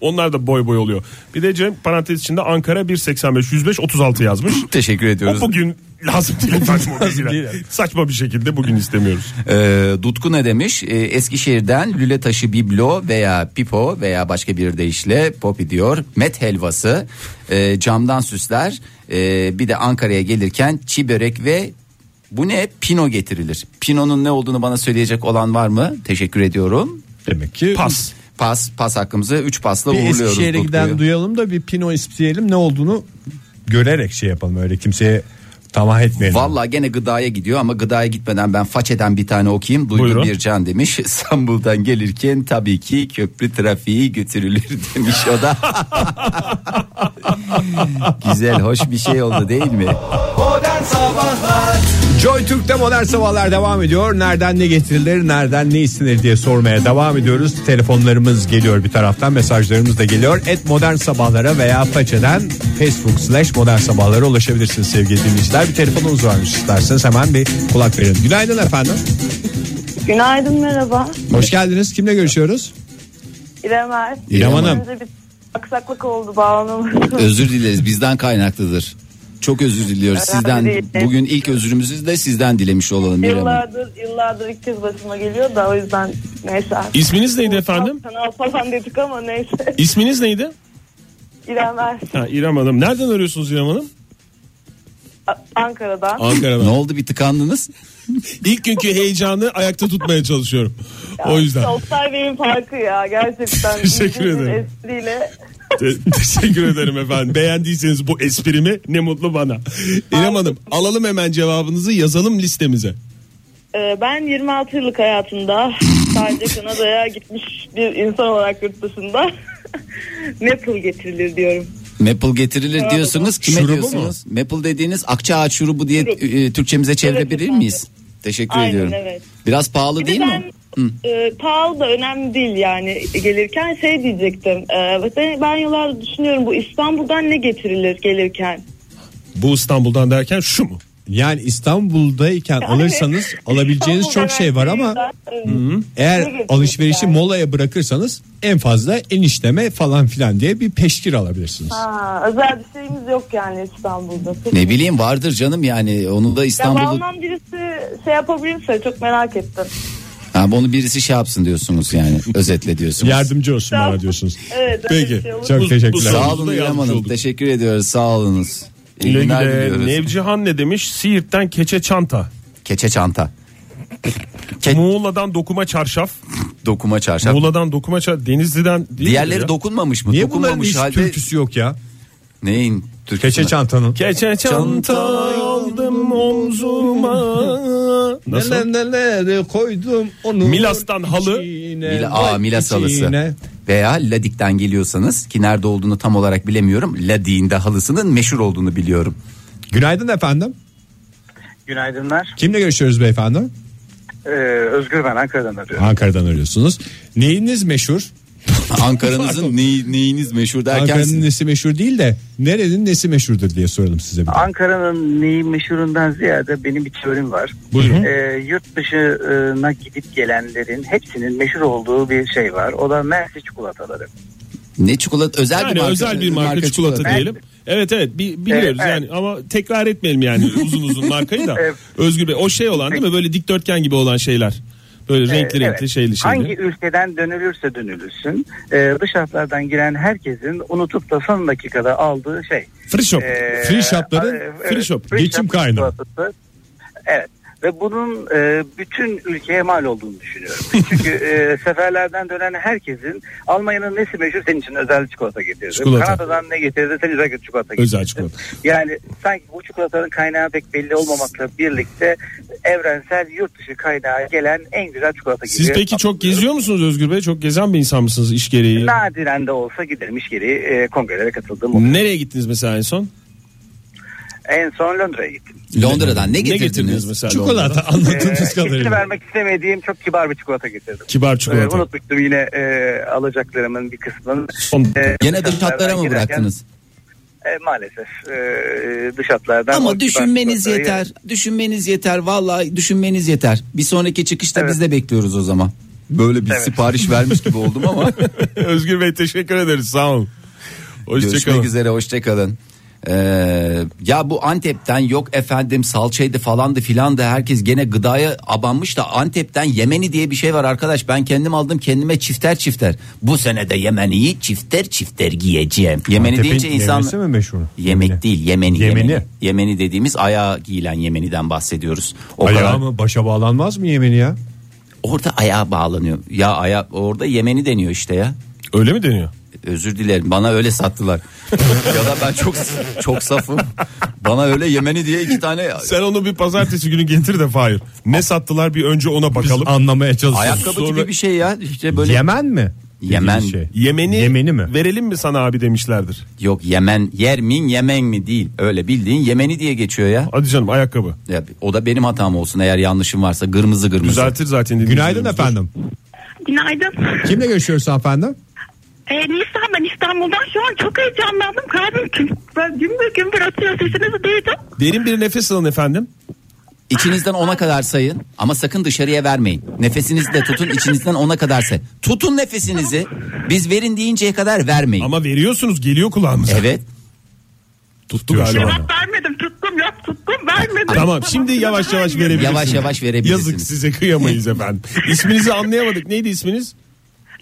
Speaker 4: Onlar da boy boy oluyor. Bir de Cem parantez içinde Ankara 185 105 36 yazmış.
Speaker 2: (laughs) Teşekkür
Speaker 4: O
Speaker 2: ediyoruz.
Speaker 4: bugün lazım değil efendim o bilgiler. Saçma bir şekilde bugün istemiyoruz.
Speaker 2: (laughs) Ee, Dutku ne demiş? Ee, Eskişehir'den lüle taşı biblo veya pipo veya başka bir deyişle popi diyor. Met helvası, e, camdan süsler, e, bir de Ankara'ya gelirken çi börek ve bu ne? Pino getirilir. Pino'nun ne olduğunu bana söyleyecek olan var mı? Teşekkür ediyorum.
Speaker 3: Demek ki
Speaker 4: Pas.
Speaker 2: Pas, pas hakkımızı 3 pasla
Speaker 3: bir
Speaker 2: uğurluyoruz.
Speaker 3: Eskişehir'e
Speaker 2: Dutku'yu.
Speaker 3: giden duyalım da bir pino isteyelim ne olduğunu görerek şey yapalım öyle kimseye tamah etmeyelim.
Speaker 2: Vallahi gene gıdaya gidiyor ama gıdaya gitmeden ben façeden bir tane okuyayım. Duygu
Speaker 4: Buyurun.
Speaker 2: Bircan demiş (laughs) İstanbul'dan gelirken tabii ki köprü trafiği götürülür demiş o da. (laughs) Güzel hoş bir şey oldu değil mi?
Speaker 3: Joy Türk'te modern sabahlar devam ediyor. Nereden ne getirilir, nereden ne istenir diye sormaya devam ediyoruz. Telefonlarımız geliyor bir taraftan, mesajlarımız da geliyor. Et modern sabahlara veya façeden Facebook slash modern sabahlara ulaşabilirsiniz sevgili dinleyiciler. Bir telefonumuz varmış isterseniz hemen bir kulak verin. Günaydın efendim.
Speaker 6: Günaydın merhaba.
Speaker 3: Hoş geldiniz. Kimle görüşüyoruz?
Speaker 6: İrem Er.
Speaker 3: İrem Hanım.
Speaker 6: Önce bir aksaklık oldu bağlamamız.
Speaker 2: Özür dileriz bizden kaynaklıdır. Çok özür diliyoruz sizden.
Speaker 6: değil.
Speaker 2: Bugün ilk özrümüzü de sizden dilemiş olalım. İrem Hanım.
Speaker 6: yıllardır, yıllardır ilk kez başıma geliyor da o yüzden neyse. artık.
Speaker 11: İsminiz neydi efendim?
Speaker 6: Kanal falan dedik ama neyse. (laughs)
Speaker 11: İsminiz neydi?
Speaker 6: İrem Er.
Speaker 11: Ha, İrem Hanım. Nereden arıyorsunuz İrem Hanım?
Speaker 6: A- Ankara'dan.
Speaker 11: Ankara'dan.
Speaker 2: Ne oldu bir tıkandınız?
Speaker 11: (laughs) İlk günkü heyecanı ayakta tutmaya çalışıyorum. O yüzden.
Speaker 6: Oktay Bey'in farkı ya gerçekten.
Speaker 11: Teşekkür
Speaker 6: İlginç bir
Speaker 11: ederim.
Speaker 6: Espriyle.
Speaker 11: Te- teşekkür ederim efendim. Beğendiyseniz bu esprimi ne mutlu bana. İrem Hanım alalım hemen cevabınızı yazalım listemize.
Speaker 6: Ee, ben 26 yıllık hayatımda sadece Kanada'ya gitmiş bir insan olarak yurt dışında (laughs)
Speaker 10: Maple getirilir diyorum.
Speaker 2: Maple getirilir diyorsunuz. Kime
Speaker 11: Şurubu
Speaker 2: diyorsunuz? Maple dediğiniz akça ağaç şurubu diye e, Türkçemize çevirebilir
Speaker 10: efendim.
Speaker 2: miyiz? Teşekkür
Speaker 10: Aynen,
Speaker 2: ediyorum.
Speaker 10: evet.
Speaker 2: Biraz pahalı
Speaker 10: Bir de
Speaker 2: değil
Speaker 10: ben
Speaker 2: mi?
Speaker 10: e, pahalı da önemli değil yani gelirken şey diyecektim. E, ben- ben yıllardır düşünüyorum bu İstanbul'dan ne getirilir gelirken?
Speaker 11: Bu İstanbul'dan derken şu mu?
Speaker 3: Yani İstanbul'dayken alırsanız alabileceğiniz çok şey var ama eğer alışverişi molaya bırakırsanız en fazla enişleme falan filan diye bir peşkir alabilirsiniz.
Speaker 10: Ha, özel bir şeyimiz yok yani İstanbul'da. Peki.
Speaker 2: Ne bileyim vardır canım yani onu da
Speaker 10: Ya
Speaker 2: İstanbul'da
Speaker 10: bağlanan birisi şey yapabilirse çok merak ettim.
Speaker 2: ha, onu birisi şey yapsın diyorsunuz
Speaker 3: (laughs)
Speaker 2: yani özetle diyorsunuz.
Speaker 3: Yardımcı olsun bana
Speaker 10: Tamam.
Speaker 3: diyorsunuz.
Speaker 10: Evet, öyle bir
Speaker 3: Peki
Speaker 10: şey olur.
Speaker 3: çok teşekkürler.
Speaker 2: Sağ
Speaker 11: Yardımcı
Speaker 2: olun
Speaker 11: da
Speaker 2: İrem
Speaker 11: yardımcı
Speaker 2: Hanım
Speaker 11: olduk.
Speaker 2: teşekkür ediyoruz sağ olunuz. İyi
Speaker 4: Güle
Speaker 2: günler
Speaker 4: güle.
Speaker 2: diliyoruz.
Speaker 4: Nevcihan ne demiş? Siirt'ten keçe çanta.
Speaker 2: Keçe çanta Ke-
Speaker 4: Muğla'dan dokuma çarşaf.
Speaker 2: dokuma çarşaf.
Speaker 4: Muğla'dan dokuma çarşaf. Denizli'den değil
Speaker 2: Diğerleri
Speaker 4: mi ya?
Speaker 2: dokunmamış mı?
Speaker 3: Niye bunların
Speaker 2: Dokunmamış
Speaker 3: hiç
Speaker 2: halde
Speaker 3: türküsü yok ya?
Speaker 2: neyin türküsü?
Speaker 3: Keçe çantanın.
Speaker 4: Keçe çanta aldım omzuma. Nasıl?
Speaker 3: Neler neler koydum onu.
Speaker 4: Milas'tan halı.
Speaker 3: içine,
Speaker 2: Mila, aa, Milas
Speaker 3: içine.
Speaker 2: halısı. Veya Ladik'ten geliyorsanız ki nerede olduğunu tam olarak bilemiyorum. Ladik'in de halısının meşhur olduğunu biliyorum.
Speaker 3: Günaydın efendim.
Speaker 12: Günaydınlar.
Speaker 3: Kimle görüşüyoruz beyefendi?
Speaker 12: Ee, Özgür ben Ankara'dan arıyorum.
Speaker 3: Ankara'dan arıyorsunuz. Neyiniz meşhur?
Speaker 2: (laughs) Ankara'nızın neyi- neyiniz meşhur derken
Speaker 3: Ankara'nın nesi meşhur değil de nerenin nesi meşhurdur diye soralım size. Bir. de.
Speaker 12: Ankara'nın neyi meşhurundan ziyade benim bir teorim var.
Speaker 3: Buyurun.
Speaker 12: Ee, yurt dışına gidip gelenlerin hepsinin meşhur olduğu bir şey var. O da Mersi çikolataları.
Speaker 2: ne çikolata özel bir
Speaker 11: Yani
Speaker 2: marka,
Speaker 11: Hani özel bir marka, çikolata, diyelim. Evet evet bi- biliyoruz
Speaker 12: Evet, evet.
Speaker 11: yani ama tekrar etmeyelim yani
Speaker 12: (laughs)
Speaker 11: uzun uzun markayı da.
Speaker 12: Evet.
Speaker 11: Özgür Bey o şey olan değil mi böyle dikdörtgen gibi olan şeyler. Böyle
Speaker 12: Ee,
Speaker 11: renkli
Speaker 12: evet.
Speaker 11: renkli şeyli şeyli.
Speaker 12: Hangi ülkeden dönülürse dönülürsün. ee, dış hatlardan giren herkesin unutup da son dakikada aldığı şey.
Speaker 11: Free shop.
Speaker 12: Ee,
Speaker 3: Free shopların
Speaker 12: e,
Speaker 3: free
Speaker 12: e,
Speaker 3: shop, geçim
Speaker 12: shop
Speaker 3: kaynağı.
Speaker 12: çikolatası. Evet ve bunun e, bütün ülkeye mal olduğunu
Speaker 11: (laughs)
Speaker 12: düşünüyorum. Çünkü e, seferlerden dönen herkesin Almanya'nın nesi meşhur senin için özel çikolata getirdi.
Speaker 11: Çikolata.
Speaker 12: Kanada'dan ne getirdi senin özel çikolata getirdi.
Speaker 11: Özel çikolata.
Speaker 12: Yani sanki bu çikolatanın kaynağı pek belli olmamakla birlikte evrensel yurt dışı kaynağı gelen en güzel çikolata gibi.
Speaker 11: Siz peki çok geziyor musunuz Özgür Bey? Çok gezen bir insan mısınız iş gereği?
Speaker 12: Nadiren de olsa giderim iş gereği e, kongrelere katıldım.
Speaker 11: Nereye gittiniz mesela en son?
Speaker 12: En son Londra'ya gittim.
Speaker 2: Londra'dan ne getirdiniz?
Speaker 11: mesela? Londra'dan?
Speaker 3: Çikolata anladığımız
Speaker 12: Ee, ismini
Speaker 3: kadarıyla.
Speaker 12: vermek istemediğim çok kibar bir çikolata getirdim.
Speaker 11: Kibar
Speaker 12: Ee,
Speaker 11: çikolata.
Speaker 12: unutmuştum yine e, alacaklarımın bir kısmını.
Speaker 11: Son-
Speaker 12: Ee,
Speaker 2: Gene
Speaker 12: dış
Speaker 2: dış hatlara mı
Speaker 12: hatlardan
Speaker 2: bıraktınız?
Speaker 12: girerken, e, maalesef e, dış hatlardan. o
Speaker 2: Ama
Speaker 12: kibar
Speaker 2: düşünmeniz
Speaker 12: çikolatayı-
Speaker 2: yeter. Düşünmeniz yeter. Vallahi düşünmeniz yeter. Bir sonraki çıkışta
Speaker 12: Evet.
Speaker 2: biz de bekliyoruz o zaman. Böyle bir
Speaker 12: Evet.
Speaker 2: sipariş vermiş gibi oldum (laughs) ama.
Speaker 11: Özgür Bey teşekkür ederiz sağ olun.
Speaker 2: Görüşmek
Speaker 11: Hoşçakalın.
Speaker 2: üzere hoşçakalın. Ee, ya bu Antep'ten yok efendim salçaydı falandı filan da herkes gene gıdaya abanmış da Antep'ten Yemeni diye bir şey var arkadaş ben kendim aldım kendime çifter çifter bu sene de Yemeni'yi çifter çifter giyeceğim Yemeni deyince insan
Speaker 3: yemesi mi meşhur?
Speaker 2: yemek değil Yemeni,
Speaker 3: Yemeni.
Speaker 2: Yemeni Yemeni dediğimiz ayağa giyilen Yemeni'den bahsediyoruz o kadar
Speaker 3: Ayağı mı başa bağlanmaz mı yemeni ya?
Speaker 2: orada ayağa bağlanıyor ya aya orada Yemeni deniyor işte ya
Speaker 11: Öyle mi deniyor?
Speaker 2: Özür dilerim bana öyle
Speaker 11: (laughs)
Speaker 2: sattılar. ya da ben çok çok safım. Bana öyle Yemeni diye iki tane
Speaker 11: Sen onu bir pazartesi günü getir de Fahir. Ne sattılar bir önce ona bakalım.
Speaker 3: Anlamaya çalışıyoruz.
Speaker 2: ayakkabı gibi bir şey ya. İşte böyle
Speaker 3: Yemen mi?
Speaker 2: Yemen.
Speaker 3: Dediğiniz şey.
Speaker 11: Yemeni,
Speaker 3: Yemeni mi?
Speaker 11: verelim mi sana abi demişlerdir.
Speaker 2: yok Yemen yer min Yemen mi değil. Öyle bildiğin Yemeni diye geçiyor ya.
Speaker 11: Hadi canım ayakkabı.
Speaker 2: ya o da benim hatam olsun eğer yanlışım varsa kırmızı kırmızı.
Speaker 11: Düzeltir zaten.
Speaker 3: Günaydın
Speaker 11: dinleyicilerimiz.
Speaker 3: efendim.
Speaker 10: Günaydın.
Speaker 3: Kimle görüşüyoruz efendim?
Speaker 10: E,
Speaker 13: Ee,
Speaker 10: Nisan ben İstanbul'dan şu an çok heyecanlandım. Kalbim gümbür gümbür atıyor sesinizi duydum.
Speaker 11: Derin bir nefes alın efendim.
Speaker 2: İçinizden ona kadar sayın ama sakın dışarıya vermeyin. Nefesinizi de tutun içinizden ona kadar sayın. Tutun nefesinizi. Biz verin deyinceye kadar vermeyin.
Speaker 11: Ama veriyorsunuz geliyor kulağımıza.
Speaker 2: Evet.
Speaker 11: Tuttu galiba.
Speaker 10: Cevap vermedim tuttum yok tuttum vermedim.
Speaker 11: Tamam şimdi yavaş yavaş verebilirsiniz.
Speaker 2: Yavaş yavaş verebilirsiniz.
Speaker 11: Yazık size kıyamayız efendim. İsminizi anlayamadık. Neydi isminiz?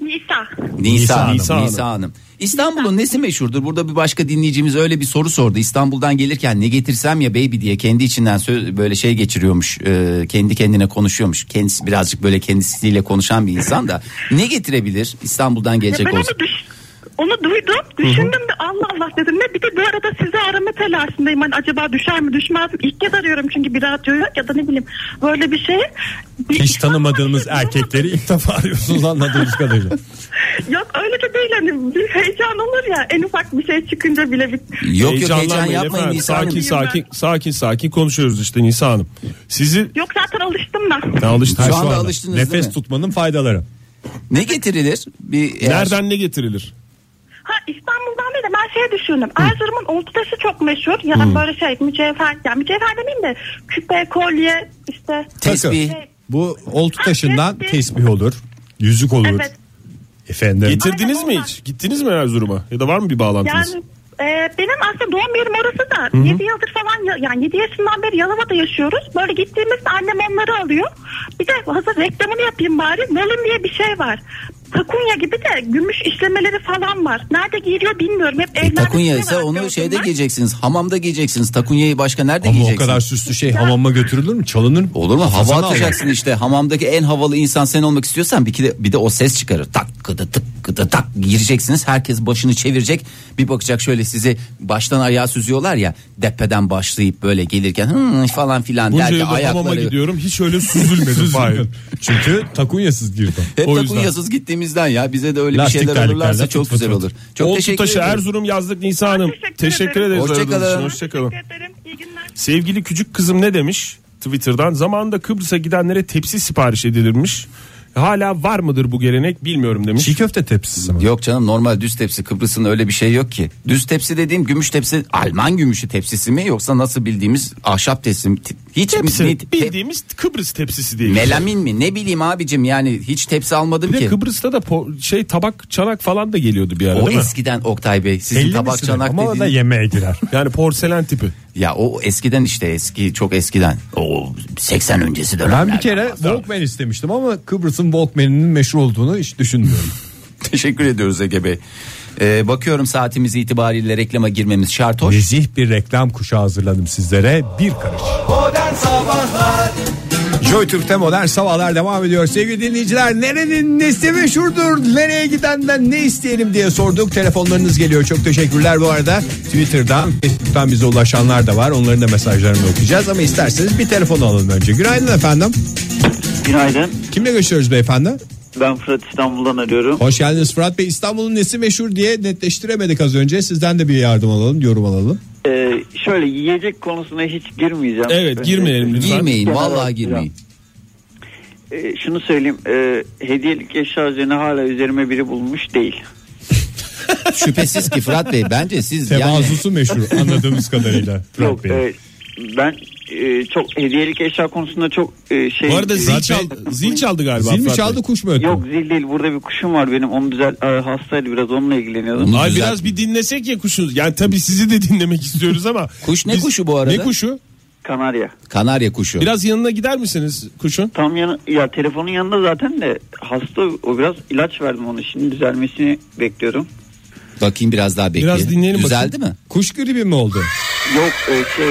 Speaker 10: Nisa.
Speaker 2: Nisa, Hanım,
Speaker 11: Nisa
Speaker 2: Nisa,
Speaker 11: Hanım.
Speaker 2: Hanım. İstanbul'un nesi meşhurdur? Burada bir başka dinleyicimiz öyle bir soru sordu. İstanbul'dan gelirken ne getirsem ya baby diye kendi içinden sö- böyle şey geçiriyormuş. e, kendi kendine konuşuyormuş. Kendisi birazcık böyle kendisiyle konuşan bir insan da ne getirebilir İstanbul'dan
Speaker 10: Ya
Speaker 2: gelecek
Speaker 10: ben
Speaker 2: olsa?
Speaker 10: onu düş-
Speaker 13: Onu duydum, düşündüm de Allah Allah dedim ne bir de bu arada sizi arama telaşındayım. Hani acaba düşer mi düşmez mi? İlk kez arıyorum çünkü bir radyo yok ya da ne bileyim böyle bir şey.
Speaker 3: Hiç tanımadığımız erkekleri ilk defa arıyorsunuz anladığımız kadarıyla.
Speaker 13: Yok öyle de değil hani bir heyecan olur ya en ufak bir şey çıkınca bile bir...
Speaker 4: Heyecanlanmayın efendim. Sakin sakin sakin sakin konuşuyoruz işte Nisa Hanım. Sizi
Speaker 13: Yok zaten alıştım da.
Speaker 4: Ne alıştın
Speaker 2: Şu
Speaker 4: şu
Speaker 2: anda
Speaker 4: anda?
Speaker 2: alıştınız
Speaker 4: Nefes
Speaker 2: değil mi?
Speaker 3: tutmanın faydaları.
Speaker 2: Ne getirilir? Bir eğer-
Speaker 4: Nereden ne getirilir?
Speaker 13: Ha İstanbul'dan değil de ben şey düşündüm. Erzurum'un Ulutaşı çok meşhur. Yani
Speaker 3: Hı.
Speaker 13: böyle şey mücevher, yani mücevher demeyeyim de küpe, kolye işte. Şey,
Speaker 3: Bu oltu taşından tesbih olur. Yüzük olur.
Speaker 13: evet.
Speaker 3: Efendim.
Speaker 4: Getirdiniz mi hiç? Gittiniz mi Erzurum'a? Ya da var mı bir bağlantınız?
Speaker 13: Yani e, benim aslında doğum yerim orası da
Speaker 4: Hı hı.
Speaker 13: 7 yıldır falan ya- yani 7 yaşından beri Yalova'da yaşıyoruz. Böyle gittiğimizde annem onları alıyor. Bir de hazır reklamını yapayım bari. Molin diye bir şey var. Takunya gibi de gümüş işlemeleri falan var. Nerede giyiliyor bilmiyorum. Hep
Speaker 2: E,
Speaker 13: evlerde
Speaker 2: takunya ise onu şeyde giyeceksiniz. Hamamda giyeceksiniz. Takunyayı başka nerede
Speaker 3: Ama o
Speaker 2: giyeceksiniz?
Speaker 3: kadar süslü şey hamama götürülür mü? Çalınır mı?
Speaker 2: Olur mu? Hava
Speaker 3: Kafasına
Speaker 2: atacaksın
Speaker 3: alır.
Speaker 2: işte. Hamamdaki en havalı insan sen olmak istiyorsan bir de, bir de o ses çıkarır. Tak kıdı tık kıdı tak gireceksiniz. Herkes başını çevirecek. Bir bakacak şöyle sizi baştan ayağa süzüyorlar ya. Depeden başlayıp böyle gelirken "Hı, falan filan
Speaker 4: Bunca
Speaker 2: der ki
Speaker 4: yılda hamama
Speaker 2: ayakları.
Speaker 4: gidiyorum hiç öyle süzülmedim. Hayır.
Speaker 3: Çünkü takunyasız girdim.
Speaker 2: Hep
Speaker 4: O yüzden.
Speaker 2: takunyasız gittiğimizden ya bize de öyle
Speaker 4: Lastik
Speaker 2: bir şeyler olurlarsa
Speaker 4: terliklerden
Speaker 2: çok
Speaker 4: fıt
Speaker 2: güzel
Speaker 4: fıt fıt.
Speaker 2: olur. Çok
Speaker 4: Oltu
Speaker 2: teşekkür
Speaker 4: taşı
Speaker 2: ederim.
Speaker 4: Erzurum yazdık Nisa Hanım. Teşekkür, ederiz.
Speaker 2: Hoşça
Speaker 4: aradığınız
Speaker 2: kalın.
Speaker 4: için. Hoşça kalın. Sevgili küçük kızım ne demiş Twitter'dan? Zamanında Kıbrıs'a gidenlere tepsi sipariş edilirmiş. Hala var mıdır bu gelenek bilmiyorum demiş.
Speaker 3: Çiğ köfte tepsisi mi?
Speaker 2: Yok canım normal düz tepsi Kıbrıs'ın öyle bir şey yok ki. Düz tepsi dediğim gümüş tepsi Alman gümüşü tepsisi mi yoksa nasıl bildiğimiz ahşap tepsi mi? Hiç
Speaker 4: Tepsi,
Speaker 2: ne- te-
Speaker 4: bildiğimiz Kıbrıs tepsisi diye.
Speaker 2: melamin mi ne bileyim abicim yani hiç tepsi almadım
Speaker 4: Bir de
Speaker 2: ki.
Speaker 4: Kıbrıs'ta da po- şey tabak çanak falan da geliyordu bir ara
Speaker 2: O
Speaker 4: değil mi?
Speaker 2: eskiden Oktay Bey sizin
Speaker 4: Belli
Speaker 2: tabak
Speaker 4: misin?
Speaker 2: çanak
Speaker 4: Ama o da
Speaker 2: dediğiniz- (laughs)
Speaker 4: yemeğe girer. Yani porselen tipi.
Speaker 2: Ya o eskiden işte eski çok eskiden. O 80 öncesi dönemler.
Speaker 3: Ben bir kere Walkman istemiştim ama Kıbrıs'ın Walkman'inin meşhur olduğunu hiç düşünmüyorum.
Speaker 2: (laughs) Teşekkür ediyoruz Ege Bey. Ee, bakıyorum saatimiz itibariyle reklama girmemiz şart hoş.
Speaker 3: Nezih bir reklam kuşağı hazırladım sizlere. Bir karış.
Speaker 5: Modern Sabahlar
Speaker 3: (laughs) Joy Türk'te modern sabahlar devam ediyor. Sevgili dinleyiciler nerenin nesi meşhurdur? Nereye gidenden ne isteyelim diye sorduk. Telefonlarınız geliyor. Çok teşekkürler bu arada. Twitter'dan, Facebook'tan bize ulaşanlar da var. Onların da mesajlarını okuyacağız. Ama isterseniz bir telefon alalım önce. Günaydın efendim.
Speaker 8: Günaydın.
Speaker 3: Kimle görüşüyoruz beyefendi?
Speaker 8: Ben Fırat İstanbul'dan arıyorum.
Speaker 3: Hoş geldiniz Fırat Bey. İstanbul'un nesi meşhur diye netleştiremedik az önce. Sizden de bir yardım alalım, yorum alalım.
Speaker 8: Ee, şöyle yiyecek konusuna hiç girmeyeceğim. Ee,
Speaker 4: Evet, girmeyelim lütfen. Girmeyin,
Speaker 8: Genel
Speaker 4: vallahi
Speaker 8: olarak-
Speaker 4: girmeyin.
Speaker 8: Ee, şunu söyleyeyim. ee, hediyelik eşya üzerine hala üzerime biri bulmuş değil.
Speaker 2: Şüphesiz ki Fırat Bey bence siz
Speaker 3: Tevazusu meşhur anladığımız kadarıyla.
Speaker 8: Yok, ee, ben ee, çok hediyelik eşya konusunda çok ee, şey...
Speaker 4: Bu arada zil çaldı, zil çaldı galiba. Fırat Bey.
Speaker 3: kuş mu
Speaker 8: Yok zil değil burada bir kuşum var benim onu düzel Aa, hastaydı biraz onunla ilgileniyordum.
Speaker 4: Ay biraz bir dinlesek ya kuşunuz. Yani tabii sizi de dinlemek istiyoruz ama.
Speaker 2: (laughs) Kuş ne
Speaker 4: biz-
Speaker 2: kuşu bu arada?
Speaker 4: Ne kuşu?
Speaker 8: Kanarya.
Speaker 2: Kanarya kuşu.
Speaker 4: Biraz yanına gider misiniz kuşun?
Speaker 8: Tam yanı ya telefonun yanında zaten de hasta o biraz ilaç verdim ona şimdi düzelmesini bekliyorum.
Speaker 2: Bakayım biraz daha bekleyin.
Speaker 8: Biraz dinleyelim
Speaker 2: Düzeldi
Speaker 8: bakayım.
Speaker 2: mi?
Speaker 3: Kuş gribi mi oldu?
Speaker 8: Yok e,
Speaker 4: (laughs)
Speaker 8: şey.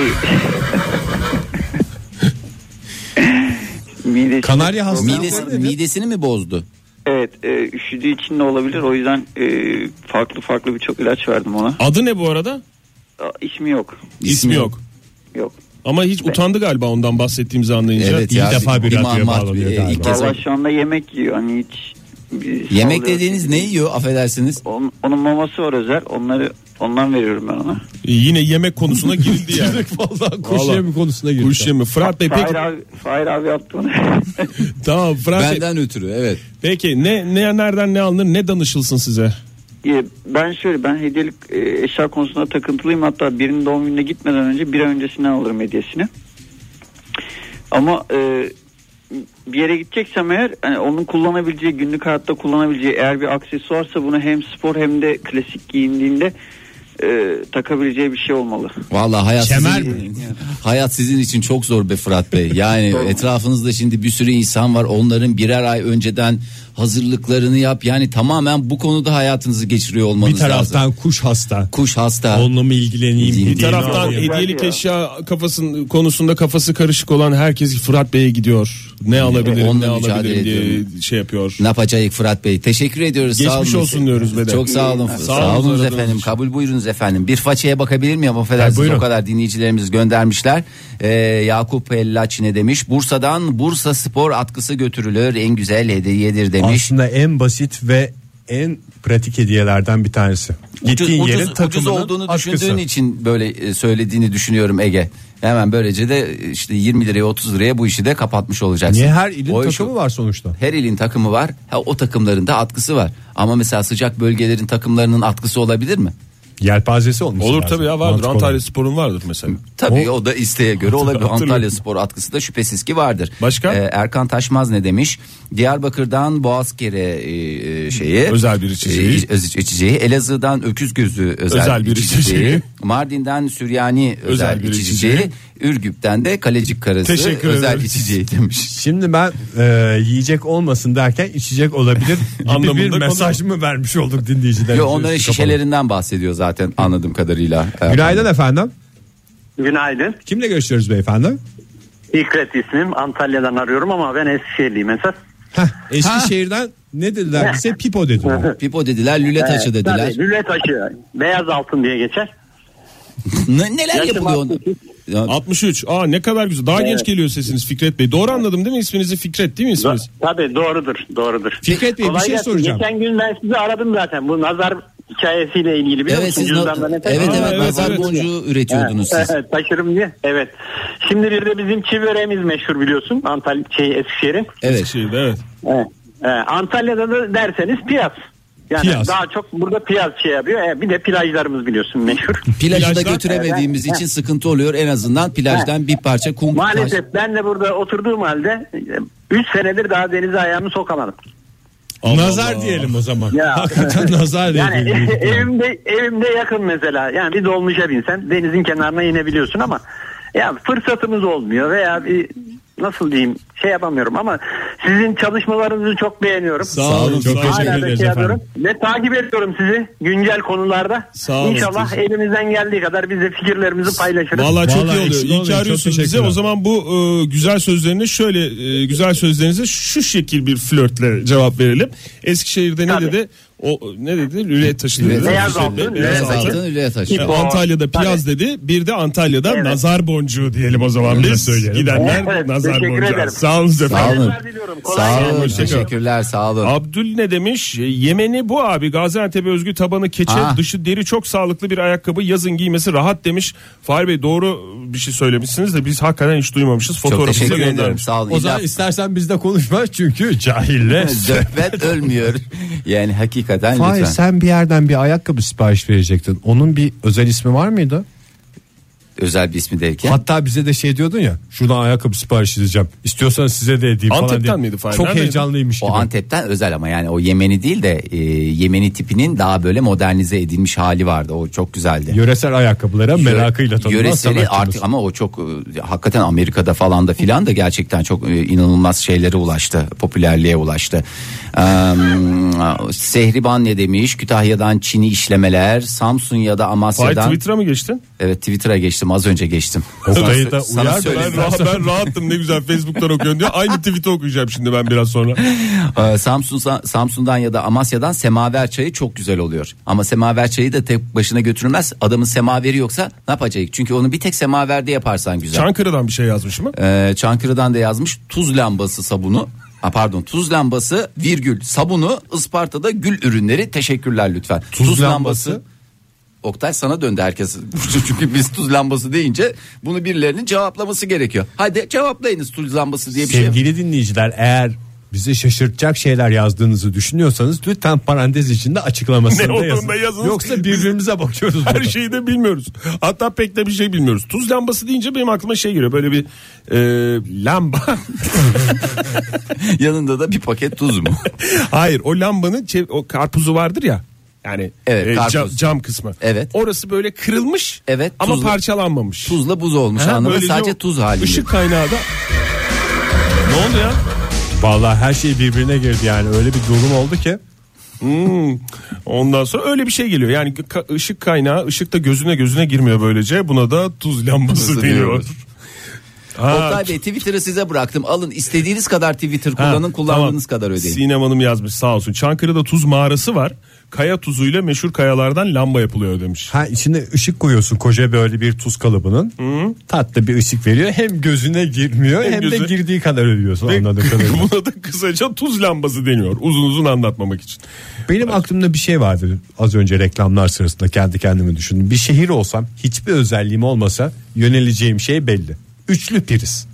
Speaker 8: Midesi-
Speaker 2: Kanarya Midesini, midesini mi bozdu?
Speaker 8: Evet e, üşüdüğü için de olabilir o yüzden e, farklı farklı birçok ilaç verdim ona.
Speaker 4: Adı ne bu arada?
Speaker 8: Aa, ismi yok.
Speaker 4: İsmi yok.
Speaker 8: Yok.
Speaker 4: Ama hiç utandı galiba ondan bahsettiğimizi anlayınca.
Speaker 2: Evet ya, bir mamat, e, ilk kez
Speaker 8: Valla
Speaker 2: oldu.
Speaker 8: şu anda yemek yiyor hani hiç. bir şey
Speaker 2: Yemek
Speaker 8: oluyor.
Speaker 2: dediğiniz ne yiyor affedersiniz?
Speaker 8: Onun, onun maması var özel onları ondan veriyorum ben ona.
Speaker 4: E, Yine yemek konusuna girildi yani.
Speaker 8: (laughs)
Speaker 3: Vallahi
Speaker 8: kuş yemi
Speaker 3: konusuna
Speaker 4: girdi. Kuş yemi. Fırat Bey
Speaker 8: Fahir
Speaker 4: peki.
Speaker 8: abi, Fahir abi yaptı onu.
Speaker 4: Tamam Fırat Bey.
Speaker 2: Benden ötürü evet.
Speaker 4: Peki ne, ne nereden ne alınır ne danışılsın size?
Speaker 8: Ya, Ee, Ben şöyle ben hediyelik e, eşya konusunda takıntılıyım hatta birinin doğum gününe gitmeden önce bir ay öncesinden alırım hediyesini. Ama e, bir yere gideceksem eğer hani onun kullanabileceği günlük hayatta kullanabileceği eğer bir aksesuarsa bunu hem spor hem de klasik giyindiğinde e, takabileceği bir şey olmalı.
Speaker 2: Vallahi hayat sizin, hayat sizin için çok zor be Fırat Bey. Yani etrafınızda şimdi bir sürü insan var. Onların birer ay önceden hazırlıklarını yap. Yani tamamen bu konuda hayatınızı geçiriyor olmanız
Speaker 3: Bir
Speaker 2: lazım.
Speaker 3: taraftan kuş hasta.
Speaker 2: Kuş hasta.
Speaker 3: Onunla mı ilgileneyim?
Speaker 4: Bir taraftan hediyelik eşya kafasın konusunda kafası karışık olan herkes Fırat Bey'e gidiyor. Ne alabilirim,
Speaker 2: Onunla
Speaker 4: ne
Speaker 2: E, mücadele
Speaker 4: alabilirim diye
Speaker 2: ediyorum.
Speaker 4: şey yapıyor.
Speaker 2: Ne yapacağız Fırat Bey? Teşekkür ediyoruz. sağ
Speaker 4: Geçmiş
Speaker 2: olun.
Speaker 4: olsun diyoruz ve de.
Speaker 2: Çok sağ olun.
Speaker 4: Sağ
Speaker 2: Sağ,
Speaker 4: olun,
Speaker 2: olun
Speaker 4: aradığınız
Speaker 2: efendim.
Speaker 4: için.
Speaker 2: Kabul buyurunuz efendim. Bir façaya bakabilir miyim? Affedersiniz
Speaker 4: Ha, buyurun.
Speaker 2: o kadar dinleyicilerimiz göndermişler. Ee, Yakup Ellaç ne demiş? Bursa'dan Bursa Spor atkısı götürülür. En güzel hediyedir demiş.
Speaker 3: Aslında en basit ve en pratik hediyelerden bir tanesi. Gittiğin
Speaker 2: ucuz,
Speaker 3: yerin
Speaker 2: ucuz
Speaker 3: takımının
Speaker 2: olduğunu
Speaker 3: atkısı.
Speaker 2: düşündüğün için böyle e, söylediğini düşünüyorum Ege. Hemen böylece de e, işte 20 liraya 30 liraya bu işi de kapatmış olacaksın.
Speaker 3: Niye her ilin
Speaker 2: O iş-
Speaker 3: takımı var sonuçta?
Speaker 2: her ilin takımı var. Ha, o takımların da atkısı var. Ama mesela sıcak bölgelerin takımlarının atkısı olabilir mi?
Speaker 3: Yelpazesi olmuş.
Speaker 4: Olur
Speaker 2: lazım.
Speaker 4: tabii ya vardır.
Speaker 2: Mantık
Speaker 4: Antalya Spor'un vardır mesela.
Speaker 2: Tabii o, da isteğe göre olabilir.
Speaker 4: Hatırlıyorum.
Speaker 2: Antalya Spor atkısı da şüphesiz ki vardır. Başka? Erkan Taşmaz ne demiş? Diyarbakır'dan Boğazkere e, e, şeyi.
Speaker 4: Özel bir içeceği.
Speaker 2: E, öz- içeceği. Elazığ'dan Öküz Gözü özel,
Speaker 4: Özel bir
Speaker 2: içeceği.
Speaker 4: içeceği.
Speaker 2: Mardin'den Süryani özel,
Speaker 4: Özel bir
Speaker 2: içeceği.
Speaker 4: içeceği.
Speaker 2: Ürgüp'ten de Kalecik Karası
Speaker 3: Teşekkür
Speaker 2: özel (laughs)
Speaker 3: ederiz.
Speaker 2: içeceği demiş.
Speaker 3: Şimdi ben e, yiyecek olmasın derken içecek (laughs) olabilir gibi bir
Speaker 2: Anlamında
Speaker 3: mesaj mı vermiş olduk dinleyicilerimize?
Speaker 2: Yo,
Speaker 4: şey
Speaker 2: onların
Speaker 3: Üstü kapalı.
Speaker 2: şişelerinden bahsediyor zaten anladığım kadarıyla.
Speaker 3: Günaydın efendim.
Speaker 14: Günaydın.
Speaker 3: Kimle görüşüyoruz beyefendi?
Speaker 14: İkret ismim. Antalya'dan arıyorum ama ben Eskişehirliyim esas.
Speaker 3: Eskişehir'den ne dediler bize? Pipo dediler.
Speaker 2: Pipo dediler, lüle
Speaker 4: Ee,
Speaker 2: taşı dediler.
Speaker 14: Tabii, lüle taşı. Beyaz altın diye geçer.
Speaker 2: Ne- neler
Speaker 14: Yaşım
Speaker 2: yapılıyor?
Speaker 14: 63.
Speaker 4: 63. Aa ne kadar güzel. Daha
Speaker 14: Evet.
Speaker 4: genç geliyor sesiniz Fikret Bey. Doğru anladım değil mi isminizi Fikret değil mi isminiz?
Speaker 14: Tabii doğrudur, doğrudur.
Speaker 4: Fikret Bey, bir
Speaker 14: Kolay
Speaker 4: şey
Speaker 14: gelsin.
Speaker 4: soracağım.
Speaker 14: Geçen gün ben sizi aradım zaten. Bu nazar hikayesiyle ilgili biliyor
Speaker 2: Evet,
Speaker 14: musun?
Speaker 2: siz
Speaker 14: Cüzdanla
Speaker 2: na-
Speaker 14: ne kadar-
Speaker 2: evet,
Speaker 14: Aa,
Speaker 2: evet, nazar boncuğu üretiyordunuz
Speaker 14: Evet,
Speaker 2: siz.
Speaker 14: evet, taşırım diye. Evet. Şimdi bir de bizim çivremiz meşhur biliyorsun. Antalya şey Eskişehir'in.
Speaker 2: Evet.
Speaker 4: evet.
Speaker 14: Evet. Ee, Antalya'da da derseniz piyaz. Yani
Speaker 2: Piyaz.
Speaker 14: daha çok burada piyaz şey yapıyor. Ee, bir de plajlarımız biliyorsun meşhur.
Speaker 2: Plajı da götüremediğimiz
Speaker 14: Evet.
Speaker 2: için sıkıntı oluyor. En azından plajdan bir parça kum taş-
Speaker 14: Maalesef ben de burada oturduğum halde 3 senedir daha denize ayağımı sokamadım.
Speaker 3: nazar diyelim o zaman.
Speaker 14: Ya. (laughs)
Speaker 3: Hakikaten nazar
Speaker 14: Yani
Speaker 3: diyelim.
Speaker 14: evimde evimde yakın mesela. Yani bir dolmuşa binsen denizin kenarına inebiliyorsun ama ya fırsatımız olmuyor veya bir nasıl diyeyim şey yapamıyorum ama sizin çalışmalarınızı çok beğeniyorum.
Speaker 4: Sağ olun, çok
Speaker 14: Hala
Speaker 4: teşekkür
Speaker 14: da
Speaker 4: ederiz
Speaker 14: şey
Speaker 4: efendim.
Speaker 14: yapıyorum. Ve takip ediyorum sizi güncel konularda.
Speaker 4: Sağ olun,
Speaker 14: İnşallah
Speaker 4: teşekkür-
Speaker 14: elimizden geldiği kadar biz de fikirlerimizi paylaşırız.
Speaker 4: Vallahi çok iyi oluyor. İyi ki arıyorsunuz bize. O zaman bu e, güzel sözlerine şöyle e, güzel sözlerinize şu şekil bir flörtle cevap verelim. Eskişehir'de ne dedi? O ne dedi? Lüle taşı dedi.
Speaker 14: Beyaz
Speaker 4: Fikret Bey,
Speaker 14: altın,
Speaker 4: beyaz
Speaker 14: lüle
Speaker 4: altın.
Speaker 14: taşı. Lüle taşı.
Speaker 4: E, Antalya'da piyaz dedi. Bir de Antalya'da nazar boncuğu diyelim o zaman
Speaker 3: Öyle
Speaker 4: biz.
Speaker 3: söyleyelim.
Speaker 4: Gidenler
Speaker 3: Evet,
Speaker 4: nazar
Speaker 3: teşekkür
Speaker 4: boncuğu.
Speaker 3: ederim.
Speaker 4: Sağ olun efendim.
Speaker 2: Sağ olun. Sağ
Speaker 4: gelsin.
Speaker 2: olun.
Speaker 4: Hoşça kalın.
Speaker 2: Teşekkürler sağ olun.
Speaker 4: Abdül ne demiş? E, Yemeni bu abi. Gaziantep'e özgü tabanı keçe,
Speaker 2: Ah.
Speaker 4: dışı deri çok sağlıklı bir ayakkabı. Yazın giymesi rahat demiş. Fahri Bey doğru bir şey söylemişsiniz de biz hakikaten hiç duymamışız. Fotoğrafımızı
Speaker 2: teşekkür
Speaker 4: göndermiş.
Speaker 2: ediyorum, sağ olun.
Speaker 3: O zaman istersen bizde konuşma
Speaker 2: (laughs)
Speaker 3: çünkü cahille.
Speaker 2: Zöhbet ölmüyor. Yani hakikaten
Speaker 3: Fahir
Speaker 2: lütfen.
Speaker 3: sen bir yerden bir ayakkabı sipariş verecektin. Onun bir özel ismi var mıydı?
Speaker 2: Özel bir ismi derken.
Speaker 3: Hatta bize de şey diyordun ya. Şuradan ayakkabı sipariş edeceğim. İstiyorsan size de edeyim falan diye.
Speaker 2: Fahri?
Speaker 3: Çok
Speaker 2: Neredeydi?
Speaker 3: heyecanlıymış
Speaker 2: O
Speaker 3: gibi.
Speaker 2: Antep'ten özel ama yani o Yemeni değil de e, Yemeni tipinin daha böyle modernize edilmiş hali vardı. O çok güzeldi.
Speaker 3: Yöresel ayakkabılara merakıyla tanınan
Speaker 2: Yöreseli
Speaker 3: sanatçımız.
Speaker 2: artık ama o çok e, hakikaten Amerika'da falan da filan da gerçekten çok e, inanılmaz şeylere ulaştı. Popülerliğe ulaştı. Eee, Sehriban ne demiş? Kütahya'dan Çin'i işlemeler, Samsun ya da
Speaker 4: Fahri
Speaker 2: Amasya'dan.
Speaker 4: Twitter'a mı geçtin?
Speaker 2: Evet Twitter'a geçtim az önce geçtim.
Speaker 4: Orayı da
Speaker 2: Sana
Speaker 4: uyar
Speaker 2: söyleyeyim.
Speaker 4: ben, rahat, ben rahattım ne güzel Facebook'tan okuyorsun diyor. Aynı tweet'i okuyacağım şimdi ben biraz sonra.
Speaker 2: (laughs) Ee, Samsun Samsun'dan ya da Amasya'dan semaver çayı çok güzel oluyor. Ama semaver çayı da tek başına götürülmez. Adamın semaveri yoksa ne yapacak? Çünkü onu bir tek semaverde yaparsan (laughs) güzel.
Speaker 4: Çankırı'dan bir şey yazmış mı?
Speaker 2: Ee, Çankırı'dan da yazmış tuz lambası sabunu. Ha pardon tuz lambası virgül sabunu Isparta'da gül ürünleri teşekkürler lütfen. Tuz, lambası. Oktay sana döndü herkes. (laughs) Çünkü biz tuz lambası deyince bunu birilerinin cevaplaması gerekiyor. Hadi cevaplayınız tuz lambası diye bir şey.
Speaker 3: Sevgili dinleyiciler eğer bize şaşırtacak şeyler yazdığınızı düşünüyorsanız lütfen parantez içinde açıklamasını
Speaker 4: Ne
Speaker 3: da
Speaker 4: olduğunu
Speaker 3: yazın.
Speaker 4: da yazınız.
Speaker 3: Yoksa birbirimize bakıyoruz.
Speaker 4: Her
Speaker 3: burada.
Speaker 4: şeyi de bilmiyoruz. Hatta pek de bir şey bilmiyoruz. Tuz lambası deyince benim aklıma şey geliyor. Böyle bir e, lamba.
Speaker 2: (laughs) Yanında da bir paket tuz mu?
Speaker 4: (laughs) Hayır o lambanın çev- o karpuzu vardır ya. Yani
Speaker 2: Evet,
Speaker 4: e,
Speaker 2: karpuz.
Speaker 4: cam, cam kısmı.
Speaker 2: Evet.
Speaker 4: Orası böyle kırılmış.
Speaker 2: Evet.
Speaker 4: Ama
Speaker 2: tuzla-
Speaker 4: parçalanmamış.
Speaker 2: Tuzla buz olmuş
Speaker 4: Ha,
Speaker 2: anladın
Speaker 4: böylece
Speaker 2: sadece
Speaker 4: o
Speaker 2: tuz halinde.
Speaker 4: Işık kaynağı da. Ne oldu ya?
Speaker 3: Vallahi her şey birbirine girdi yani öyle bir durum oldu ki.
Speaker 4: Hmm. Ondan sonra öyle bir şey geliyor. Yani ka- ışık kaynağı ışık da gözüne gözüne girmiyor böylece. Buna da tuz lambası
Speaker 2: Nasıl
Speaker 4: deniyor.
Speaker 2: diyoruz?
Speaker 4: Ha,
Speaker 2: Oktay Bey Twitter'ı size bıraktım. Alın istediğiniz kadar Twitter kullanın
Speaker 4: Ha,
Speaker 2: kullandığınız
Speaker 4: tamam.
Speaker 2: kadar ödeyin.
Speaker 4: Sinem Hanım yazmış sağ olsun. Çankırı'da tuz mağarası var. Kaya tuzuyla meşhur kayalardan lamba yapılıyor demiş.
Speaker 3: Ha içine ışık koyuyorsun koca böyle bir tuz kalıbının.
Speaker 4: Hmm.
Speaker 3: Tatlı bir ışık veriyor. Hem gözüne girmiyor hem,
Speaker 4: Hem
Speaker 3: de
Speaker 4: gözü-
Speaker 3: girdiği kadar ödüyorsun anladığım kadarıyla.
Speaker 4: (laughs) Buna da kısaca tuz lambası deniyor. Uzun uzun anlatmamak için.
Speaker 3: Benim aklımda bir şey vardı az önce reklamlar sırasında kendi kendime düşündüm. Bir şehir olsam hiçbir özelliğim olmasa yöneleceğim şey belli. Üçlü priz.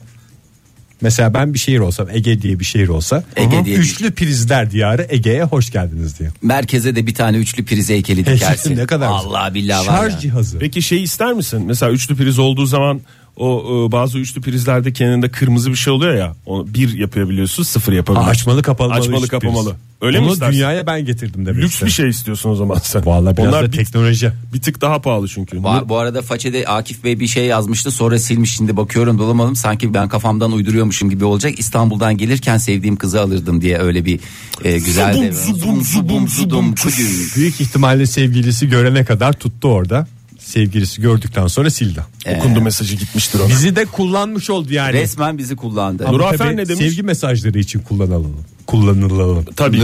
Speaker 3: Mesela ben bir şehir olsam Ege diye bir şehir olsa
Speaker 2: Ege
Speaker 3: Aha.
Speaker 2: diye bir-
Speaker 3: üçlü prizler diyarı Ege'ye hoş geldiniz diye.
Speaker 2: Merkeze de bir tane üçlü prize heykeli dikersin.
Speaker 4: Ne kadar güzel.
Speaker 2: Allah billahi var ya.
Speaker 3: cihazı.
Speaker 4: Peki şey ister misin? Mesela üçlü priz olduğu zaman o e, bazı üçlü prizlerde kenarında kırmızı bir şey oluyor ya. Onu bir yapabiliyorsun, sıfır yapabiliyorsun.
Speaker 3: Açmalı kapamalı.
Speaker 4: Açmalı
Speaker 3: üçlü priz.
Speaker 4: kapamalı. Öyle mi
Speaker 3: Bunu
Speaker 4: istersin?
Speaker 3: dünyaya ben getirdim demek
Speaker 4: Lüks
Speaker 3: isterim.
Speaker 4: bir şey istiyorsun o zaman sen.
Speaker 3: Vallahi biraz da teknoloji.
Speaker 4: Bir tık daha pahalı çünkü.
Speaker 2: Var, bu arada façede Akif Bey bir şey yazmıştı sonra silmiş şimdi bakıyorum bulamadım sanki ben kafamdan uyduruyormuşum gibi olacak İstanbul'dan gelirken sevdiğim kızı alırdım diye öyle bir e, güzel de
Speaker 3: Zubum, zubum, zubum, tüş. Büyük ihtimalle sevgilisi görene kadar tuttu orada. Sevgilisi gördükten sonra sildi.
Speaker 2: Ee.
Speaker 4: Okundu mesajı gitmiştir ona.
Speaker 3: Bizi de kullanmış oldu yani.
Speaker 2: resmen bizi kullandı.
Speaker 3: Ama tabii Sevgi mesajları için kullanılalım. Kullanılalım.
Speaker 4: Tabii.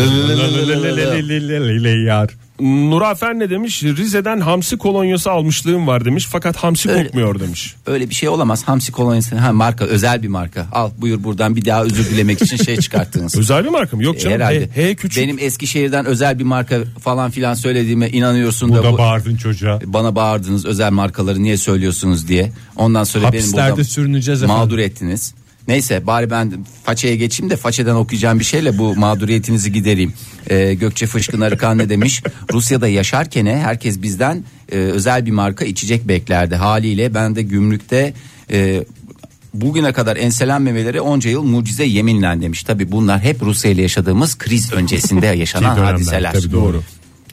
Speaker 3: Yar.
Speaker 4: Nurafer ne demiş? Rize'den hamsi kolonyası almışlığım var demiş. Fakat hamsi
Speaker 2: Öyle-
Speaker 4: kokmuyor demiş.
Speaker 2: Öyle bir şey olamaz. Hamsi kolonyası ha marka özel bir marka. Al buyur buradan bir daha özür dilemek için şey çıkarttınız. E,
Speaker 4: (laughs) Özel bir marka mı? Yok canım.
Speaker 2: Herhalde.
Speaker 4: H, H küçük.
Speaker 2: Benim Eskişehir'den özel bir marka falan filan söylediğime inanıyorsun da
Speaker 3: Burada
Speaker 2: bu-
Speaker 3: bağırdın çocuğa.
Speaker 2: bana bağırdınız özel markaları niye söylüyorsunuz diye. Ondan sonra
Speaker 3: Hapislerde
Speaker 2: benim burada
Speaker 3: sürüneceğiz efendim.
Speaker 2: mağdur ettiniz. Neyse bari ben façaya geçeyim de façeden okuyacağım bir şeyle bu mağduriyetinizi gidereyim. Ee, Gökçe Fışkın Arıkan ne
Speaker 3: (laughs)
Speaker 2: demiş? Rusya'da yaşarken herkes bizden e, özel bir marka içecek beklerdi. Haliyle ben de gümrükte e, bugüne kadar enselenmemeleri onca yıl mucize yeminle demiş. Tabi bunlar hep Rusya ile yaşadığımız kriz
Speaker 3: (laughs)
Speaker 2: öncesinde yaşanan
Speaker 3: Ki dönemler,
Speaker 2: hadiseler.
Speaker 3: Tabii doğru.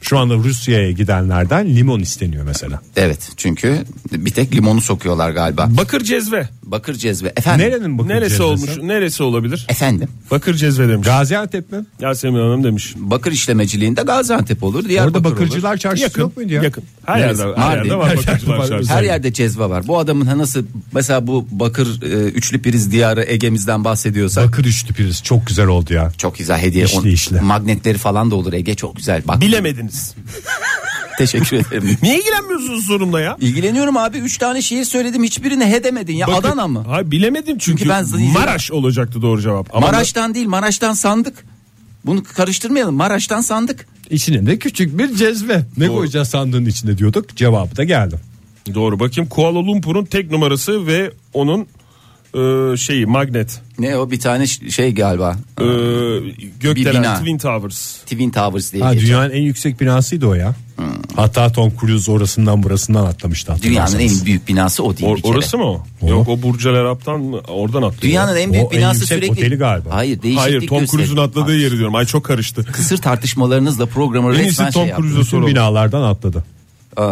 Speaker 3: Şu anda Rusya'ya gidenlerden limon isteniyor mesela.
Speaker 2: Evet çünkü bir tek limonu sokuyorlar galiba.
Speaker 4: Bakır cezve.
Speaker 2: Bakır cezve. Efendim.
Speaker 3: Nerenin bakır
Speaker 4: Neresi
Speaker 3: cezvesi?
Speaker 4: olmuş? Neresi olabilir?
Speaker 2: Efendim.
Speaker 4: Bakır cezve demiş.
Speaker 3: Gaziantep mi?
Speaker 4: Yasemin Hanım demiş.
Speaker 2: Bakır işlemeciliğinde Gaziantep olur. Diğer
Speaker 3: Orada
Speaker 2: bakır
Speaker 3: bakırcılar
Speaker 2: olur.
Speaker 3: çarşısı
Speaker 4: Yakın,
Speaker 3: yok muydu ya?
Speaker 4: yakın. Her
Speaker 2: Neresi?
Speaker 4: yerde, her
Speaker 2: Mardin.
Speaker 4: yerde var
Speaker 2: Her
Speaker 4: bakırcılar şarkısı.
Speaker 2: Her yerde cezve var. Bu adamın ha nasıl mesela bu bakır e, üçlü priz diyarı Ege'mizden bahsediyorsak
Speaker 3: Bakır üçlü priz çok güzel oldu ya.
Speaker 2: çok güzel hediye.
Speaker 3: İşli
Speaker 2: On-
Speaker 3: işli.
Speaker 2: Magnetleri falan da olur Ege çok güzel. Bak
Speaker 4: Bilemediniz.
Speaker 2: (laughs) teşekkür ederim.
Speaker 4: (laughs) Niye ilgilenmiyorsunuz sorumla ya?
Speaker 2: İlgileniyorum abi 3 tane şehir söyledim hiçbirini he demedin ya
Speaker 4: Bakır-
Speaker 2: Adana mı?
Speaker 4: Hayır bilemedim çünkü,
Speaker 2: Çünkü ben zannediyorum-
Speaker 4: Maraş olacaktı doğru cevap. Ama
Speaker 2: Maraş'tan değil Maraş'tan sandık. Bunu karıştırmayalım Maraş'tan sandık.
Speaker 3: İçine de küçük bir cezve. Ne koyacağız sandığın içinde diyorduk. Cevabı da geldi.
Speaker 4: Doğru bakayım Kuala Lumpur'un tek numarası ve onun e, şeyi magnet.
Speaker 2: Ne o bir tane ş- şey galiba
Speaker 4: E,
Speaker 2: Bir
Speaker 4: gökdelen
Speaker 2: bina.
Speaker 4: Twin Towers.
Speaker 2: Twin Towers diye
Speaker 3: Ha,
Speaker 2: geçiyor.
Speaker 3: dünyanın en yüksek binasıydı o ya.
Speaker 2: Hmm.
Speaker 3: Hatta Tom Cruise orasından burasından atlamıştı.
Speaker 2: Dünyanın
Speaker 3: hatırlarsanız.
Speaker 2: en büyük binası o değil
Speaker 4: Or-
Speaker 2: bir kere.
Speaker 4: orası mı o? Yok o Burj Al Arab'tan mı? Oradan atlıyor.
Speaker 2: Dünyanın en büyük
Speaker 3: O en
Speaker 2: binası
Speaker 3: yüksek
Speaker 2: sürekli...
Speaker 3: oteli galiba.
Speaker 2: Hayır değişiklik
Speaker 4: Hayır Tom
Speaker 2: gösterir.
Speaker 4: Cruise'un atladığı
Speaker 2: Ay,
Speaker 4: yeri diyorum. Ay çok karıştı.
Speaker 2: Kısır tartışmalarınızla programı
Speaker 4: En
Speaker 2: resmen
Speaker 4: iyisi
Speaker 2: şey
Speaker 4: Tom
Speaker 2: yaptı.
Speaker 4: Cruise'a
Speaker 3: Bütün
Speaker 4: soralım.
Speaker 3: binalardan atladı.
Speaker 2: Eee,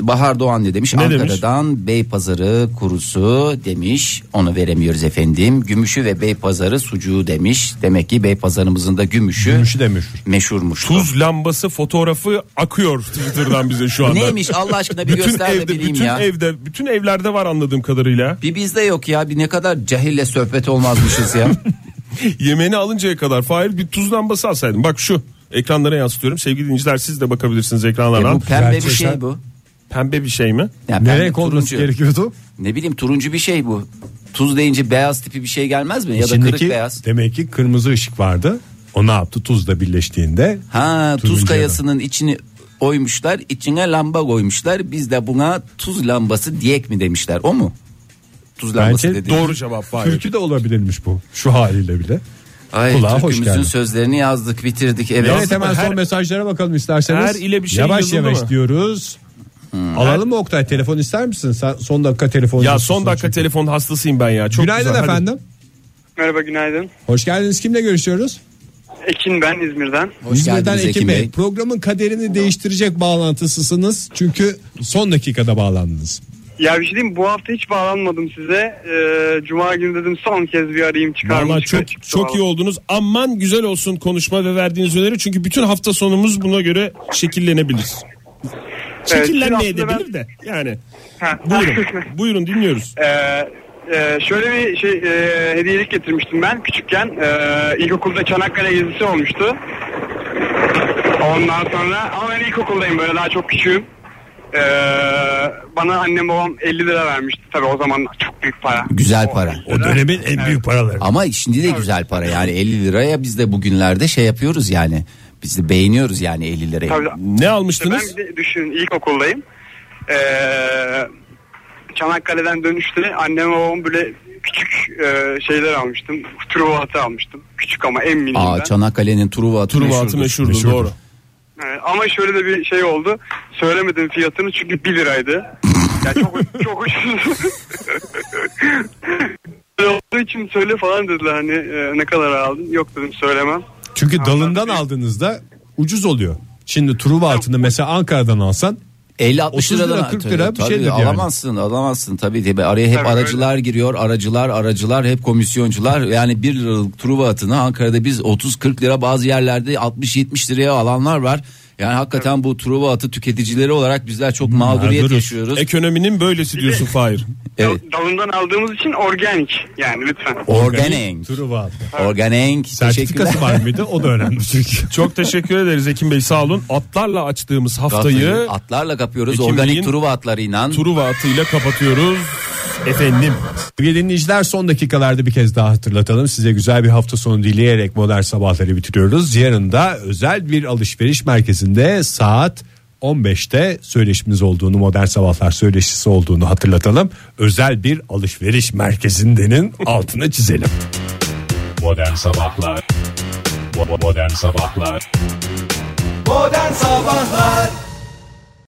Speaker 2: Bahar Doğan ne demiş?
Speaker 4: Ne
Speaker 2: Ankara'dan Beypazarı kurusu demiş. Onu veremiyoruz efendim. Gümüşü ve Beypazarı sucuğu demiş. Demek ki Beypazarımızın da gümüşü,
Speaker 3: Gümüşü de meşhur.
Speaker 2: meşhurmuş.
Speaker 4: Tuz lambası fotoğrafı akıyor Twitter'dan bize şu anda.
Speaker 2: Neymiş Allah aşkına bir
Speaker 4: bütün
Speaker 2: göster de
Speaker 4: evde,
Speaker 2: bileyim
Speaker 4: bütün
Speaker 2: ya.
Speaker 4: evde, bütün evlerde var anladığım kadarıyla.
Speaker 2: Bir bizde yok ya. Bir ne kadar cahille sohbet olmazmışız ya.
Speaker 4: (laughs) Yemeğini alıncaya kadar Fahir bir tuz lambası alsaydın. Bak şu ekranlara yansıtıyorum. Sevgili dinleyiciler siz de bakabilirsiniz ekranlara.
Speaker 2: E bu pembe bir
Speaker 3: Gerçekten.
Speaker 2: şey bu.
Speaker 4: Pembe bir şey mi?
Speaker 2: Ya
Speaker 3: Ne
Speaker 2: pembe,
Speaker 3: renk olması
Speaker 2: turuncu.
Speaker 3: gerekiyordu?
Speaker 2: Ne bileyim turuncu bir şey bu. Tuz deyince beyaz tipi bir şey gelmez mi? Ya da kırık
Speaker 3: İçindeki
Speaker 2: beyaz.
Speaker 3: demek ki kırmızı ışık vardı. O ne yaptı? Tuzla birleştiğinde
Speaker 2: Ha tuz
Speaker 3: Turuncu
Speaker 2: kayasının içini oymuşlar içine lamba koymuşlar biz de buna tuz lambası diyek mi demişler o mu? Tuz lambası
Speaker 3: Bence
Speaker 2: dedi.
Speaker 4: Doğru cevap Fahir.
Speaker 3: türkü de olabilirmiş bu. Şu haliyle bile.
Speaker 2: Ay
Speaker 3: Kulağa hoş
Speaker 2: türkümüzün
Speaker 3: geldi.
Speaker 2: sözlerini yazdık bitirdik evet.
Speaker 3: Evet hemen
Speaker 4: her-
Speaker 3: son mesajlara bakalım isterseniz.
Speaker 4: Her ile bir şey
Speaker 3: yavaş
Speaker 4: yazıldı
Speaker 3: yavaş
Speaker 4: mı?
Speaker 3: diyoruz.
Speaker 2: Hmm.
Speaker 3: Alalım mı Oktay telefon ister misin? Sen son dakika telefon.
Speaker 4: Ya
Speaker 3: istiyorsun
Speaker 4: son dakika
Speaker 3: çünkü.
Speaker 4: telefon hastasıyım ben ya. Çok
Speaker 3: Günaydın
Speaker 4: güzel. Hadi.
Speaker 3: efendim.
Speaker 15: Merhaba günaydın.
Speaker 3: Hoş geldiniz. Kimle görüşüyoruz?
Speaker 15: Ekin ben İzmir'den.
Speaker 2: Hoş
Speaker 3: İzmir'den
Speaker 2: geldiniz
Speaker 3: Ekim
Speaker 2: Ekim
Speaker 3: Bey.
Speaker 2: Bey.
Speaker 3: Programın kaderini değiştirecek bağlantısısınız. Çünkü son dakikada bağlandınız.
Speaker 15: Ya bir şey diyeyim mi? bu hafta hiç bağlanmadım size. Ee, Cuma günü dedim son kez bir arayayım çıkarmış.
Speaker 11: Vallahi çok çok iyi oldunuz. Aman güzel olsun konuşma ve verdiğiniz öneri çünkü bütün hafta sonumuz buna göre şekillenebilir. Şekillenmeye de bilir de. Yani buyurun. (laughs) buyurun dinliyoruz.
Speaker 15: Ee, e, şöyle bir şey e, hediyelik getirmiştim ben küçükken. Ee, ilkokulda Çanakkale gezisi olmuştu. Ondan sonra ama ben ilkokuldayım böyle daha çok küçüğüm. Ee, bana annem babam 50 lira vermişti. Tabii o zaman çok büyük para.
Speaker 2: Güzel para.
Speaker 15: O dönemin
Speaker 2: en büyük paraları. Ama şimdi de güzel para yani 50 liraya biz de bugünlerde şey yapıyoruz yani. Biz de beğeniyoruz yani 50 lirayı.
Speaker 15: Tabii.
Speaker 11: Ne
Speaker 15: İşte ben bir de düşün ilkokuldayım. Ee, Çanakkale'den dönüşte annem babam böyle küçük e, şeyler almıştım. Truvatı almıştım. Küçük ama en minimden.
Speaker 2: Aa Çanakkale'nin Truva atı
Speaker 11: Truva atı meşhurdur, doğru.
Speaker 15: Evet, Ee, ama şöyle de bir şey oldu. Söylemedim fiyatını çünkü 1 liraydı. Yani çok, (laughs) çok ucuz. Böyle olduğu için söyle falan dediler hani e, ne kadar aldın? Yok dedim söylemem.
Speaker 3: Çünkü dalından aldığınızda ucuz oluyor. Şimdi Truva altını mesela Ankara'dan alsan
Speaker 2: 50
Speaker 3: 30 lira 40 lira bir
Speaker 2: tabii,
Speaker 3: şeydir yani.
Speaker 2: alamazsın alamazsın tabii tabii araya hep
Speaker 3: Tabii,
Speaker 2: aracılar giriyor aracılar aracılar hep komisyoncular yani 1 liralık truva atını Ankara'da biz 30-40 lira bazı yerlerde 60-70 liraya alanlar var. Yani hakikaten bu truva atı tüketicileri olarak bizler çok mağduriyet
Speaker 11: mağduruz.
Speaker 2: yaşıyoruz.
Speaker 11: Hmm, Ekonominin böylesi diyorsun Fahir.
Speaker 2: Evet.
Speaker 15: Dalından aldığımız için organik yani lütfen.
Speaker 2: Organik. Organik. Teşekkürler.
Speaker 11: mıydı? O da önemli çünkü. Çok teşekkür ederiz Ekim Bey sağ olun. Atlarla açtığımız haftayı
Speaker 2: Haftayı atlarla kapıyoruz.
Speaker 11: Ekim Bey'in
Speaker 2: Organik truva atlarıyla.
Speaker 11: Truva atıyla kapatıyoruz. Efendim.
Speaker 3: Sevgili dinleyiciler son dakikalarda bir kez daha hatırlatalım. Size güzel bir hafta sonu dileyerek modern sabahları bitiriyoruz. Yarın da özel bir alışveriş merkezinde saat 15'te söyleşimiz olduğunu modern sabahlar söyleşisi olduğunu hatırlatalım. Özel bir alışveriş merkezindenin (laughs) altına çizelim.
Speaker 1: Modern Sabahlar Bo- Modern Sabahlar
Speaker 16: Modern Sabahlar